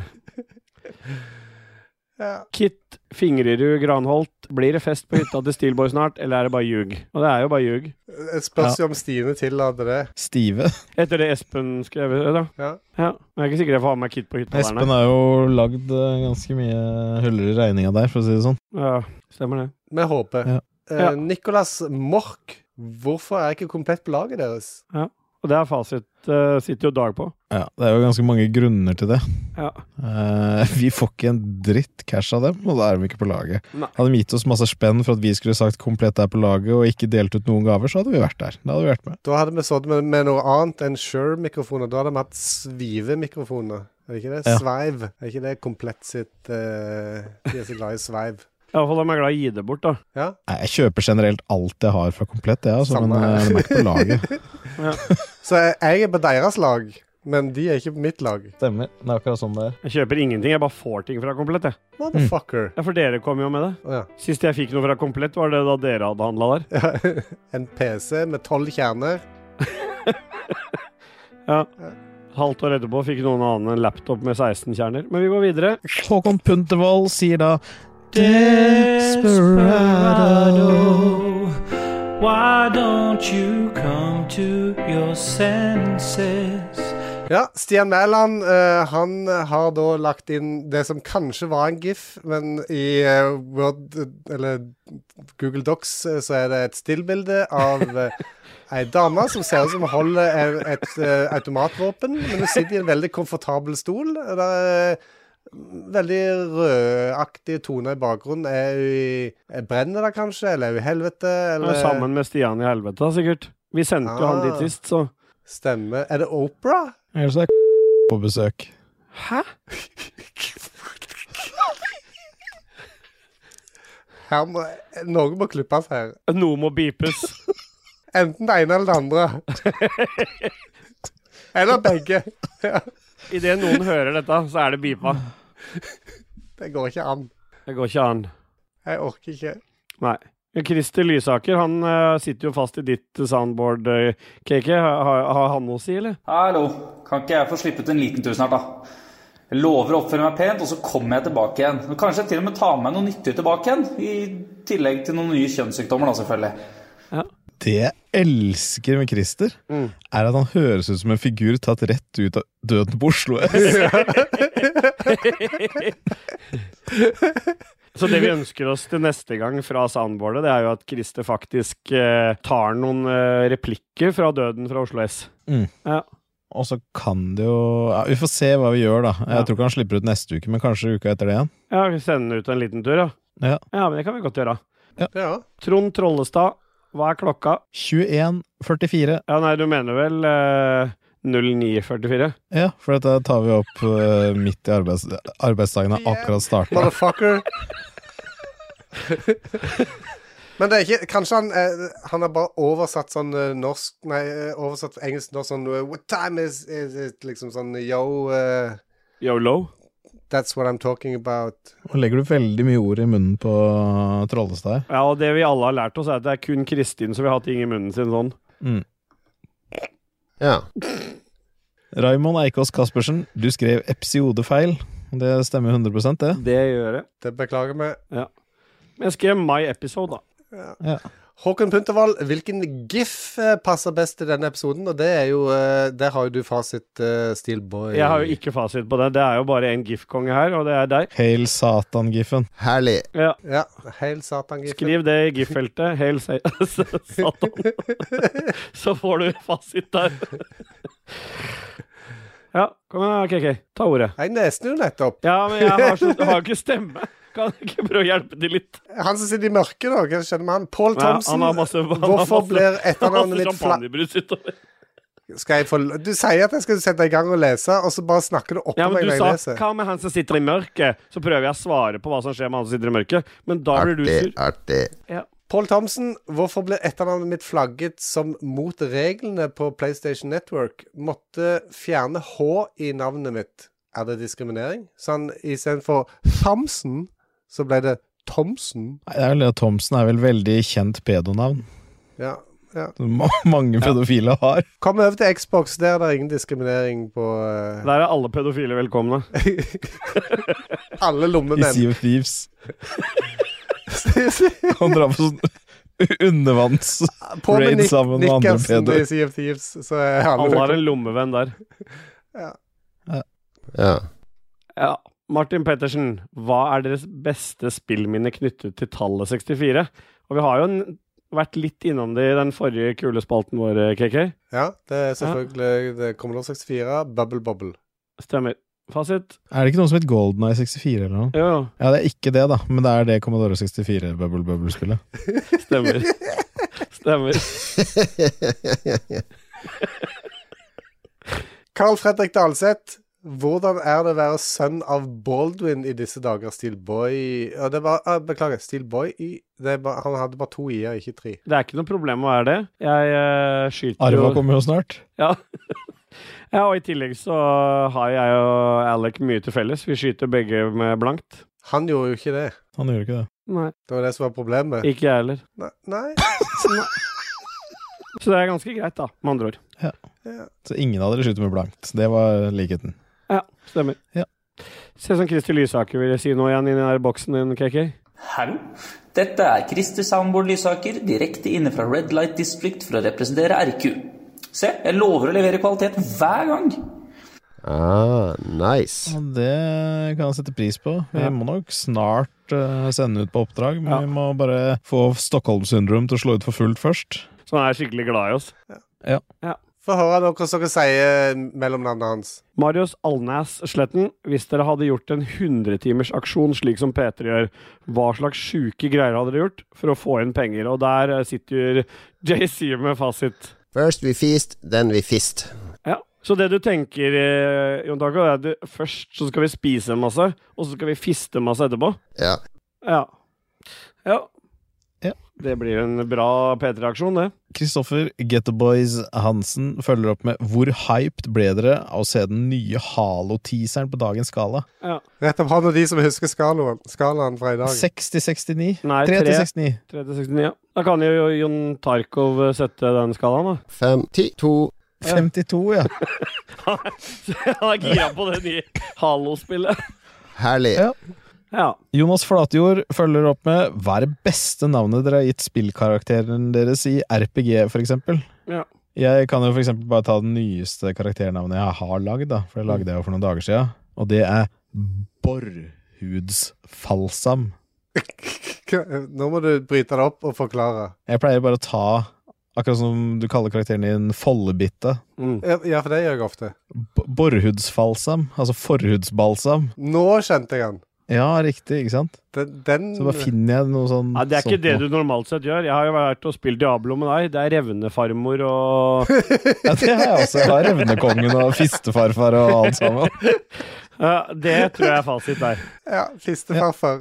[SPEAKER 2] Ja.
[SPEAKER 1] Kit Fingrerud Granholt, blir det fest på hytta til Steelboy snart, eller er det bare ljug? Og det er jo bare ljug.
[SPEAKER 2] Det spørs jo om Stine tillater det.
[SPEAKER 3] Stive.
[SPEAKER 1] Etter det Espen skrev, eh, da.
[SPEAKER 2] Ja.
[SPEAKER 1] Ja. Jeg er ikke sikker jeg får ha med Kit på hytta der,
[SPEAKER 3] Espen
[SPEAKER 1] nei.
[SPEAKER 3] har jo lagd eh, ganske mye huller i regninga der, for å si det sånn.
[SPEAKER 1] Ja, stemmer det.
[SPEAKER 2] Vi håper.
[SPEAKER 3] Ja.
[SPEAKER 2] Eh,
[SPEAKER 1] Ja.
[SPEAKER 2] Nicolas Mork, hvorfor er jeg ikke komplett på laget deres?
[SPEAKER 1] Og det er fasit, eh, sitter jo Dag på.
[SPEAKER 3] Ja, det er jo ganske mange grunner til det.
[SPEAKER 1] Ja.
[SPEAKER 3] Eh, vi får ikke en dritt cash av dem, og da er de ikke på laget.
[SPEAKER 1] Nei.
[SPEAKER 3] Hadde de gitt oss masse spenn for at vi skulle sagt 'komplett er på laget' og ikke delt ut noen gaver, så hadde vi vært der. Da hadde vi vært med.
[SPEAKER 2] Da hadde vi stått med, med noe annet enn Shure-mikrofoner. Da hadde vi hatt Svive-mikrofoner. Er det ikke det?
[SPEAKER 3] Ja.
[SPEAKER 2] Sveiv. Er ikke det komplett sitt eh, De er så glad i sveiv.
[SPEAKER 1] Iallfall om jeg er glad i å gi det bort, da.
[SPEAKER 2] Ja.
[SPEAKER 3] Nei, jeg kjøper generelt alt jeg har fra komplett, jeg, altså,
[SPEAKER 2] Samme
[SPEAKER 3] men
[SPEAKER 2] her.
[SPEAKER 3] eh, de er ikke på laget.
[SPEAKER 2] Så jeg jeg er på deres lag, men de er ikke på mitt lag.
[SPEAKER 3] Stemmer. Det er akkurat sånn det er.
[SPEAKER 1] Jeg kjøper ingenting, jeg bare får ting fra Komplett, jeg.
[SPEAKER 3] Mm.
[SPEAKER 2] Motherfucker.
[SPEAKER 1] Ja, for dere kom jo med det.
[SPEAKER 2] Å ja.
[SPEAKER 1] Sist jeg fikk noe fra Komplett, var det da dere hadde handla der.
[SPEAKER 2] ja. En PC med tolv kjerner.
[SPEAKER 1] Halvt år etterpå fikk noen annen en laptop med 16 kjerner. Men vi går videre.
[SPEAKER 3] Håkon Puntervold sier da Desperado.
[SPEAKER 9] Why don't you come to your senses?
[SPEAKER 2] Ja, Stian Mæland eh, han har da lagt inn det som kanskje var en GIF, men i eh, Word, eller Google Docs eh, så er det et stillbilde av eh, ei dame som ser ut som hun holder et, et eh, automatvåpen, men hun sitter i en veldig komfortabel stol. og Det er mm, veldig rødaktige toner i bakgrunnen. Er hun i eh, Brenner det kanskje, eller er hun i helvete?
[SPEAKER 1] Han er
[SPEAKER 2] Eller
[SPEAKER 1] Sammen med Stian i helvete, da, sikkert. Vi sendte jo han dit
[SPEAKER 2] Ah.
[SPEAKER 1] sist, så
[SPEAKER 2] Stemmer. Er det Opera?
[SPEAKER 3] Ellers er på besøk.
[SPEAKER 1] Hæ?
[SPEAKER 2] Her må, noe må klippes her.
[SPEAKER 1] Noe må beepes.
[SPEAKER 2] Enten det ene eller det andre. eller begge.
[SPEAKER 1] Idet noen hører dette, så er det beepa.
[SPEAKER 2] Det går ikke an.
[SPEAKER 1] Det går ikke an.
[SPEAKER 2] Jeg orker ikke.
[SPEAKER 1] Nei. Christer Lysaker han eh, sitter jo fast i ditt soundboard, eh, KK. Har har han noe å si, eller?
[SPEAKER 9] Hallo, kan ikke jeg få slippe ut en liten tur snart, da? Jeg lover å oppføre meg pent, og så kommer jeg tilbake igjen. Og kanskje jeg til og med tar med noe nyttig tilbake igjen, i tillegg til noen nye kjønnssykdommer, da, selvfølgelig.
[SPEAKER 3] Det jeg elsker med Christer, er at han høres ut som en figur tatt rett ut av Døden på Oslo S.
[SPEAKER 1] Så det vi ønsker oss til neste gang fra soundboardet, det er jo at Christer faktisk eh, tar noen eh, replikker fra døden fra Oslo S.
[SPEAKER 3] Og så kan det jo ja, Vi får se hva vi gjør, da. Jeg
[SPEAKER 1] Ja.
[SPEAKER 3] tror ikke han slipper ut neste uke, men kanskje uka etter det igjen.
[SPEAKER 1] Ja, vi sender ut en liten tur, ja.
[SPEAKER 3] Ja.
[SPEAKER 1] Ja, men det kan vi godt gjøre.
[SPEAKER 2] Ja.
[SPEAKER 1] Trond Trollestad, hva er klokka?
[SPEAKER 3] 21.44.
[SPEAKER 1] Ja, nei, du mener vel eh, 09.44?
[SPEAKER 3] Ja, for dette tar vi opp eh, midt i arbeids arbeidsdagen har akkurat starta.
[SPEAKER 2] Motherfucker. Men det er ikke Kanskje han eh, Han har bare oversatt sånn eh, norsk Nei, eh, oversatt fra engelsk norsk sånn eh, What time is, is it? Liksom sånn Yo, eh,
[SPEAKER 1] Yolo?
[SPEAKER 2] that's what I'm talking about.
[SPEAKER 3] Nå legger du veldig mye ord i munnen på Trollestad her.
[SPEAKER 1] Ja, og det vi alle har lært oss, er at det er kun Kristin som vil ha ting i munnen sin sånn.
[SPEAKER 5] Ja.
[SPEAKER 3] Raymond Eikås Caspersen, du skrev episodefeil. Det stemmer 100 det.
[SPEAKER 1] Det gjør jeg.
[SPEAKER 2] Det beklager vi.
[SPEAKER 1] Men jeg skrev My Episode, da.
[SPEAKER 2] Håkon Puntervold, hvilken gif eh, passer best til denne episoden? Og det er jo eh, Der har jo du fasit, eh, Steelboy.
[SPEAKER 1] Jeg har jo ikke fasit på det. Det er jo bare en GIF-konge her, og det er deg.
[SPEAKER 3] Hail Satan-giffen.
[SPEAKER 5] Herlig.
[SPEAKER 1] Ja.
[SPEAKER 2] Ja, Heil satan-gif.
[SPEAKER 1] Skriv det i GIF-feltet. Hail sa- Satan. Så får du fasit der. Ja, kom igjen, KK. Ta ordet.
[SPEAKER 2] Jeg neste jo nettopp.
[SPEAKER 1] Ja, men jeg har, så, har ikke stemme. Kan du ikke prøve å hjelpe til litt?
[SPEAKER 2] Han som sitter i mørket, da. Hva skjedde med han? Paul
[SPEAKER 1] Ja,
[SPEAKER 2] Thomsen.
[SPEAKER 1] han har masse- han har
[SPEAKER 2] Hvorfor
[SPEAKER 1] masse-
[SPEAKER 2] blir etternavnet
[SPEAKER 1] Masse
[SPEAKER 2] mitt fla...
[SPEAKER 1] champagnebrus utover.
[SPEAKER 2] Skal jeg få Du sier at jeg skal sette i gang og lese, og så bare snakker du oppå
[SPEAKER 1] Ja,
[SPEAKER 2] meg
[SPEAKER 1] men
[SPEAKER 2] når
[SPEAKER 1] du
[SPEAKER 2] jeg
[SPEAKER 1] sa
[SPEAKER 2] leser.
[SPEAKER 1] hva med han som sitter i mørket? Så prøver jeg å svare på hva som skjer med han som sitter i mørket, men da blir du sur.
[SPEAKER 5] Artig, artig.
[SPEAKER 2] Paul Thomsen, hvorfor blir etternavnet mitt flagget som mot reglene på PlayStation Network? Måtte fjerne H i navnet mitt. Er det diskriminering? Sånn istedenfor Thomsen, så ble det Thomsen.
[SPEAKER 3] Nei, det er vel det at Thomsen er vel veldig kjent pedonavn.
[SPEAKER 2] Ja. ja.
[SPEAKER 3] Som ma- mange pedofile har.
[SPEAKER 2] Kom over til Xbox, der er det ingen diskriminering på eh,
[SPEAKER 1] Der er alle pedofile velkomne.
[SPEAKER 2] alle
[SPEAKER 3] I
[SPEAKER 2] lommemenn.
[SPEAKER 3] Sea of Thieves. Kan dra på sånn undervanns
[SPEAKER 2] På med
[SPEAKER 3] Raid
[SPEAKER 2] Nick,
[SPEAKER 3] sammen med andre
[SPEAKER 2] Nickersen
[SPEAKER 3] pedoer.
[SPEAKER 2] i Sea of Thieves, så er alle
[SPEAKER 1] Alle har en lommevenn der.
[SPEAKER 5] Ja.
[SPEAKER 1] Ja. Martin Pettersen, hva er deres beste spillminne knyttet til tallet 64? Og vi har jo en vært litt innom det i den forrige kulespalten vår, eh, KK.
[SPEAKER 2] Ja, det er selvfølgelig det er Commodore 64, Bubble Bubble.
[SPEAKER 1] Stemmer. Fasit?
[SPEAKER 3] Er det ikke noe som het Golden Eye 64 eller noe?
[SPEAKER 1] Jo, jo.
[SPEAKER 3] Ja, det er ikke det, da, men det er det Commodore 64 Bubble Bubble-spillet.
[SPEAKER 1] Stemmer. Stemmer.
[SPEAKER 2] Carl Fredrik Dalseth. Hvordan er det å være sønn av Baldwin i disse dager, Steelboy ja, det var, ah, Beklager, Steelboy i- det var- Han hadde bare to i-er, ikke tre.
[SPEAKER 1] Det er ikke noe problem å være det. Jeg eh, skyter
[SPEAKER 3] Arva
[SPEAKER 1] jo
[SPEAKER 3] kommer jo snart.
[SPEAKER 1] Ja. ja, og i tillegg så har jeg og Alec mye til felles. Vi skyter begge med blankt.
[SPEAKER 2] Han gjorde jo ikke det.
[SPEAKER 3] Han gjør ikke det.
[SPEAKER 1] Nei.
[SPEAKER 2] Det var det som var problemet.
[SPEAKER 1] Ikke jeg heller.
[SPEAKER 2] Nei, nei.
[SPEAKER 1] Så det er ganske greit, da, med andre ord.
[SPEAKER 3] Så ingen av dere skyter med blankt. Det var likheten.
[SPEAKER 1] Ja, stemmer.
[SPEAKER 3] Ja.
[SPEAKER 1] Se som Kristi Lysaker ville si noe igjen inni den der boksen din, KK.
[SPEAKER 9] Hallo? Dette er Christer Soundboard Lysaker, direkte inne fra Red Light District for å representere RQ. Se, jeg lover å levere kvalitet hver gang.
[SPEAKER 5] Ah, nice.
[SPEAKER 3] Og det kan jeg sette pris på. Vi
[SPEAKER 1] Ja.
[SPEAKER 3] må nok snart eh, sende ut på oppdrag, men
[SPEAKER 1] Ja.
[SPEAKER 3] vi må bare få Stockholm syndrom til å slå ut for fullt først.
[SPEAKER 1] Så han er skikkelig glad i oss.
[SPEAKER 2] Få høre nå hvordan dere sier mellomnavnet hans.
[SPEAKER 1] Marius Alnæs Sletten, hvis dere hadde gjort en 100-timersaksjon slik som P3 gjør, hva slags sjuke greier hadde dere gjort for å få inn penger? Og der eh, sitter JC med fasit.
[SPEAKER 5] First we feast, then we fist.
[SPEAKER 1] Ja. Så det du tenker, eh, Jon Taco, er at du, først så skal vi spise en masse, og så skal vi fiste en masse etterpå?
[SPEAKER 5] Ja.
[SPEAKER 1] Ja. Ja.
[SPEAKER 3] Ja.
[SPEAKER 1] Det blir en bra P3-aksjon, det.
[SPEAKER 3] Kristoffer Getteboys Hansen følger opp med Hvor hyped ble dere av å se den nye Halo-teaseren på dagens skala?
[SPEAKER 2] Rett opp hånda de som husker skalaen, skalaen fra i dag.
[SPEAKER 3] 60-69?
[SPEAKER 1] Nei,
[SPEAKER 3] 3 til
[SPEAKER 1] tre.
[SPEAKER 3] 69.
[SPEAKER 1] 369, ja. Da kan jo Jon Tarkov eh, sette den skalaen, da.
[SPEAKER 5] Fem, ti, to.
[SPEAKER 3] 52, ja.
[SPEAKER 1] Han er gira på det nye Halo-spillet.
[SPEAKER 5] Herlig.
[SPEAKER 3] Ja.
[SPEAKER 1] Ja.
[SPEAKER 3] Jonas Flatjord følger opp med Hva er det beste navnet dere har gitt spillkarakteren deres i RPG, for eksempel?
[SPEAKER 1] Ja.
[SPEAKER 3] Jeg kan jo for eksempel bare ta den nyeste karakternavnet jeg har lagd, da, for det lagde jeg jo for noen dager siden, og det er Borrhudsfalsam.
[SPEAKER 2] Nå må du bryte det opp og forklare.
[SPEAKER 3] Jeg pleier bare å ta, akkurat som du kaller karakteren din, Follebitte.
[SPEAKER 1] Mm.
[SPEAKER 2] Ja, ja, for det gjør jeg ofte.
[SPEAKER 3] B- Borrhudsfalsam, altså forhudsbalsam.
[SPEAKER 2] Nå skjønte jeg han.
[SPEAKER 3] Ja, riktig, ikke sant?
[SPEAKER 2] Den, den
[SPEAKER 3] Så bare finner jeg noe sånn
[SPEAKER 1] Mm. Ja, det er ikke
[SPEAKER 3] sånt
[SPEAKER 1] det
[SPEAKER 3] nå.
[SPEAKER 1] du normalt sett gjør. Jeg har jo vært og spilt Diablo med deg. Det er revnefarmor og
[SPEAKER 3] Ja, det har jeg også. Jeg har Revnekongen og Fistefarfar og alt sammen.
[SPEAKER 1] ja, Det tror jeg er fasit der.
[SPEAKER 2] Ja, fistefarfar.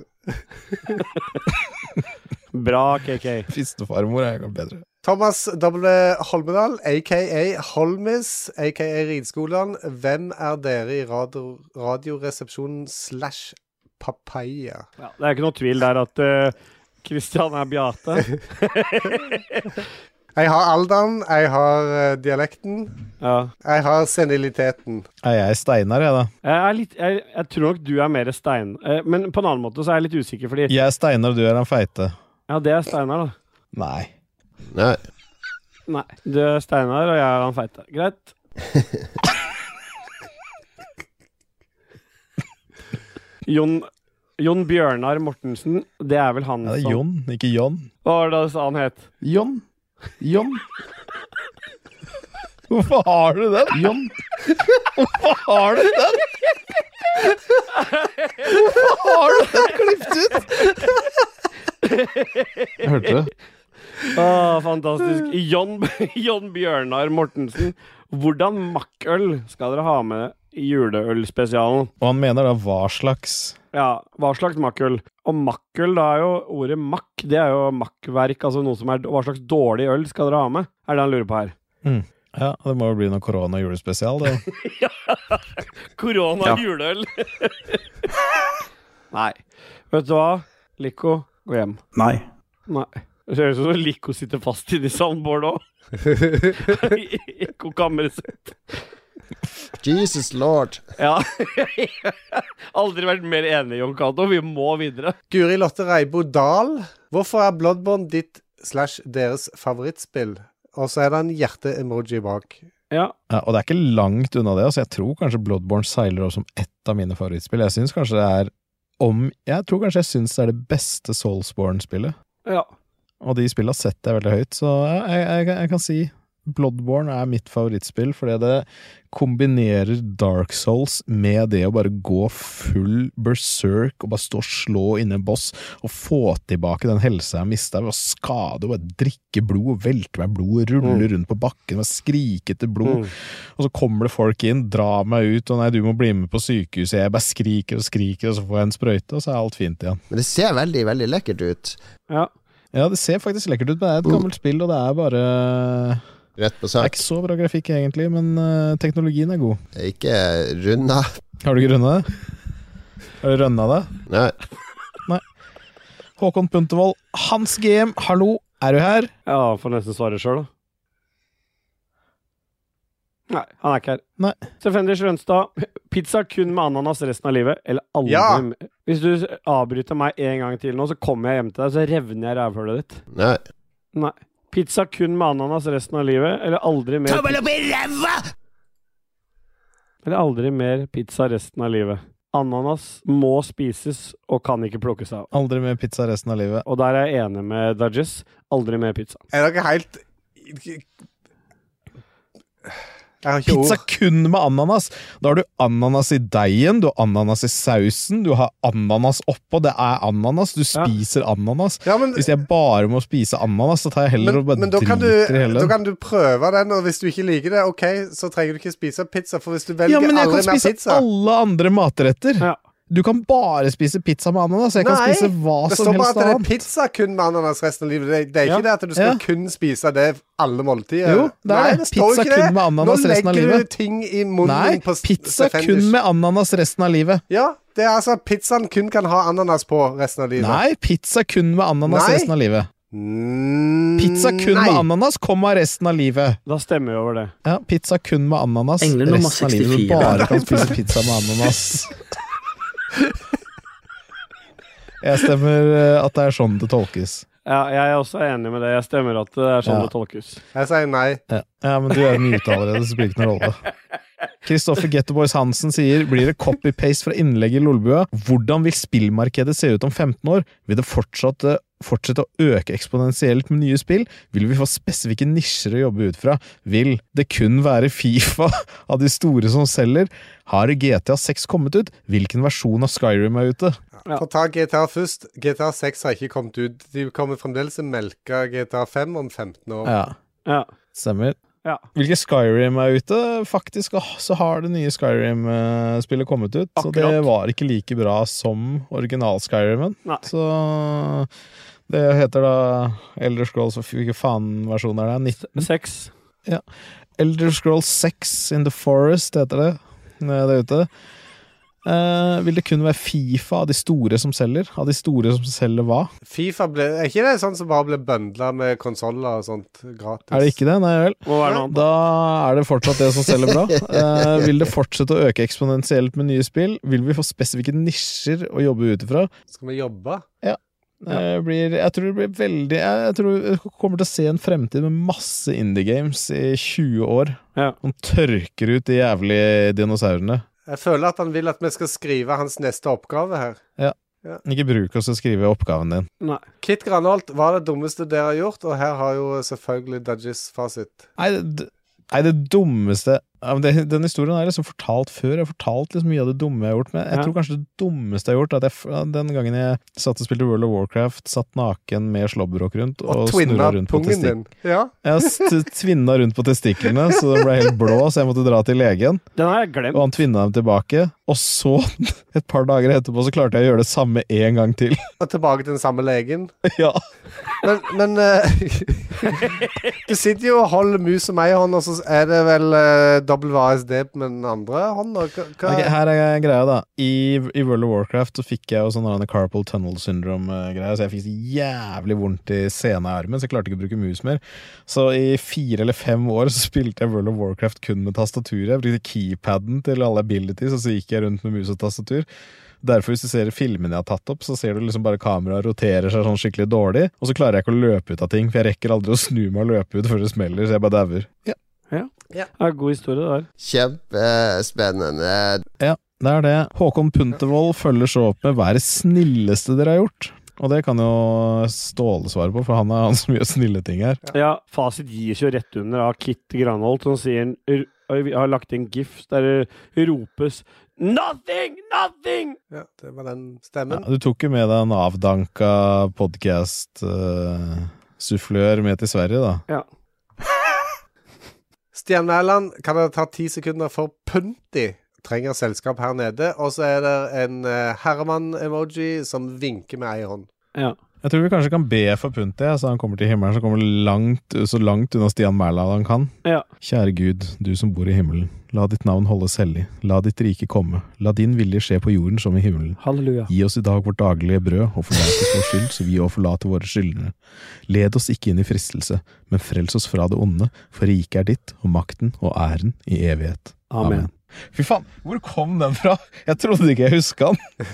[SPEAKER 1] Bra, KK.
[SPEAKER 3] Fistefarmor er jo bedre.
[SPEAKER 2] Thomas W. Holmedal, aka Holmis, aka Ridskolan. Hvem er dere i radio, Radioresepsjonen slash Papaya?
[SPEAKER 1] Ja, det er ikke noe tvil der at Kristian er Beate.
[SPEAKER 2] Jeg har alderen, jeg har eh, dialekten,
[SPEAKER 1] Ja.
[SPEAKER 2] jeg har seniliteten.
[SPEAKER 3] Er jeg Steinar, jeg, da?
[SPEAKER 1] Jeg, er litt, jeg, jeg tror nok du er mer Stein. eh, Men på en annen måte så er jeg litt usikker, fordi
[SPEAKER 3] Jeg er Steinar, du er han feite.
[SPEAKER 1] Ja, det er Steinar, da.
[SPEAKER 3] Nei.
[SPEAKER 5] Nei.
[SPEAKER 1] Nei. Du er Steinar, og jeg er han feite. Greit. Jon, Jon Bjørnar Mortensen, det er vel han
[SPEAKER 3] Ja, det er
[SPEAKER 1] som
[SPEAKER 3] Jon, ikke Jon.
[SPEAKER 1] Hva var det han het?
[SPEAKER 3] Jon. Jon. Hvorfor har du den? Jon. Hvorfor har du den? Hvorfor har du den klippet ut? Jeg hørte det.
[SPEAKER 1] Å, fantastisk. John, John Bjørnar Mortensen. Hvordan makkøl skal dere ha med i juleølspesialen?
[SPEAKER 3] Og han mener da hva slags
[SPEAKER 1] Ja, hva slags makkøl? Og makkøl, da er jo ordet makk, det er jo makkverk, altså noe som er Hva slags dårlig øl skal dere ha med? Er det han lurer på her.
[SPEAKER 3] Ja, det må jo bli noe korona- og julespesial, det.
[SPEAKER 1] Korona
[SPEAKER 9] Ja.
[SPEAKER 1] juleøl. Nei. Vet du hva? Lico, gå hjem.
[SPEAKER 8] Nei.
[SPEAKER 1] Nei. Det ser ut som Lico sitter fast inne i sandbord òg. Ekkokammeret sitt.
[SPEAKER 5] Jesus lord.
[SPEAKER 1] Ja. Aldri vært mer enig, Jon Cato. Vi må videre.
[SPEAKER 2] Guri Lotte Reibo Dahl, hvorfor er Bloodborne ditt slash deres favorittspill? Og så er det en hjerte-emoji bak.
[SPEAKER 1] Ja.
[SPEAKER 3] Ja, og det er ikke langt unna det. Altså, jeg tror kanskje Bloodborne seiler opp som ett av mine favorittspill. Jeg syns kanskje det er om Jeg tror kanskje jeg syns det er det beste Soulsborne-spillet.
[SPEAKER 1] ja.
[SPEAKER 3] Og de spillene setter jeg veldig høyt, så jeg, jeg, jeg kan si Bloodborne er mitt favorittspill, fordi det kombinerer Dark Souls med det å bare gå full berserk og bare stå og slå inne en boss og få tilbake den helsa jeg mista ved å skade og bare drikke blod og velte meg i blod og rulle rundt på bakken og skrike etter blod. Og så kommer det folk inn, drar meg ut og nei, du må bli med på sykehuset, jeg bare skriker og skriker, og så får jeg en sprøyte, og så er alt fint igjen.
[SPEAKER 5] Men det ser veldig, veldig lekkert ut.
[SPEAKER 1] Ja.
[SPEAKER 3] Ja, det ser faktisk lekkert ut, men det er et gammelt spill, og det er bare
[SPEAKER 5] Rett på
[SPEAKER 3] Det er
[SPEAKER 5] sak.
[SPEAKER 3] ikke så bra grafikk, egentlig, men eh, teknologien er god.
[SPEAKER 5] Det er Ikke runda.
[SPEAKER 3] Har du ikke runda det? Har du runda det?
[SPEAKER 5] Nei.
[SPEAKER 3] Håkon Puntervold, Hans GM, hallo, er du her?
[SPEAKER 1] ja, får nesten svare sjøl, da. Nei, han er ikke her.
[SPEAKER 3] Nei.
[SPEAKER 1] Stefendis Lønstad. Pizza kun med ananas resten av livet, eller aldri
[SPEAKER 2] Ja.
[SPEAKER 1] m- Hvis du s- avbryter meg en gang til nå, så kommer jeg hjem til deg, så revner jeg rævhølet ditt.
[SPEAKER 5] Nei.
[SPEAKER 1] Nei. Pizza kun med ananas resten av livet, eller aldri mer
[SPEAKER 6] Tommel opp i ræva!
[SPEAKER 1] Eller aldri mer pizza resten av livet. Ananas må spises og kan ikke plukkes av.
[SPEAKER 3] Aldri mer pizza resten av livet.
[SPEAKER 1] Og der er jeg enig med Dudges. Aldri mer pizza.
[SPEAKER 2] Er dere helt Jeg har ikke
[SPEAKER 3] Pizza
[SPEAKER 2] ord.
[SPEAKER 3] kun med ananas! Da har du ananas i deigen, du har ananas i sausen, du har ananas oppå, det er ananas, du
[SPEAKER 1] Ja.
[SPEAKER 3] spiser ananas.
[SPEAKER 2] Ja, men,
[SPEAKER 3] Hvis jeg bare må spise ananas, så tar jeg heller
[SPEAKER 2] men,
[SPEAKER 3] og bare
[SPEAKER 2] men da, kan du,
[SPEAKER 3] driter i hele.
[SPEAKER 2] da kan du prøve den, og hvis du ikke liker det, OK, så trenger du ikke spise pizza, for hvis du velger
[SPEAKER 3] ja, men jeg
[SPEAKER 2] aldri
[SPEAKER 3] kan
[SPEAKER 2] mer
[SPEAKER 3] spise
[SPEAKER 2] pizza
[SPEAKER 3] alle andre matretter.
[SPEAKER 1] Ja.
[SPEAKER 3] Du kan bare spise pizza med ananas. Jeg kan
[SPEAKER 2] Nei,
[SPEAKER 3] spise hva
[SPEAKER 2] Det
[SPEAKER 3] som
[SPEAKER 2] står bare
[SPEAKER 3] helst
[SPEAKER 2] at det er
[SPEAKER 3] annet.
[SPEAKER 2] pizza kun med ananas resten av livet. Det, det er ikke
[SPEAKER 1] Ja.
[SPEAKER 2] det at du skal
[SPEAKER 3] Ja.
[SPEAKER 2] kun spise det alle måltider.
[SPEAKER 3] Jo, det er det. Pizza kun med ananas
[SPEAKER 2] Nå
[SPEAKER 3] resten av livet.
[SPEAKER 2] legger du ting i munnen
[SPEAKER 3] Nei,
[SPEAKER 2] på s-
[SPEAKER 3] pizza
[SPEAKER 2] Stefendis.
[SPEAKER 3] kun med ananas resten av livet.
[SPEAKER 2] Ja, det er altså at pizzaen kun kan ha ananas på resten av livet.
[SPEAKER 3] Nei, pizza kun med ananas
[SPEAKER 2] Nei.
[SPEAKER 3] resten av livet.
[SPEAKER 2] Mm,
[SPEAKER 3] Pizza kun
[SPEAKER 2] nei.
[SPEAKER 3] med ananas, komma resten av livet.
[SPEAKER 1] Da stemmer vi over det.
[SPEAKER 3] Ja, pizza kun med ananas
[SPEAKER 8] Engle nummer
[SPEAKER 3] resten av livet. Du
[SPEAKER 8] 64.
[SPEAKER 3] bare kan spise pizza med ananas. Jeg stemmer eh, at det er sånn det tolkes.
[SPEAKER 1] Ja, jeg er også enig med det. Jeg stemmer at det er sånn
[SPEAKER 3] Ja.
[SPEAKER 1] det tolkes.
[SPEAKER 2] Jeg sier nei.
[SPEAKER 3] Ja, ja men du er mute allerede, så det spiller ikke noen rolle. Kristoffer Getterboys Hansen sier blir det copy-paste fra innlegget i Lolbua. Hvordan vil spillmarkedet se ut om 15 år? Vil det fortsette, fortsette å øke eksponentielt med nye spill? Vil vi få spesifikke nisjer å jobbe ut fra? Vil det kun være Fifa av de store som selger? Har GTA 6 kommet ut? Hvilken versjon av Skyrim er ute?
[SPEAKER 1] Ja.
[SPEAKER 2] Få ta GTA først. GTA 6 har ikke kommet ut. De kommer fremdeles til å melke GTA 5 om 15 år.
[SPEAKER 3] Ja,
[SPEAKER 1] Ja.
[SPEAKER 3] stemmer.
[SPEAKER 1] Ja.
[SPEAKER 3] Hvilke Skyrim er ute? Faktisk åh, så har det nye Skyrim-spillet kommet ut. Så det
[SPEAKER 1] Akkurat.
[SPEAKER 3] var ikke like bra som original-Skyrimen.
[SPEAKER 1] Nei.
[SPEAKER 3] Så det heter da Elder Scrolls Hvilken faen versjon er det? 19?
[SPEAKER 1] Seks.
[SPEAKER 3] Elder Scrolls 6 in the Forest heter det eh, der ute. Eh, vil det kun være Fifa av de store som selger? Av de store som selger hva?
[SPEAKER 2] Fifa ble, Er ikke det sånn som bare ble bøndla med konsoller og sånt gratis?
[SPEAKER 3] Er det ikke det? Nei vel.
[SPEAKER 1] Må være noe annet.
[SPEAKER 3] Da er det fortsatt det som selger bra. Eh, vil det fortsette å øke eksponentielt med nye spill? Vil vi få spesifikke nisjer å jobbe ut ifra?
[SPEAKER 2] Skal vi jobbe?
[SPEAKER 3] Eh, blir, jeg tror det blir veldig Jeg, jeg tror vi kommer til å se en fremtid med masse indie games i 20 år.
[SPEAKER 1] Ja.
[SPEAKER 3] Som tørker ut de jævlige dinosaurene.
[SPEAKER 2] Jeg føler at han vil at vi skal skrive hans neste oppgave her.
[SPEAKER 3] Ikke bruk oss til å skrive oppgaven din.
[SPEAKER 1] Nei.
[SPEAKER 2] Kit Granholt, hva er det dummeste dere har gjort? Og her har jo selvfølgelig Dudges fasit.
[SPEAKER 3] Nei, det, nei, det dummeste ja, men det, Den historien har jeg liksom fortalt før. Jeg har fortalt liksom mye av det dumme jeg har gjort, men jeg
[SPEAKER 1] Ja.
[SPEAKER 3] tror kanskje det dummeste jeg har gjort, er at jeg, f- ja, den gangen jeg satt og spilte World of Warcraft, satt naken med slåbrok rundt og,
[SPEAKER 2] Og
[SPEAKER 3] og
[SPEAKER 2] twinna
[SPEAKER 3] snurra rundt på
[SPEAKER 2] pungen
[SPEAKER 3] testiklene.
[SPEAKER 2] din. Ja.
[SPEAKER 3] Jeg st- tvinna rundt på testiklene, så den ble helt blå, så jeg måtte dra til legen.
[SPEAKER 1] Den har jeg
[SPEAKER 3] Og
[SPEAKER 1] glemt.
[SPEAKER 3] han tvinna dem tilbake. Og så, et par dager etterpå, så klarte jeg å gjøre det samme en gang til.
[SPEAKER 2] Og tilbake til den samme legen.
[SPEAKER 3] Ja.
[SPEAKER 2] Men, men eh, Du sitter jo og holder mus og meg i hånda, og så er det vel eh, WASD med den andre hånda? Hva- hva-
[SPEAKER 3] Ok, her er greia, da. I, I World of Warcraft så fikk jeg jo sånn denne carpal tunnel syndrome-greia, så jeg fikk så jævlig vondt i sena i armen, så jeg klarte ikke å bruke mus mer. Så i fire eller fem år så spilte jeg World of Warcraft kun med tastaturet. Jeg brukte keypaden til alle abilities, og så gikk jeg rundt med mus og tastatur. Derfor, hvis du ser filmene jeg har tatt opp, så ser du liksom bare kameraet roterer seg sånn skikkelig dårlig, og så klarer jeg ikke å løpe ut av ting, for jeg rekker aldri å snu meg og løpe ut før det smeller, så jeg bare dauer.
[SPEAKER 1] Det er god historie, det der.
[SPEAKER 5] Kjempespennende.
[SPEAKER 3] Ja, det er det. Håkon Puntervold følger så opp med 'Hva er det snilleste dere har gjort'? Og det kan jo Ståle svare på, for han er han som gjør snille ting her.
[SPEAKER 1] Ja, fasit gis jo rett under av Kit Granholt, som sier r- og vi har lagt inn gif der det ropes 'Nothing! Nothing!'
[SPEAKER 2] Ja, det var den
[SPEAKER 3] Ja,
[SPEAKER 2] stemmen.
[SPEAKER 3] du tok jo med deg en avdanka podkast-sufflør med til Sverige, da.
[SPEAKER 2] Stian Mæland, kan det ta ti sekunder for Punti? Trenger selskap her nede. Og så er det en eh, Herman-emoji som vinker med ei hånd.
[SPEAKER 3] Jeg tror vi kanskje kan be for Punti, så han kommer til himmelen, så kommer langt, så langt unna Stian Mæland han kan.
[SPEAKER 1] Ja.
[SPEAKER 3] Kjære Gud, du som bor i himmelen. La ditt navn holdes hellig. La ditt rike komme. La din vilje skje på jorden som i himmelen.
[SPEAKER 1] Halleluja.
[SPEAKER 3] Gi oss i dag vårt daglige brød, og forlat oss vår skyld, så vi òg forlater våre skyldnere. Led oss ikke inn i fristelse, men frels oss fra det onde, for riket er ditt, og makten og æren i evighet.
[SPEAKER 1] Amen.
[SPEAKER 3] Fy faen, hvor kom den fra? Jeg trodde ikke jeg huska den.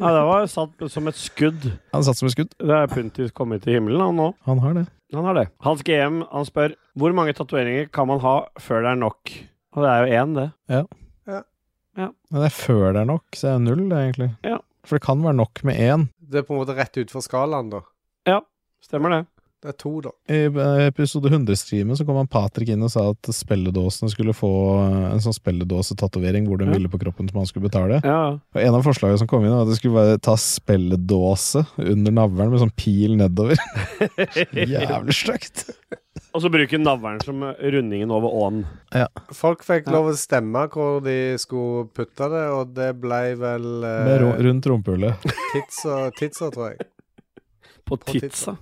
[SPEAKER 1] Nei, det var satt som et skudd.
[SPEAKER 3] Han satt som et skudd.
[SPEAKER 1] Det er Puntis kommet til himmelen, han nå.
[SPEAKER 3] Han har det.
[SPEAKER 1] Han har det. Hans GM han spør hvor mange tatoveringer kan man ha før det er nok? Og det er jo én, det.
[SPEAKER 3] Men det er før det er nok, så er det null, egentlig.
[SPEAKER 1] Ja.
[SPEAKER 3] For det kan være nok med én.
[SPEAKER 2] Det er på en måte rett utfor skalaen, da.
[SPEAKER 1] Stemmer det.
[SPEAKER 2] Det er to, da.
[SPEAKER 3] I eh, episode 100-streamen så kom han Patrick inn og sa at spilledåsene skulle få eh, en sånn spilledåsetatovering hvor de
[SPEAKER 1] Ja.
[SPEAKER 3] ville på kroppen som han skulle betale.
[SPEAKER 1] Ja.
[SPEAKER 3] Og en av forslagene som kom inn, var at det skulle være ta spelledåse under navlen med sånn pil nedover. Jævlig stygt.
[SPEAKER 1] Og så bruker navlen som rundingen over åen.
[SPEAKER 2] Folk fikk
[SPEAKER 1] Ja.
[SPEAKER 2] lov å stemme hvor de skulle putte det, og det ble vel
[SPEAKER 3] Med ro-
[SPEAKER 2] eh,
[SPEAKER 3] Rundt rumpehullet.
[SPEAKER 2] titsa, titsa, tror jeg.
[SPEAKER 1] På
[SPEAKER 2] På titsa.
[SPEAKER 1] titsa.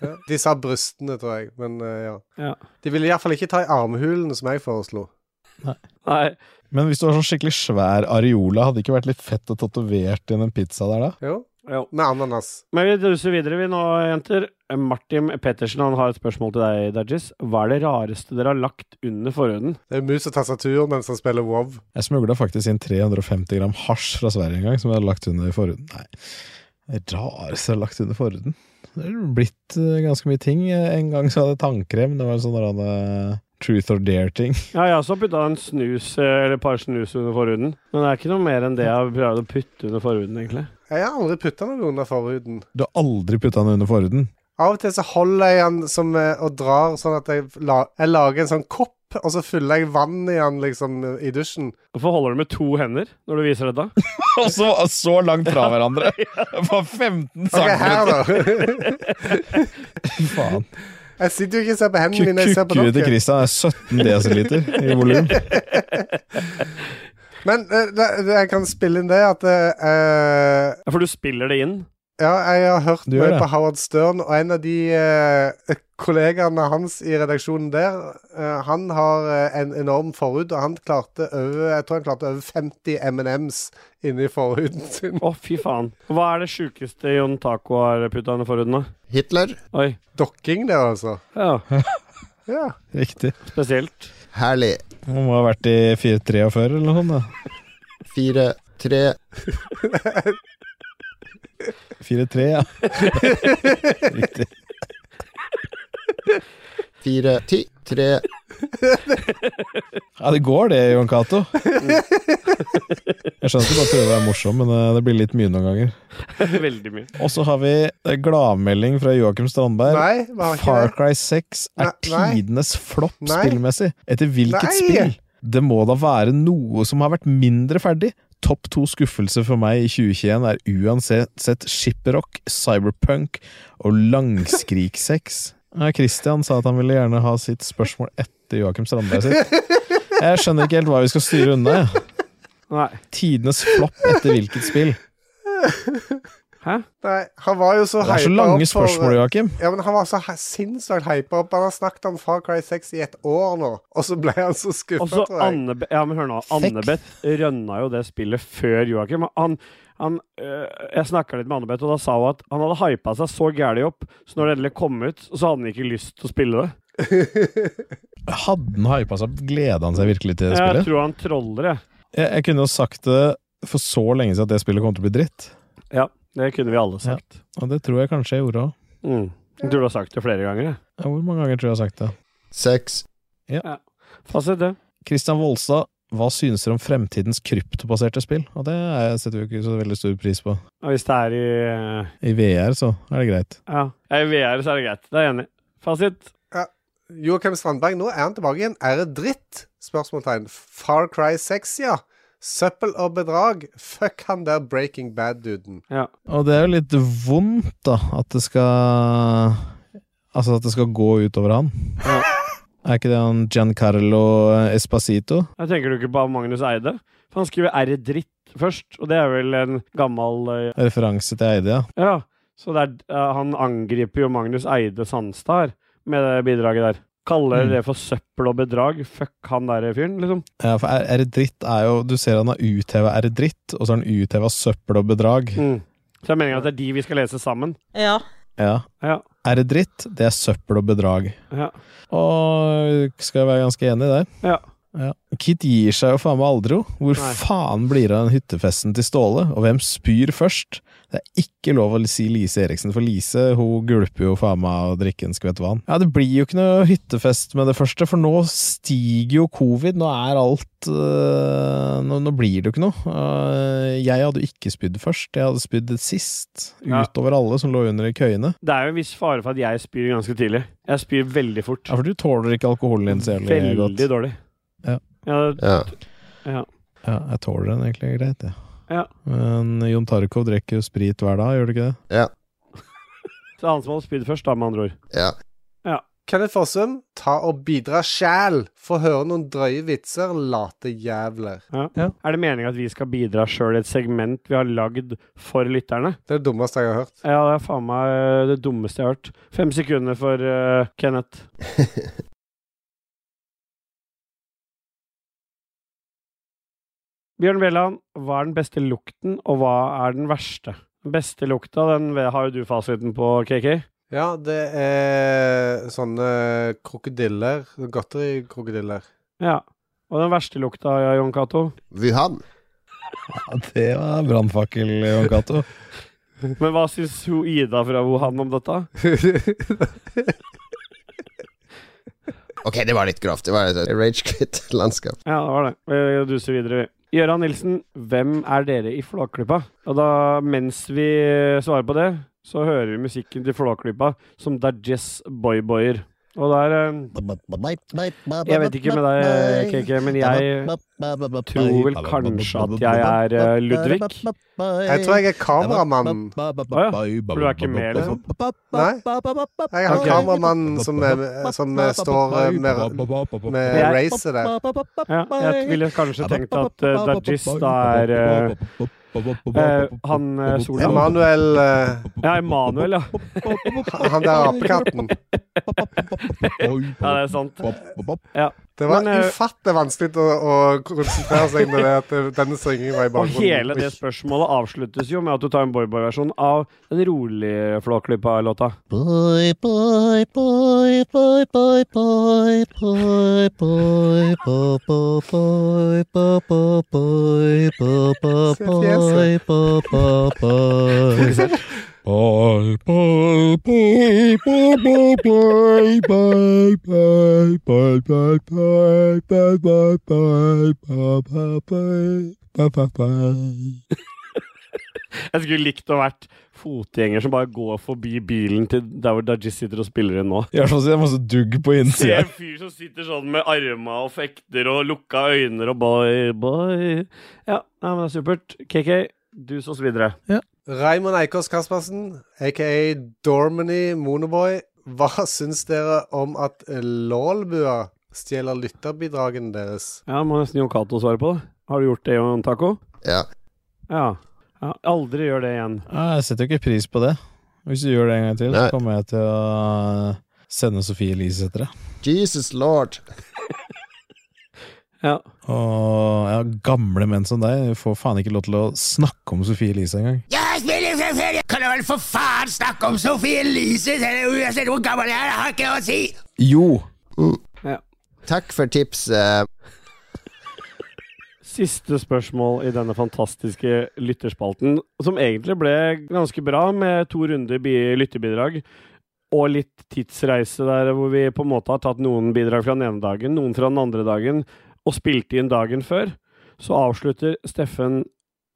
[SPEAKER 2] Ja. De sa brystene, tror jeg, men eh, ja.
[SPEAKER 1] Ja.
[SPEAKER 2] De ville iallfall ikke ta i armhulene, som jeg foreslo.
[SPEAKER 1] Nei,
[SPEAKER 3] Men hvis du har sånn skikkelig svær areola, hadde det ikke vært litt fett å tatovere inn en pizza der da?
[SPEAKER 2] Jo,
[SPEAKER 1] jo.
[SPEAKER 2] med ananas.
[SPEAKER 1] Men vi duser videre vi nå, jenter. Martin Pettersen han har et spørsmål til deg, Dajis. Hva er det rareste dere har lagt under forhuden?
[SPEAKER 2] Det er mus og tastatur mens han spiller WoW.
[SPEAKER 3] Jeg smugla faktisk inn 350 gram hasj fra Sverige en gang, som jeg hadde lagt under i forhuden. Nei, det rareste jeg har lagt under forhuden. Det har blitt eh, ganske mye ting. En gang så hadde jeg tannkrem. Det var en sånn der, eh, truth or dare-ting.
[SPEAKER 1] Ja, jeg har også putta en snus eh, eller et par snus under forhuden. Men det er ikke noe mer enn det jeg har prøvd å putte under forhuden, egentlig.
[SPEAKER 2] Jeg har aldri putta noe under forhuden.
[SPEAKER 3] Du har aldri putta den under forhuden.
[SPEAKER 2] Av og til så holder jeg den som, eh, og drar sånn at jeg, la, jeg lager en sånn kopp, og så fyller jeg vann i den liksom i dusjen.
[SPEAKER 1] Hvorfor holder du med to hender når du viser dette?
[SPEAKER 3] Og så, så langt fra hverandre! På 15
[SPEAKER 2] Ok, her,
[SPEAKER 3] centimeter!
[SPEAKER 2] da.
[SPEAKER 3] Fy faen.
[SPEAKER 2] Jeg sitter jo ikke og ser på hendene mine, jeg ser på
[SPEAKER 3] Kukkuet til
[SPEAKER 2] dere.
[SPEAKER 3] Christian er 17 desiliter i volum.
[SPEAKER 2] Men eh, det, det, jeg kan spille inn det at eh,
[SPEAKER 1] Ja, For du spiller det inn?
[SPEAKER 2] Ja, jeg har hørt
[SPEAKER 3] Du gjør
[SPEAKER 2] mye
[SPEAKER 3] det.
[SPEAKER 2] på Howard Stern, og en av de eh, kollegaene hans i redaksjonen der, eh, han har eh, en enorm forhud, og han klarte over, jeg tror han klarte over 50 M&M's inni forhuden sin.
[SPEAKER 1] Å, fy faen. Hva er det sjukeste Jon Taco har putta under forhuden, da?
[SPEAKER 5] Hitler.
[SPEAKER 1] Oi.
[SPEAKER 2] Dokking der, altså.
[SPEAKER 1] Ja,
[SPEAKER 2] Ja.
[SPEAKER 3] Riktig.
[SPEAKER 1] spesielt.
[SPEAKER 5] Herlig.
[SPEAKER 3] Han må ha vært i 43 eller noe sånt. da.
[SPEAKER 5] Fire, tre
[SPEAKER 3] 4-3, ja. Riktig.
[SPEAKER 5] Fire, ti, tre
[SPEAKER 3] Ja, det går det, Jon Cato. Jeg skjønner at du bare prøver å være morsom, men eh, det blir litt mye noen ganger.
[SPEAKER 1] Veldig mye.
[SPEAKER 3] Og så har vi eh, gladmelding fra Joakim Strandberg.
[SPEAKER 2] Nei, vi har ikke
[SPEAKER 3] Far
[SPEAKER 2] det.
[SPEAKER 3] Cry 6 er
[SPEAKER 2] Nei, nei.
[SPEAKER 3] tidenes flopp
[SPEAKER 2] Nei.
[SPEAKER 3] spillmessig. Etter hvilket
[SPEAKER 2] Nei.
[SPEAKER 3] spill? Det må da være noe som har vært mindre ferdig. Topp to skuffelser for meg i 2021 er uansett Shiprock, Cyberpunk og Langskrik 6. Ja, Christian sa at han ville gjerne ha sitt spørsmål etter Joakim Strandberg sitt. Jeg skjønner ikke helt hva vi skal styre unna. jeg.
[SPEAKER 1] Nei.
[SPEAKER 3] Tidenes flopp etter hvilket spill?
[SPEAKER 2] Nei, han var jo så
[SPEAKER 3] Det er så
[SPEAKER 2] hypet
[SPEAKER 3] lange
[SPEAKER 2] opp for-
[SPEAKER 3] spørsmål, Joakim.
[SPEAKER 2] Ja, men Han var så he- sinnssykt hypa opp. Han har snakket om Far Cry 6 i et år nå, og så ble han så skuffa,
[SPEAKER 1] Og så
[SPEAKER 2] tror jeg.
[SPEAKER 1] Anne, ja, men hør nå, Annebeth rønna jo det spillet før Joakim. Han, han, øh, jeg snakka litt med Annebeth, og da sa hun at han hadde hypa seg så gæli opp, så når det endelig kom ut, så hadde han ikke lyst til å spille det.
[SPEAKER 3] Hadde han hypa seg opp, gleda han seg virkelig til det spillet?
[SPEAKER 1] Jeg tror han troller, jeg.
[SPEAKER 3] Jeg, jeg kunne jo sagt det for så lenge siden at det spillet kom til å bli dritt.
[SPEAKER 1] Ja, det kunne vi alle sagt.
[SPEAKER 3] Og det tror jeg kanskje jeg gjorde òg.
[SPEAKER 1] Mm. Jeg tror du har sagt det flere ganger. jeg.
[SPEAKER 3] Ja, hvor mange ganger tror jeg jeg har sagt det?
[SPEAKER 5] Seks.
[SPEAKER 1] Fasit det.
[SPEAKER 3] Christian Volstad, Hva synes dere om fremtidens kryptobaserte spill? Og det er- setter vi jo ikke så veldig stor pris på.
[SPEAKER 1] Og hvis det er i eh,
[SPEAKER 3] I VR så er det greit.
[SPEAKER 1] Ja. I VR så er det greit. Det er jeg enig. i. Fasit.
[SPEAKER 2] Joakim Strandberg, nå er han tilbake igjen. Er det dritt? Spørsmålstegn. Far Cry 6, ja. Søppel og bedrag. Fuck han der Breaking Bad-duden.
[SPEAKER 3] Og det er jo litt vondt, da, at det skal Altså at det skal gå utover han.
[SPEAKER 1] Ja.
[SPEAKER 3] Er ikke det han Giancarlo Espacito?
[SPEAKER 1] Jeg tenker du ikke på Magnus Eide? For han skriver R dritt først, og det er vel en gammel eh,
[SPEAKER 3] Referanse til Eide, ja.
[SPEAKER 1] Ja. Så det er, eh, han angriper jo Magnus Eide Sandstad her med det bidraget der. Kaller
[SPEAKER 3] Mm.
[SPEAKER 1] det for søppel og bedrag. Fuck han der fyren, liksom.
[SPEAKER 3] Ja, for er, er det dritt er jo Du ser han har utheva er det dritt, og så har han utheva søppel og bedrag.
[SPEAKER 1] Mm. Så jeg mener at det er de vi skal lese sammen.
[SPEAKER 10] Ja.
[SPEAKER 3] Ja.
[SPEAKER 1] Ja.
[SPEAKER 3] Er det dritt, det er søppel og bedrag.
[SPEAKER 1] Ja.
[SPEAKER 3] Og skal jeg være ganske enig der?
[SPEAKER 1] Ja.
[SPEAKER 3] Ja. Kit gir seg jo faen meg aldri, jo. Hvor
[SPEAKER 1] Nei.
[SPEAKER 3] faen blir det av den hyttefesten til Ståle? Og hvem spyr først? Det er ikke lov å si Lise Eriksen, for Lise hun gulper jo faen meg og drikker en skvett vann. Ja, Det blir jo ikke noe hyttefest med det første, for nå stiger jo covid. Nå er alt øh, nå, nå blir det jo ikke noe. Øh, jeg hadde jo ikke spydd først, jeg hadde spydd sist.
[SPEAKER 1] Ja.
[SPEAKER 3] Utover alle som lå under i køyene.
[SPEAKER 1] Det er jo en viss fare for at jeg spyr ganske tidlig. Jeg spyr veldig fort.
[SPEAKER 3] Ja, for du tåler ikke alkoholen din så jævlig
[SPEAKER 1] veldig
[SPEAKER 3] godt.
[SPEAKER 1] dårlig.
[SPEAKER 3] Ja.
[SPEAKER 1] Ja,
[SPEAKER 5] Ja.
[SPEAKER 3] Ja, jeg tåler den egentlig greit, jeg.
[SPEAKER 1] Ja.
[SPEAKER 3] Men Jon Tarkov drikker jo sprit hver dag, gjør du ikke det?
[SPEAKER 1] så det er han som hadde spydd først, da, med andre ord.
[SPEAKER 5] ja.
[SPEAKER 2] Kenneth Fossum, ta og bidra sjæl. Få høre noen drøye vitser, late jævler.
[SPEAKER 1] Ja.
[SPEAKER 3] Ja.
[SPEAKER 1] Er det meninga at vi skal bidra sjøl i et segment vi har lagd for lytterne?
[SPEAKER 2] Det er det dummeste jeg har hørt.
[SPEAKER 1] Ja, det er faen meg det dummeste jeg har hørt. Fem sekunder for eh, Kenneth. Bjørn Bjelland, hva er den beste lukten, og hva er den verste? Den beste lukta, den ve- har jo du fasiten på, KK.
[SPEAKER 2] Ja, det er sånne krokodiller. Godterikrokodiller.
[SPEAKER 1] Ja. Og den verste lukta, ja, Jon Cato?
[SPEAKER 5] Wuhan.
[SPEAKER 3] Ja, det var brannfakkel, Jon Cato.
[SPEAKER 1] Men hva syns hun Ida fra Wuhan om dette?
[SPEAKER 5] Ok, det var litt grovt. Det var et rage-quit-landskap.
[SPEAKER 1] Ja, det var det. Vi duser videre, vi. Gøran Nilsen, hvem er dere i Flåklypa? Og da, mens vi eh, svarer på det, så hører vi musikken til Flåklypa som Dajess Boyboyer. Og der eh, Jeg vet ikke med deg, KK, men jeg tror vel kanskje at jeg er eh, Ludvig.
[SPEAKER 2] Jeg tror jeg er kameramannen.
[SPEAKER 1] For du er ikke med, liksom?
[SPEAKER 2] Nei. Jeg har
[SPEAKER 1] Ok.
[SPEAKER 2] kameramannen som, er- som er- står eh, med, med
[SPEAKER 1] Jeg-
[SPEAKER 2] racet der.
[SPEAKER 1] Ja, jeg ville kanskje tenkt at uh, Dajess da er eh, eh, han eh, Solan.
[SPEAKER 2] Emanuel eh,
[SPEAKER 1] Ja, Emanuel, ja.
[SPEAKER 2] Han der apekatten.
[SPEAKER 1] Ja, det er sant.
[SPEAKER 2] Det var
[SPEAKER 1] Men, eh,
[SPEAKER 2] ufattelig vanskelig å, å konsentrere seg når det at det- denne syngingen var i
[SPEAKER 1] Og
[SPEAKER 2] bakgrunnen.
[SPEAKER 1] hele det spørsmålet avsluttes jo med at du tar en boyboy-versjon av den rolige Flåklypa-låta.
[SPEAKER 4] Boy, boy, boy, boy, boy, boy, boy, boy, boy, boy, boy, boy, boy, boy, boy, boy,
[SPEAKER 2] Se fjeset.
[SPEAKER 4] boy, boy, boy.
[SPEAKER 1] Jeg skulle likt å vært fotgjenger som bare går forbi bilen til der hvor Dajis sitter og spiller inn nå.
[SPEAKER 3] Jeg har masse dugg på
[SPEAKER 1] Se
[SPEAKER 3] innsida.
[SPEAKER 1] en fyr som sitter sånn med arma og fekter og lukka øyne og boy, boy. Ja, nei, men det er supert. KK, du så oss videre.
[SPEAKER 2] Raymond Eikås Kaspersen, aka Dormany Monoboy. Hva syns dere om at LOL-bua stjeler lytterbidragene deres?
[SPEAKER 1] Ja, må nesten Jon Cato svare på det. Har du gjort det, Jon Taco?
[SPEAKER 5] Ja.
[SPEAKER 1] Ja. ja. Aldri gjør det igjen.
[SPEAKER 3] Ja, Jeg setter jo ikke pris på det. Hvis du gjør det en gang til, så
[SPEAKER 5] Nei.
[SPEAKER 3] kommer jeg til å sende Sofie Elise etter deg.
[SPEAKER 5] Jesus lord.
[SPEAKER 1] Ja.
[SPEAKER 3] Og ja, gamle menn som deg får faen ikke lov til å snakke om Sofie Elise engang.
[SPEAKER 6] Jeg spiller selvfølgelig! Kan du vel for faen snakke om Sophie Elise? Uansett hvor gammel jeg er, det har ikke noe å si!
[SPEAKER 3] Jo!
[SPEAKER 5] Takk for tipset.
[SPEAKER 1] Siste spørsmål i denne fantastiske lytterspalten, som egentlig ble ganske bra med to runder bi- lytterbidrag. Og litt tidsreise der hvor vi på en måte har tatt noen bidrag fra den ene dagen, noen fra den andre dagen, og spilte inn dagen før, så avslutter Steffen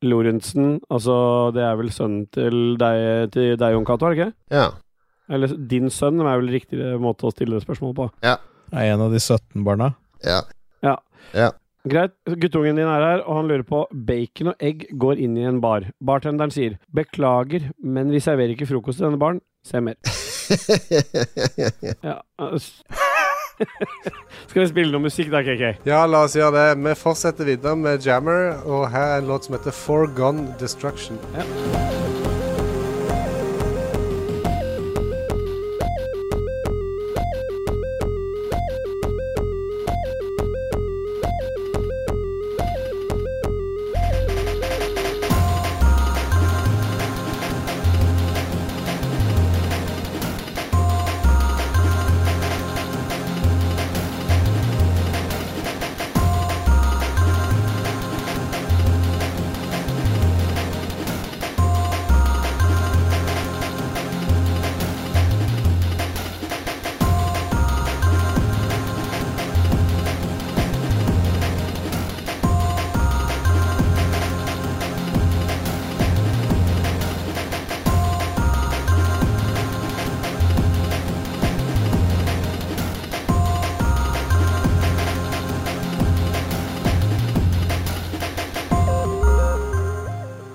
[SPEAKER 1] Lorentzen, altså det er vel sønnen til deg, til deg Jon Cato, er det ikke?
[SPEAKER 5] Ja.
[SPEAKER 1] Eller din sønn, er vel riktig måte å stille det spørsmålet på.
[SPEAKER 3] Er en av de 17 barna.
[SPEAKER 5] Ja.
[SPEAKER 1] Greit, guttungen din er her, og han lurer på Bacon og egg går inn i en bar. Bartenderen sier Beklager, men vi serverer ikke frokost til denne baren. Se mer. Ja. s- Skal vi spille noe musikk da, KK?
[SPEAKER 2] Ja, la oss gjøre det. Vi fortsetter videre med Jammer, og her er en låt som heter Foregone Destruction.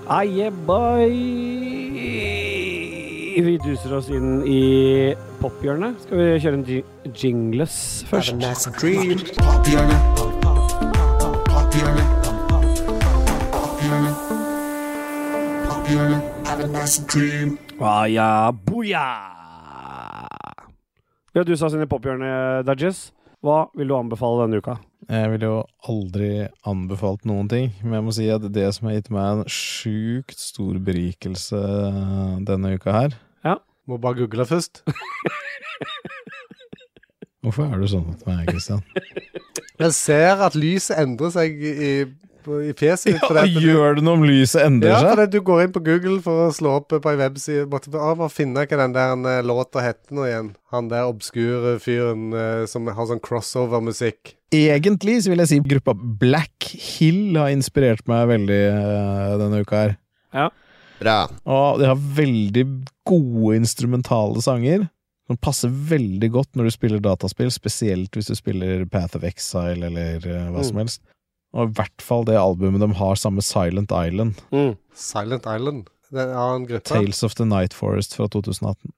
[SPEAKER 1] Aye, boy! Vi duser oss inn i pophjørnet. Skal vi kjøre en ji- jingles først? Ah, ja, booyah! Vi har dusa oss inn i pophjørnet, Dudges. Hva vil du anbefale denne uka?
[SPEAKER 3] Jeg ville jo aldri anbefalt noen ting, men jeg må si at det som har gitt meg en sjukt stor berikelse eh, denne uka her
[SPEAKER 2] Må bare google først.
[SPEAKER 3] Hvorfor er du sånn mot meg, Kristian?
[SPEAKER 2] Jeg ser at lyset endrer seg i, på- i fjeset ditt. fordi at du-
[SPEAKER 3] Gjør det noe om lyset endrer
[SPEAKER 2] Ja,
[SPEAKER 3] seg?
[SPEAKER 2] fordi du går inn på Google for å slå opp eh, på ei webside måtte bare bare finne hva den der eh, låta heter nå igjen. Han der obskure fyren eh, som har sånn crossover-musikk.
[SPEAKER 3] Egentlig så vil jeg si gruppa Black Hill har inspirert meg veldig eh, denne uka her.
[SPEAKER 5] Bra.
[SPEAKER 3] Og de har veldig gode instrumentale sanger. Som passer veldig godt når du spiller dataspill, spesielt hvis du spiller Path of Exile eller eh, hva som helst. Og i hvert fall det albumet de har sammen med Silent Island,
[SPEAKER 2] Silent Island. Det er en annen gruppe.
[SPEAKER 3] Tales of the Night Forest fra 2018.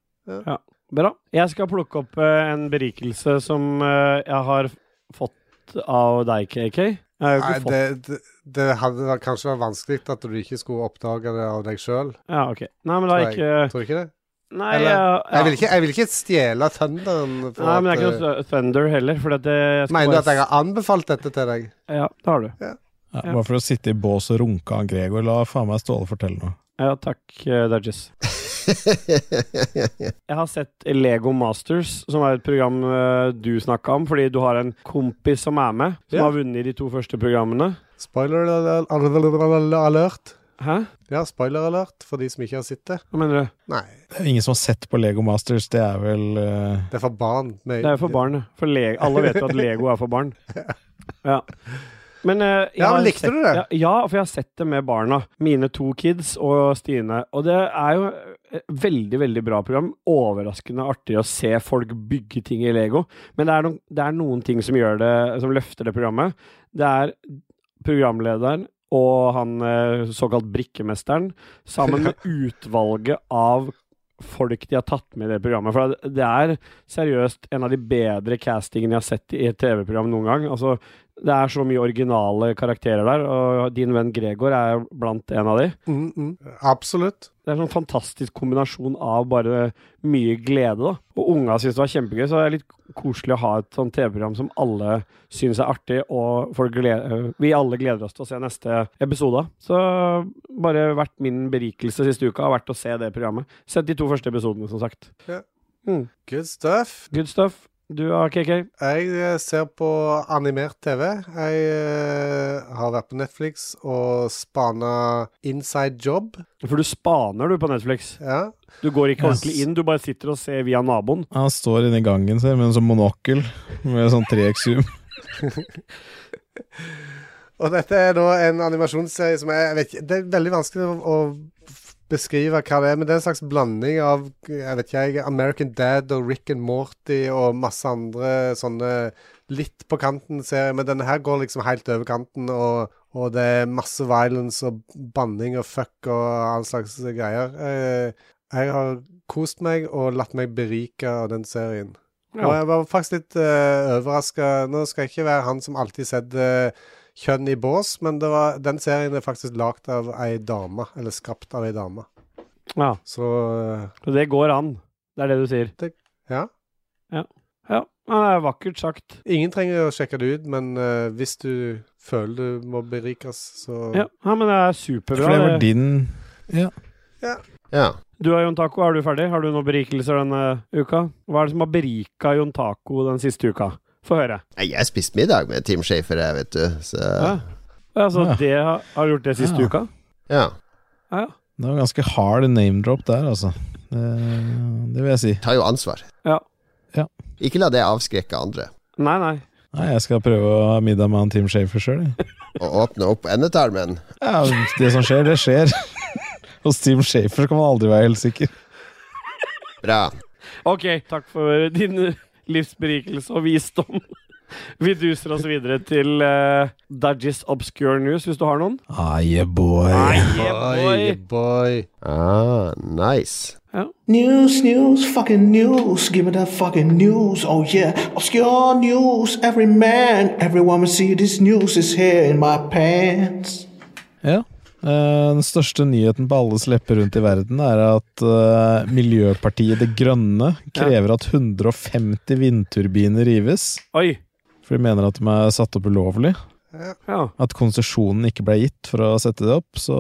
[SPEAKER 1] Bra. Jeg skal plukke opp eh, en berikelse som eh, jeg har fått av deg, KK. Jeg har jo
[SPEAKER 2] Nei,
[SPEAKER 1] ikke fått
[SPEAKER 2] det, det, det hadde vært- kanskje vært vanskelig at du ikke skulle oppdage det av deg sjøl.
[SPEAKER 1] Ja, ok. Nei, men da
[SPEAKER 2] Tror
[SPEAKER 1] ikke
[SPEAKER 2] Tror du ikke det?
[SPEAKER 1] Nei,
[SPEAKER 2] Eller-
[SPEAKER 1] ja, ja.
[SPEAKER 2] Jeg vil ikke, jeg vil ikke stjele thunderen. for
[SPEAKER 1] Nei, men det er
[SPEAKER 2] at,
[SPEAKER 1] ikke noe Thu- Thunder heller, for det jeg
[SPEAKER 2] eh,
[SPEAKER 1] skal
[SPEAKER 2] Mener du
[SPEAKER 1] bare-
[SPEAKER 2] at jeg har anbefalt dette til deg?
[SPEAKER 1] Ja, det har du.
[SPEAKER 3] Ja,
[SPEAKER 1] Ja.
[SPEAKER 3] bare for å sitte i bås og runke av Gregor. La faen meg Ståle fortelle noe.
[SPEAKER 1] Ja, takk, eh, Dudges. Jeg har sett Lego Masters, som er et program eh, du snakka om, fordi du har en kompis som er med, som
[SPEAKER 2] Ja.
[SPEAKER 1] har vunnet de to første programmene.
[SPEAKER 2] Spoiler al- al- al- alert.
[SPEAKER 1] Hæ?
[SPEAKER 2] Ja, spoiler alert for de som ikke har sett det.
[SPEAKER 1] Hva mener du?
[SPEAKER 2] Nei,
[SPEAKER 3] Det er ingen som har sett på Lego Masters, det er vel eh,
[SPEAKER 2] det er for barn. Nei,
[SPEAKER 1] Det er jo for barn, det. for le alle vet jo at Lego er for barn. Ja. Men, eh, jeg
[SPEAKER 2] Ja, men
[SPEAKER 1] har
[SPEAKER 2] likte
[SPEAKER 1] sett,
[SPEAKER 2] du det?
[SPEAKER 1] Ja, ja, for jeg har sett det med barna. Mine to kids og Stine. Og det er jo et veldig, veldig bra program. Overraskende artig å se folk bygge ting i Lego. Men det er, noen, det er noen ting som gjør det Som løfter det programmet. Det er programlederen og han eh, såkalt brikkemesteren sammen med utvalget av folk de har tatt med i det programmet. For det- det er seriøst en av de bedre castingene jeg har sett i et TV-program noen gang. Altså, det er så mye originale karakterer der, og din venn Gregor er blant en av de.
[SPEAKER 2] Mm, mm, absolutt.
[SPEAKER 1] Det er en sånn fantastisk kombinasjon av bare mye glede, da. Og unga syns det var kjempegøy, så det er litt koselig å ha et sånt TV-program som alle syns er artig, og folk gleder, vi alle gleder oss til å se neste episode. av. Så bare vært min berikelse siste uka har vært å se det programmet. Sett de to første episodene, som sagt.
[SPEAKER 2] Good stuff.
[SPEAKER 1] Good stuff. Du ah, da, KK?
[SPEAKER 2] Jeg eh, ser på animert TV. Jeg eh, har vært på Netflix og spana Inside Job.
[SPEAKER 1] For du spaner, du, på Netflix.
[SPEAKER 2] Ja.
[SPEAKER 1] Du går ikke
[SPEAKER 3] Yes.
[SPEAKER 1] ordentlig inn, du bare sitter og ser via naboen.
[SPEAKER 3] Han står inne i gangen sin med en sånn monokkel med sånn 3X-zoom.
[SPEAKER 2] Og dette er da en animasjonsserie som er jeg vet ikke, Det er veldig vanskelig å, å f- beskrive hva det er, men det er en slags blanding av jeg vet ikke, jeg, American Dad og Rick and Morty og masse andre sånne litt på kanten-serier. Men denne her går liksom helt over kanten, og, og det er masse violence og banning og fuck og all slags greier. Eh, Jeg har kost meg og latt meg berike av den serien.
[SPEAKER 1] Ja.
[SPEAKER 2] Og jeg var faktisk litt uh, overraska. Nå skal jeg ikke være han som alltid setter kjønn i bås, men det var, den serien er faktisk lagd av ei dame, eller skapt av ei dame.
[SPEAKER 1] Ja,
[SPEAKER 2] Så eh,
[SPEAKER 1] så det går an. Det er det du sier.
[SPEAKER 2] ja.
[SPEAKER 1] Ja, ja, det er vakkert sagt.
[SPEAKER 2] Ingen trenger å sjekke det ut, men eh, hvis du føler du må berikes, så
[SPEAKER 1] Ja, ja men det er
[SPEAKER 3] For det
[SPEAKER 1] superbra.
[SPEAKER 3] var din
[SPEAKER 5] Ja.
[SPEAKER 1] Du og Jon Taco, er du ferdig? Har du noen berikelser denne uka? Hva er det som har berika Jon Taco den siste uka? Få høre.
[SPEAKER 5] Nei, jeg spiste middag med Team Shafer, jeg, vet du. Så
[SPEAKER 1] Ja.
[SPEAKER 5] ja.
[SPEAKER 1] Altså,
[SPEAKER 3] Ja.
[SPEAKER 1] det har, har gjort det siste
[SPEAKER 3] Ja.
[SPEAKER 1] uka? Ja.
[SPEAKER 3] Det var ganske hard name-drop der, altså. Det, det vil jeg si.
[SPEAKER 5] Ta jo ansvar.
[SPEAKER 1] Ja.
[SPEAKER 3] Ja.
[SPEAKER 5] Ikke la det avskrekke andre.
[SPEAKER 1] Nei, nei.
[SPEAKER 3] Nei, jeg skal prøve å ha middag med han Tim Shafer sjøl, jeg.
[SPEAKER 5] Og åpne opp endetarmen.
[SPEAKER 3] Ja, det som skjer, det skjer. Hos Tim Shafer kan man aldri være helt sikker.
[SPEAKER 5] Bra.
[SPEAKER 1] Ok, takk for din livsberikelse og visdom. Vi duser oss videre til uh, Dudgies Obscure News, hvis du har noen.
[SPEAKER 3] Ah, yeah, boy.
[SPEAKER 1] boy.
[SPEAKER 2] boy.
[SPEAKER 5] Ah, nice.
[SPEAKER 4] News, news, fucking news. Give me that fucking news. Oh yeah, obscure news. Every man, every woman see this news is here in my pants.
[SPEAKER 3] Ja. Eh, Den største nyheten på alles lepper rundt i verden er at eh, Miljøpartiet De Grønne krever at 150 vindturbiner rives.
[SPEAKER 1] Oi.
[SPEAKER 3] For de mener at de er satt opp ulovlig.
[SPEAKER 1] Ja.
[SPEAKER 3] At konsesjonen ikke ble gitt for å sette det opp. Så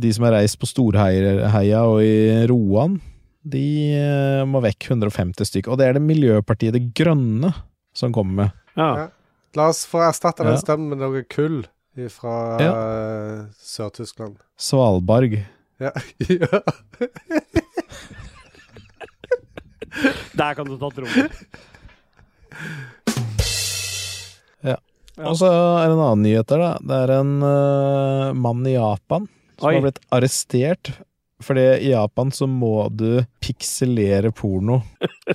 [SPEAKER 3] de som er reist på Storheia og i Roan, de eh, må vekk 150 stykk. Og det er det Miljøpartiet De Grønne som kommer med.
[SPEAKER 1] ja.
[SPEAKER 2] La oss få erstatte
[SPEAKER 3] Ja.
[SPEAKER 2] den stemmen med noe kull fra
[SPEAKER 3] Ja.
[SPEAKER 2] Sør-Tyskland.
[SPEAKER 3] Svalbard.
[SPEAKER 2] Ja. ja.
[SPEAKER 1] Der kan du ta trommen. Ja.
[SPEAKER 3] Og så er det en annen nyhet der, da. Det er en eh, mann i Japan som
[SPEAKER 1] Oi.
[SPEAKER 3] har blitt arrestert. Fordi i Japan så må du pikselere porno.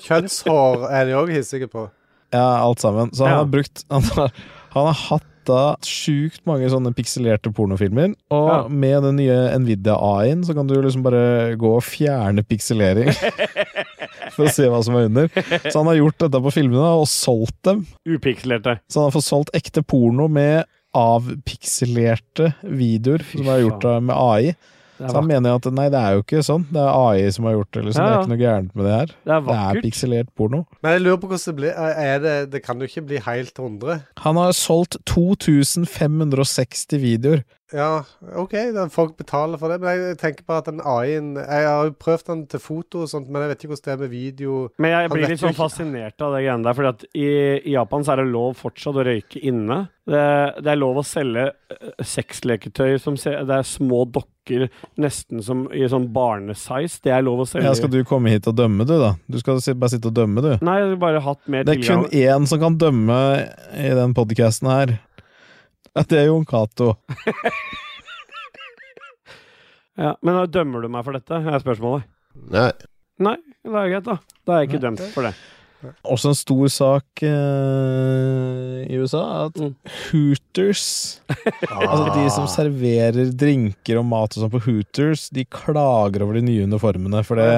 [SPEAKER 2] Kjønnshår er de òg hissige på.
[SPEAKER 3] Ja, alt sammen. Så
[SPEAKER 1] Ja.
[SPEAKER 3] han har brukt Han har, han har hatt da sjukt mange sånne pikselerte pornofilmer. Og
[SPEAKER 1] Ja.
[SPEAKER 3] med den nye Nvidia-AI-en så kan du liksom bare gå og fjerne pikselering. for å se hva som er under. Så han har gjort dette på filmene og solgt dem.
[SPEAKER 1] Upikselerte.
[SPEAKER 3] Så han har fått solgt ekte porno med avpikselerte videoer
[SPEAKER 1] Fy
[SPEAKER 3] som er gjort av- med AI.
[SPEAKER 1] Det
[SPEAKER 3] Så
[SPEAKER 1] er,
[SPEAKER 3] han
[SPEAKER 1] vak
[SPEAKER 3] mener jo at nei, det er jo ikke sånn. Det er AI som har gjort det. Liksom.
[SPEAKER 1] Ja,
[SPEAKER 3] Det
[SPEAKER 1] ja.
[SPEAKER 3] er ikke noe gærent med det her.
[SPEAKER 1] det er
[SPEAKER 3] Det er
[SPEAKER 1] vakkert.
[SPEAKER 3] pikselert porno.
[SPEAKER 2] Men jeg lurer på hvordan det blir. Eh, Er det, det kan jo ikke bli helt 100.
[SPEAKER 3] Han har solgt 2560 videoer.
[SPEAKER 2] Ja, OK, da folk betaler for det. Men jeg tenker bare at den AI-en Jeg har jo prøvd den til foto og sånt, men jeg vet ikke hvordan det er med video.
[SPEAKER 1] Men jeg
[SPEAKER 2] Han
[SPEAKER 1] blir
[SPEAKER 2] vet
[SPEAKER 1] litt
[SPEAKER 2] jo
[SPEAKER 1] sånn
[SPEAKER 2] ikke.
[SPEAKER 1] fascinert av det greiene der, fordi at i, i Japan så er det lov fortsatt å røyke inne. Det, det er lov å selge eh, sexleketøy som se, Det er små dokker nesten som i sånn barnesize. Det er lov å selge.
[SPEAKER 3] Ja, skal du komme hit og dømme, du, da? Du skal si- bare sitte og dømme, du.
[SPEAKER 1] Nei, jeg har bare hatt mer
[SPEAKER 3] Det er
[SPEAKER 1] tilgang.
[SPEAKER 3] kun én som kan dømme i den podkasten her. Ja, Det er Jon Cato.
[SPEAKER 1] Ja, men da dømmer du meg for dette, er spørsmålet.
[SPEAKER 5] Nei.
[SPEAKER 1] Nei, det er greit, da. Da er jeg ikke dømt for det.
[SPEAKER 3] Også en stor sak eh, i USA er at
[SPEAKER 1] Mm.
[SPEAKER 3] Hooters Altså de som serverer drinker og mat og sånn på Hooters, de klager over de nye uniformene. For det,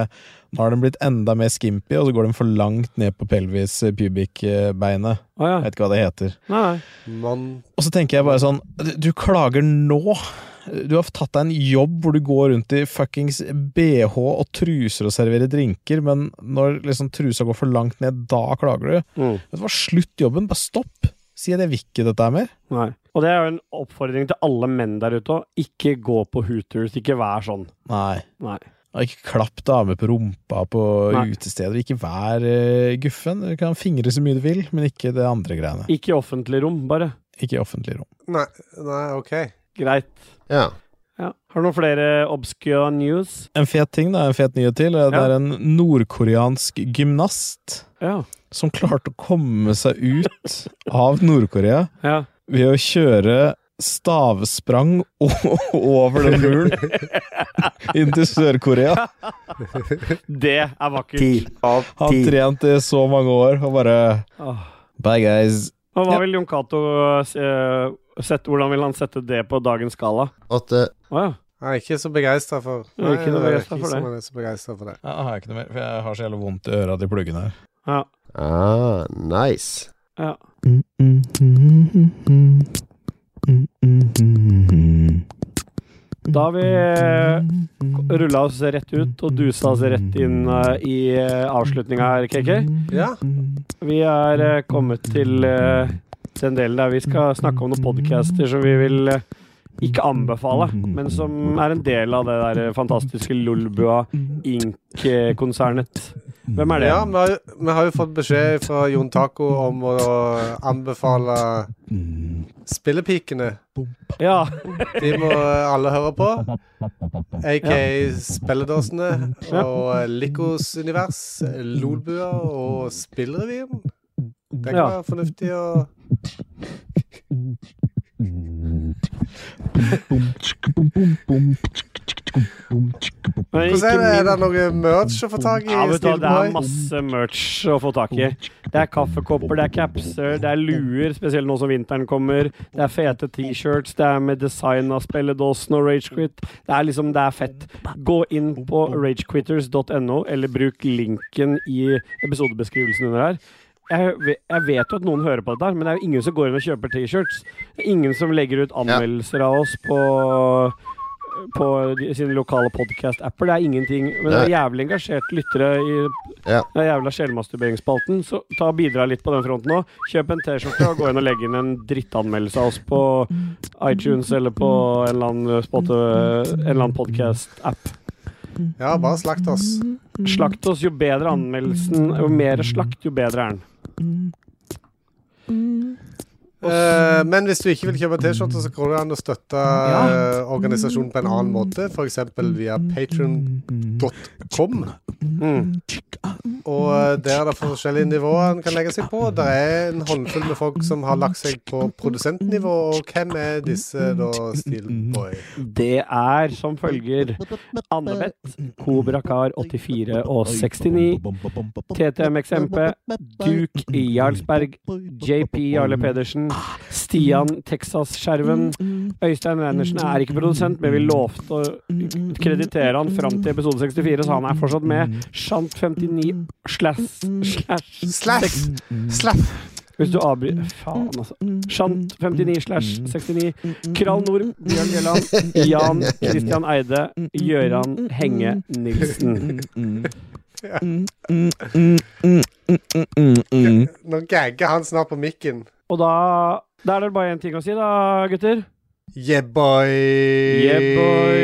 [SPEAKER 3] nå har de blitt enda mer skimpy, og så går de for langt ned på pelvis eh, pubic-beinet.
[SPEAKER 1] Å ja.
[SPEAKER 3] Jeg vet ikke hva det heter.
[SPEAKER 1] Nei, nei.
[SPEAKER 2] Man
[SPEAKER 3] Og så tenker jeg bare sånn du- Du klager nå! Du har tatt deg en jobb hvor du går rundt i fuckings bh og truser og serverer drinker, men når liksom trusa går for langt ned, da klager du.
[SPEAKER 1] Mm.
[SPEAKER 3] Vet du hva, slutt jobben, bare stopp! Si at jeg vil ikke dette her mer.
[SPEAKER 1] nei. Og det er jo en oppfordring til alle menn der ute òg. Ikke gå på Hooters. Ikke vær sånn.
[SPEAKER 3] Nei.
[SPEAKER 1] Nei.
[SPEAKER 3] Og ikke klapp damer på rumpa på
[SPEAKER 1] Nei.
[SPEAKER 3] utesteder. Ikke vær eh, guffen. Du kan fingre så mye du vil, men ikke det andre greiene.
[SPEAKER 1] Ikke i offentlig rom, bare.
[SPEAKER 3] Ikke i offentlig rom.
[SPEAKER 2] Nei, nei OK.
[SPEAKER 1] Greit.
[SPEAKER 5] Ja.
[SPEAKER 1] Ja. Har du noen flere obscure news?
[SPEAKER 3] En fet ting, da, en fet nyhet til, er at det
[SPEAKER 1] Ja.
[SPEAKER 3] er en nordkoreansk gymnast
[SPEAKER 1] Ja.
[SPEAKER 3] som klarte å komme seg ut av Nord-Korea
[SPEAKER 1] ja.
[SPEAKER 3] ved å kjøre stavsprang o- over den muren inn til Sør-Korea.
[SPEAKER 1] Det er vakkert.
[SPEAKER 10] av
[SPEAKER 3] Han har trent i så mange år og bare
[SPEAKER 1] Åh.
[SPEAKER 3] Bye, guys.
[SPEAKER 1] Og hva
[SPEAKER 3] Ja.
[SPEAKER 1] vil Jon Cato eh, sette Hvordan vil han sette det på dagens skala?
[SPEAKER 5] Åtte.
[SPEAKER 1] Å ja.
[SPEAKER 2] Han er ikke så begeistra for
[SPEAKER 1] Han er ikke noe
[SPEAKER 2] Nei, det er
[SPEAKER 1] begeistret
[SPEAKER 2] ikke
[SPEAKER 1] for
[SPEAKER 2] som
[SPEAKER 1] det.
[SPEAKER 2] han er så begeistret for det.
[SPEAKER 3] Jeg har ikke noe mer, for jeg har så jævlig vondt i øra til pluggen her.
[SPEAKER 1] ja.
[SPEAKER 5] Ah, nice.
[SPEAKER 1] ja. Da har eh, vi rulla oss rett ut og dusa oss rett inn eh, i uh, avslutninga her, KK.
[SPEAKER 2] Ja.
[SPEAKER 1] Vi er eh, kommet til eh, den delen der vi skal snakke om noen podcaster som vi vil eh, ikke anbefale, men som er en del av det der eh, fantastiske Lolbua Inc.-konsernet. Hvem er det?
[SPEAKER 2] Ja, vi har, jo- vi har jo fått beskjed fra Jon Taco om å anbefale Spillepikene.
[SPEAKER 1] Ja.
[SPEAKER 2] De må eh, alle høre på. Aka Spelledåsene og Likos univers, Lolbua og Spillrevyen. Det kan
[SPEAKER 1] Ja.
[SPEAKER 2] være fornuftig å
[SPEAKER 1] Men
[SPEAKER 2] Hvordan er det? Er det
[SPEAKER 1] min-
[SPEAKER 2] noe merch å få tak i?
[SPEAKER 1] Ja, vet du, hva, det er
[SPEAKER 2] Steelboy?
[SPEAKER 1] masse merch å få tak i. Det er kaffekopper, det er capser, det er luer, spesielt nå som vinteren kommer. Det er fete T-shirts, det er med design av spilledåsen og Ragequit. Det er liksom, det er fett. Gå inn på ragequitters.no, eller bruk linken i episodebeskrivelsen under her. Jeg, ve- jeg vet jo at noen hører på dette, her, men det er jo ingen som går inn og kjøper T-shirts. Det er Ingen som legger ut anmeldelser av oss på på de- sine lokale podcast-apper. Det er ingenting. Men det er jævlig engasjerte lyttere i
[SPEAKER 5] Ja.
[SPEAKER 1] den jævla sjelmasturberingsspalten, så ta og bidra litt på den fronten òg. Kjøp en T-skjorte og gå inn og legge inn en drittanmeldelse av oss på iTunes eller på en eller annen, spot- eh, en eller annen podcast-app.
[SPEAKER 2] Ja, bare slakt oss.
[SPEAKER 1] Slakt oss. Jo bedre anmeldelsen, jo mer slakt, jo bedre er den.
[SPEAKER 2] Eh, men hvis du ikke vil kjøpe T-skjorter, så går det an å støtte eh, organisasjonen på en annen måte, f.eks. via patron.com. Mm. Og eh, der er det forskjellige nivåer en kan legge seg på. Det er en håndfull med folk som har lagt seg på produsentnivå, og hvem er disse da, Steelboy?
[SPEAKER 1] Det er som følger Annebeth, Kobrakar84 og 69, TTMXMP, Duke Jarlsberg, JP
[SPEAKER 3] Ah,
[SPEAKER 1] Jarle Pedersen, Stian Texas-skjerven. Øystein Reinersen er ikke produsent, men vi lovte å kreditere han fram til episode 64, så han er fortsatt med. Shant59 slash slash
[SPEAKER 2] Slash! Slash!
[SPEAKER 1] Hvis du avbryter Faen, altså. Shant59 slash 69. Kral Nord, Bjørn Gjelland, Jan Christian Eide, Gøran Henge Nilsen.
[SPEAKER 2] Nå gagger han snart på mikken.
[SPEAKER 1] Og da Da er det bare én ting å si, da, gutter.
[SPEAKER 2] Yeah, boy!
[SPEAKER 1] Yeah, boy.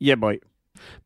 [SPEAKER 1] Yeah, boy.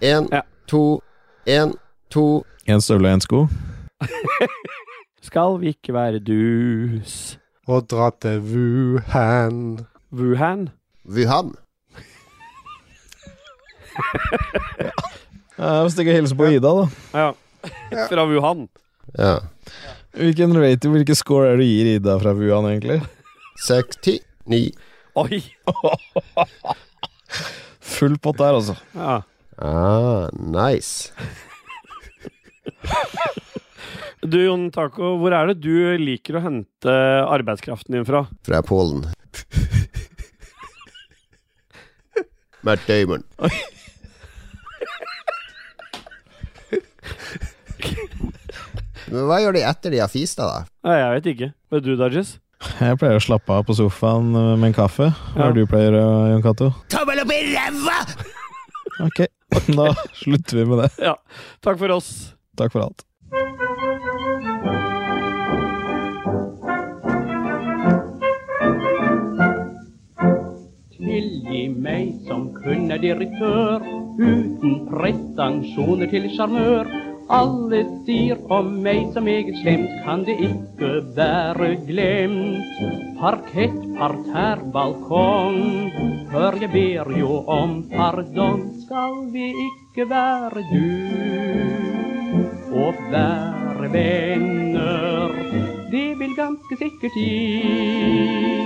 [SPEAKER 5] En,
[SPEAKER 1] Ja.
[SPEAKER 5] to, en, to.
[SPEAKER 3] En støvle og en sko.
[SPEAKER 1] Skal vi ikke være dus?
[SPEAKER 2] Og dra til Wuhan.
[SPEAKER 1] Wuhan?
[SPEAKER 5] Wuhan.
[SPEAKER 3] Eh, Hvis du ikke hilser på Ida, da.
[SPEAKER 1] Ja. Fra Wuhan.
[SPEAKER 5] Ja.
[SPEAKER 3] Hvilken rating, hvilken score er det du gir Ida fra Wuhan, egentlig?
[SPEAKER 5] Seks, ti, ni.
[SPEAKER 1] Oi!
[SPEAKER 3] Full pott der, altså.
[SPEAKER 1] Ja.
[SPEAKER 5] Ah, nice.
[SPEAKER 1] Du, Jon Taco, hvor er det du liker å hente arbeidskraften din fra?
[SPEAKER 5] Fra Polen. Matt Damon. Men hva gjør de etter de har fista, da?
[SPEAKER 1] Nei, jeg vet ikke. Vet du, Dodges?
[SPEAKER 3] Jeg pleier å slappe av på sofaen eh, med en kaffe. Hva er det du pleier å gjøre, Jon Cato?
[SPEAKER 6] Tommel opp i ræva!
[SPEAKER 3] Ok, da slutter vi med det.
[SPEAKER 1] Ja. Takk for oss.
[SPEAKER 3] Takk for alt.
[SPEAKER 10] Tilgi meg som kun er direktør, uten pretensjoner til sjarmør. Alle sier om meg som meget slemt, kan det ikke være glemt. Parkett, parterre, balkong, for jeg ber jo om pardon. Skal vi ikke være du og være venner? Det vil ganske sikkert gi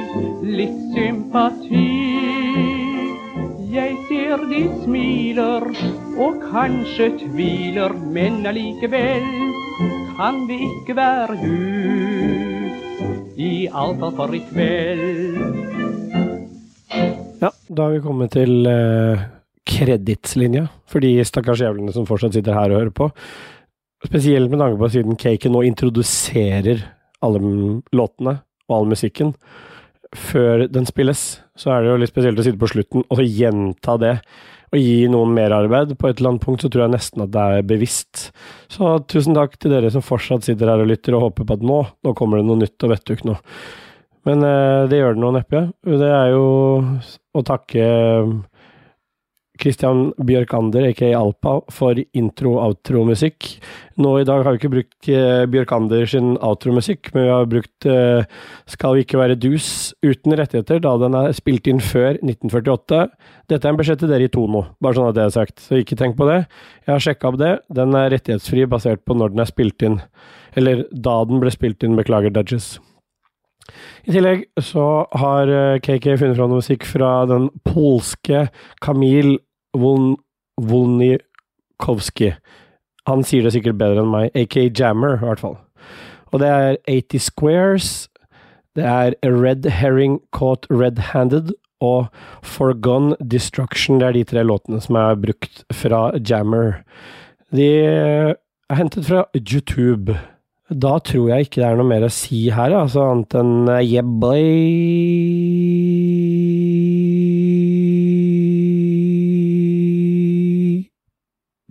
[SPEAKER 10] litt sympati. Jeg ser de smiler og kanskje tviler, men allikevel kan vi ikke være du. I alle fall for i kveld.
[SPEAKER 1] Ja, da har vi kommet til eh, kredittslinja for de stakkars jævlene som fortsatt sitter her og hører på. Spesielt med tanke på at siden Cake nå introduserer alle m- låtene og all musikken før den spilles, så er det jo litt spesielt å sitte på slutten og så gjenta det. Og gi noen merarbeid. På et eller annet punkt så tror jeg nesten at det er bevisst. Så tusen takk til dere som fortsatt sitter her og lytter og håper på at nå, nå kommer det noe nytt og vettug nå. Men eh, det gjør det nå neppe. Det er jo å takke eh, Christian Bjørkander, aka Alpa, for intro-outro-musikk. Nå i dag har vi ikke brukt eh, Bjørkander sin outro-musikk, men vi har brukt eh, Skal vi ikke være dus uten rettigheter, da den er spilt inn før 1948. Dette er en beskjed til dere i Tono, bare sånn at det er sagt. Så ikke tenk på det. Jeg har sjekka opp det. Den er rettighetsfri basert på når den er spilt inn. Eller da den ble spilt inn, beklager, Dudges. I tillegg så har eh, KK funnet fram noe musikk fra den polske Kamil Wol Wolnikowski. Han sier det sikkert bedre enn meg, aka Jammer, i hvert fall. Og det er 80 Squares, det er A Red Herring Caught Red-Handed og Forgone Destruction. Det er de tre låtene som er brukt fra Jammer. De er hentet fra YouTube. Da tror jeg ikke det er noe mer å si her, altså, annet enn eh, yeah, boy.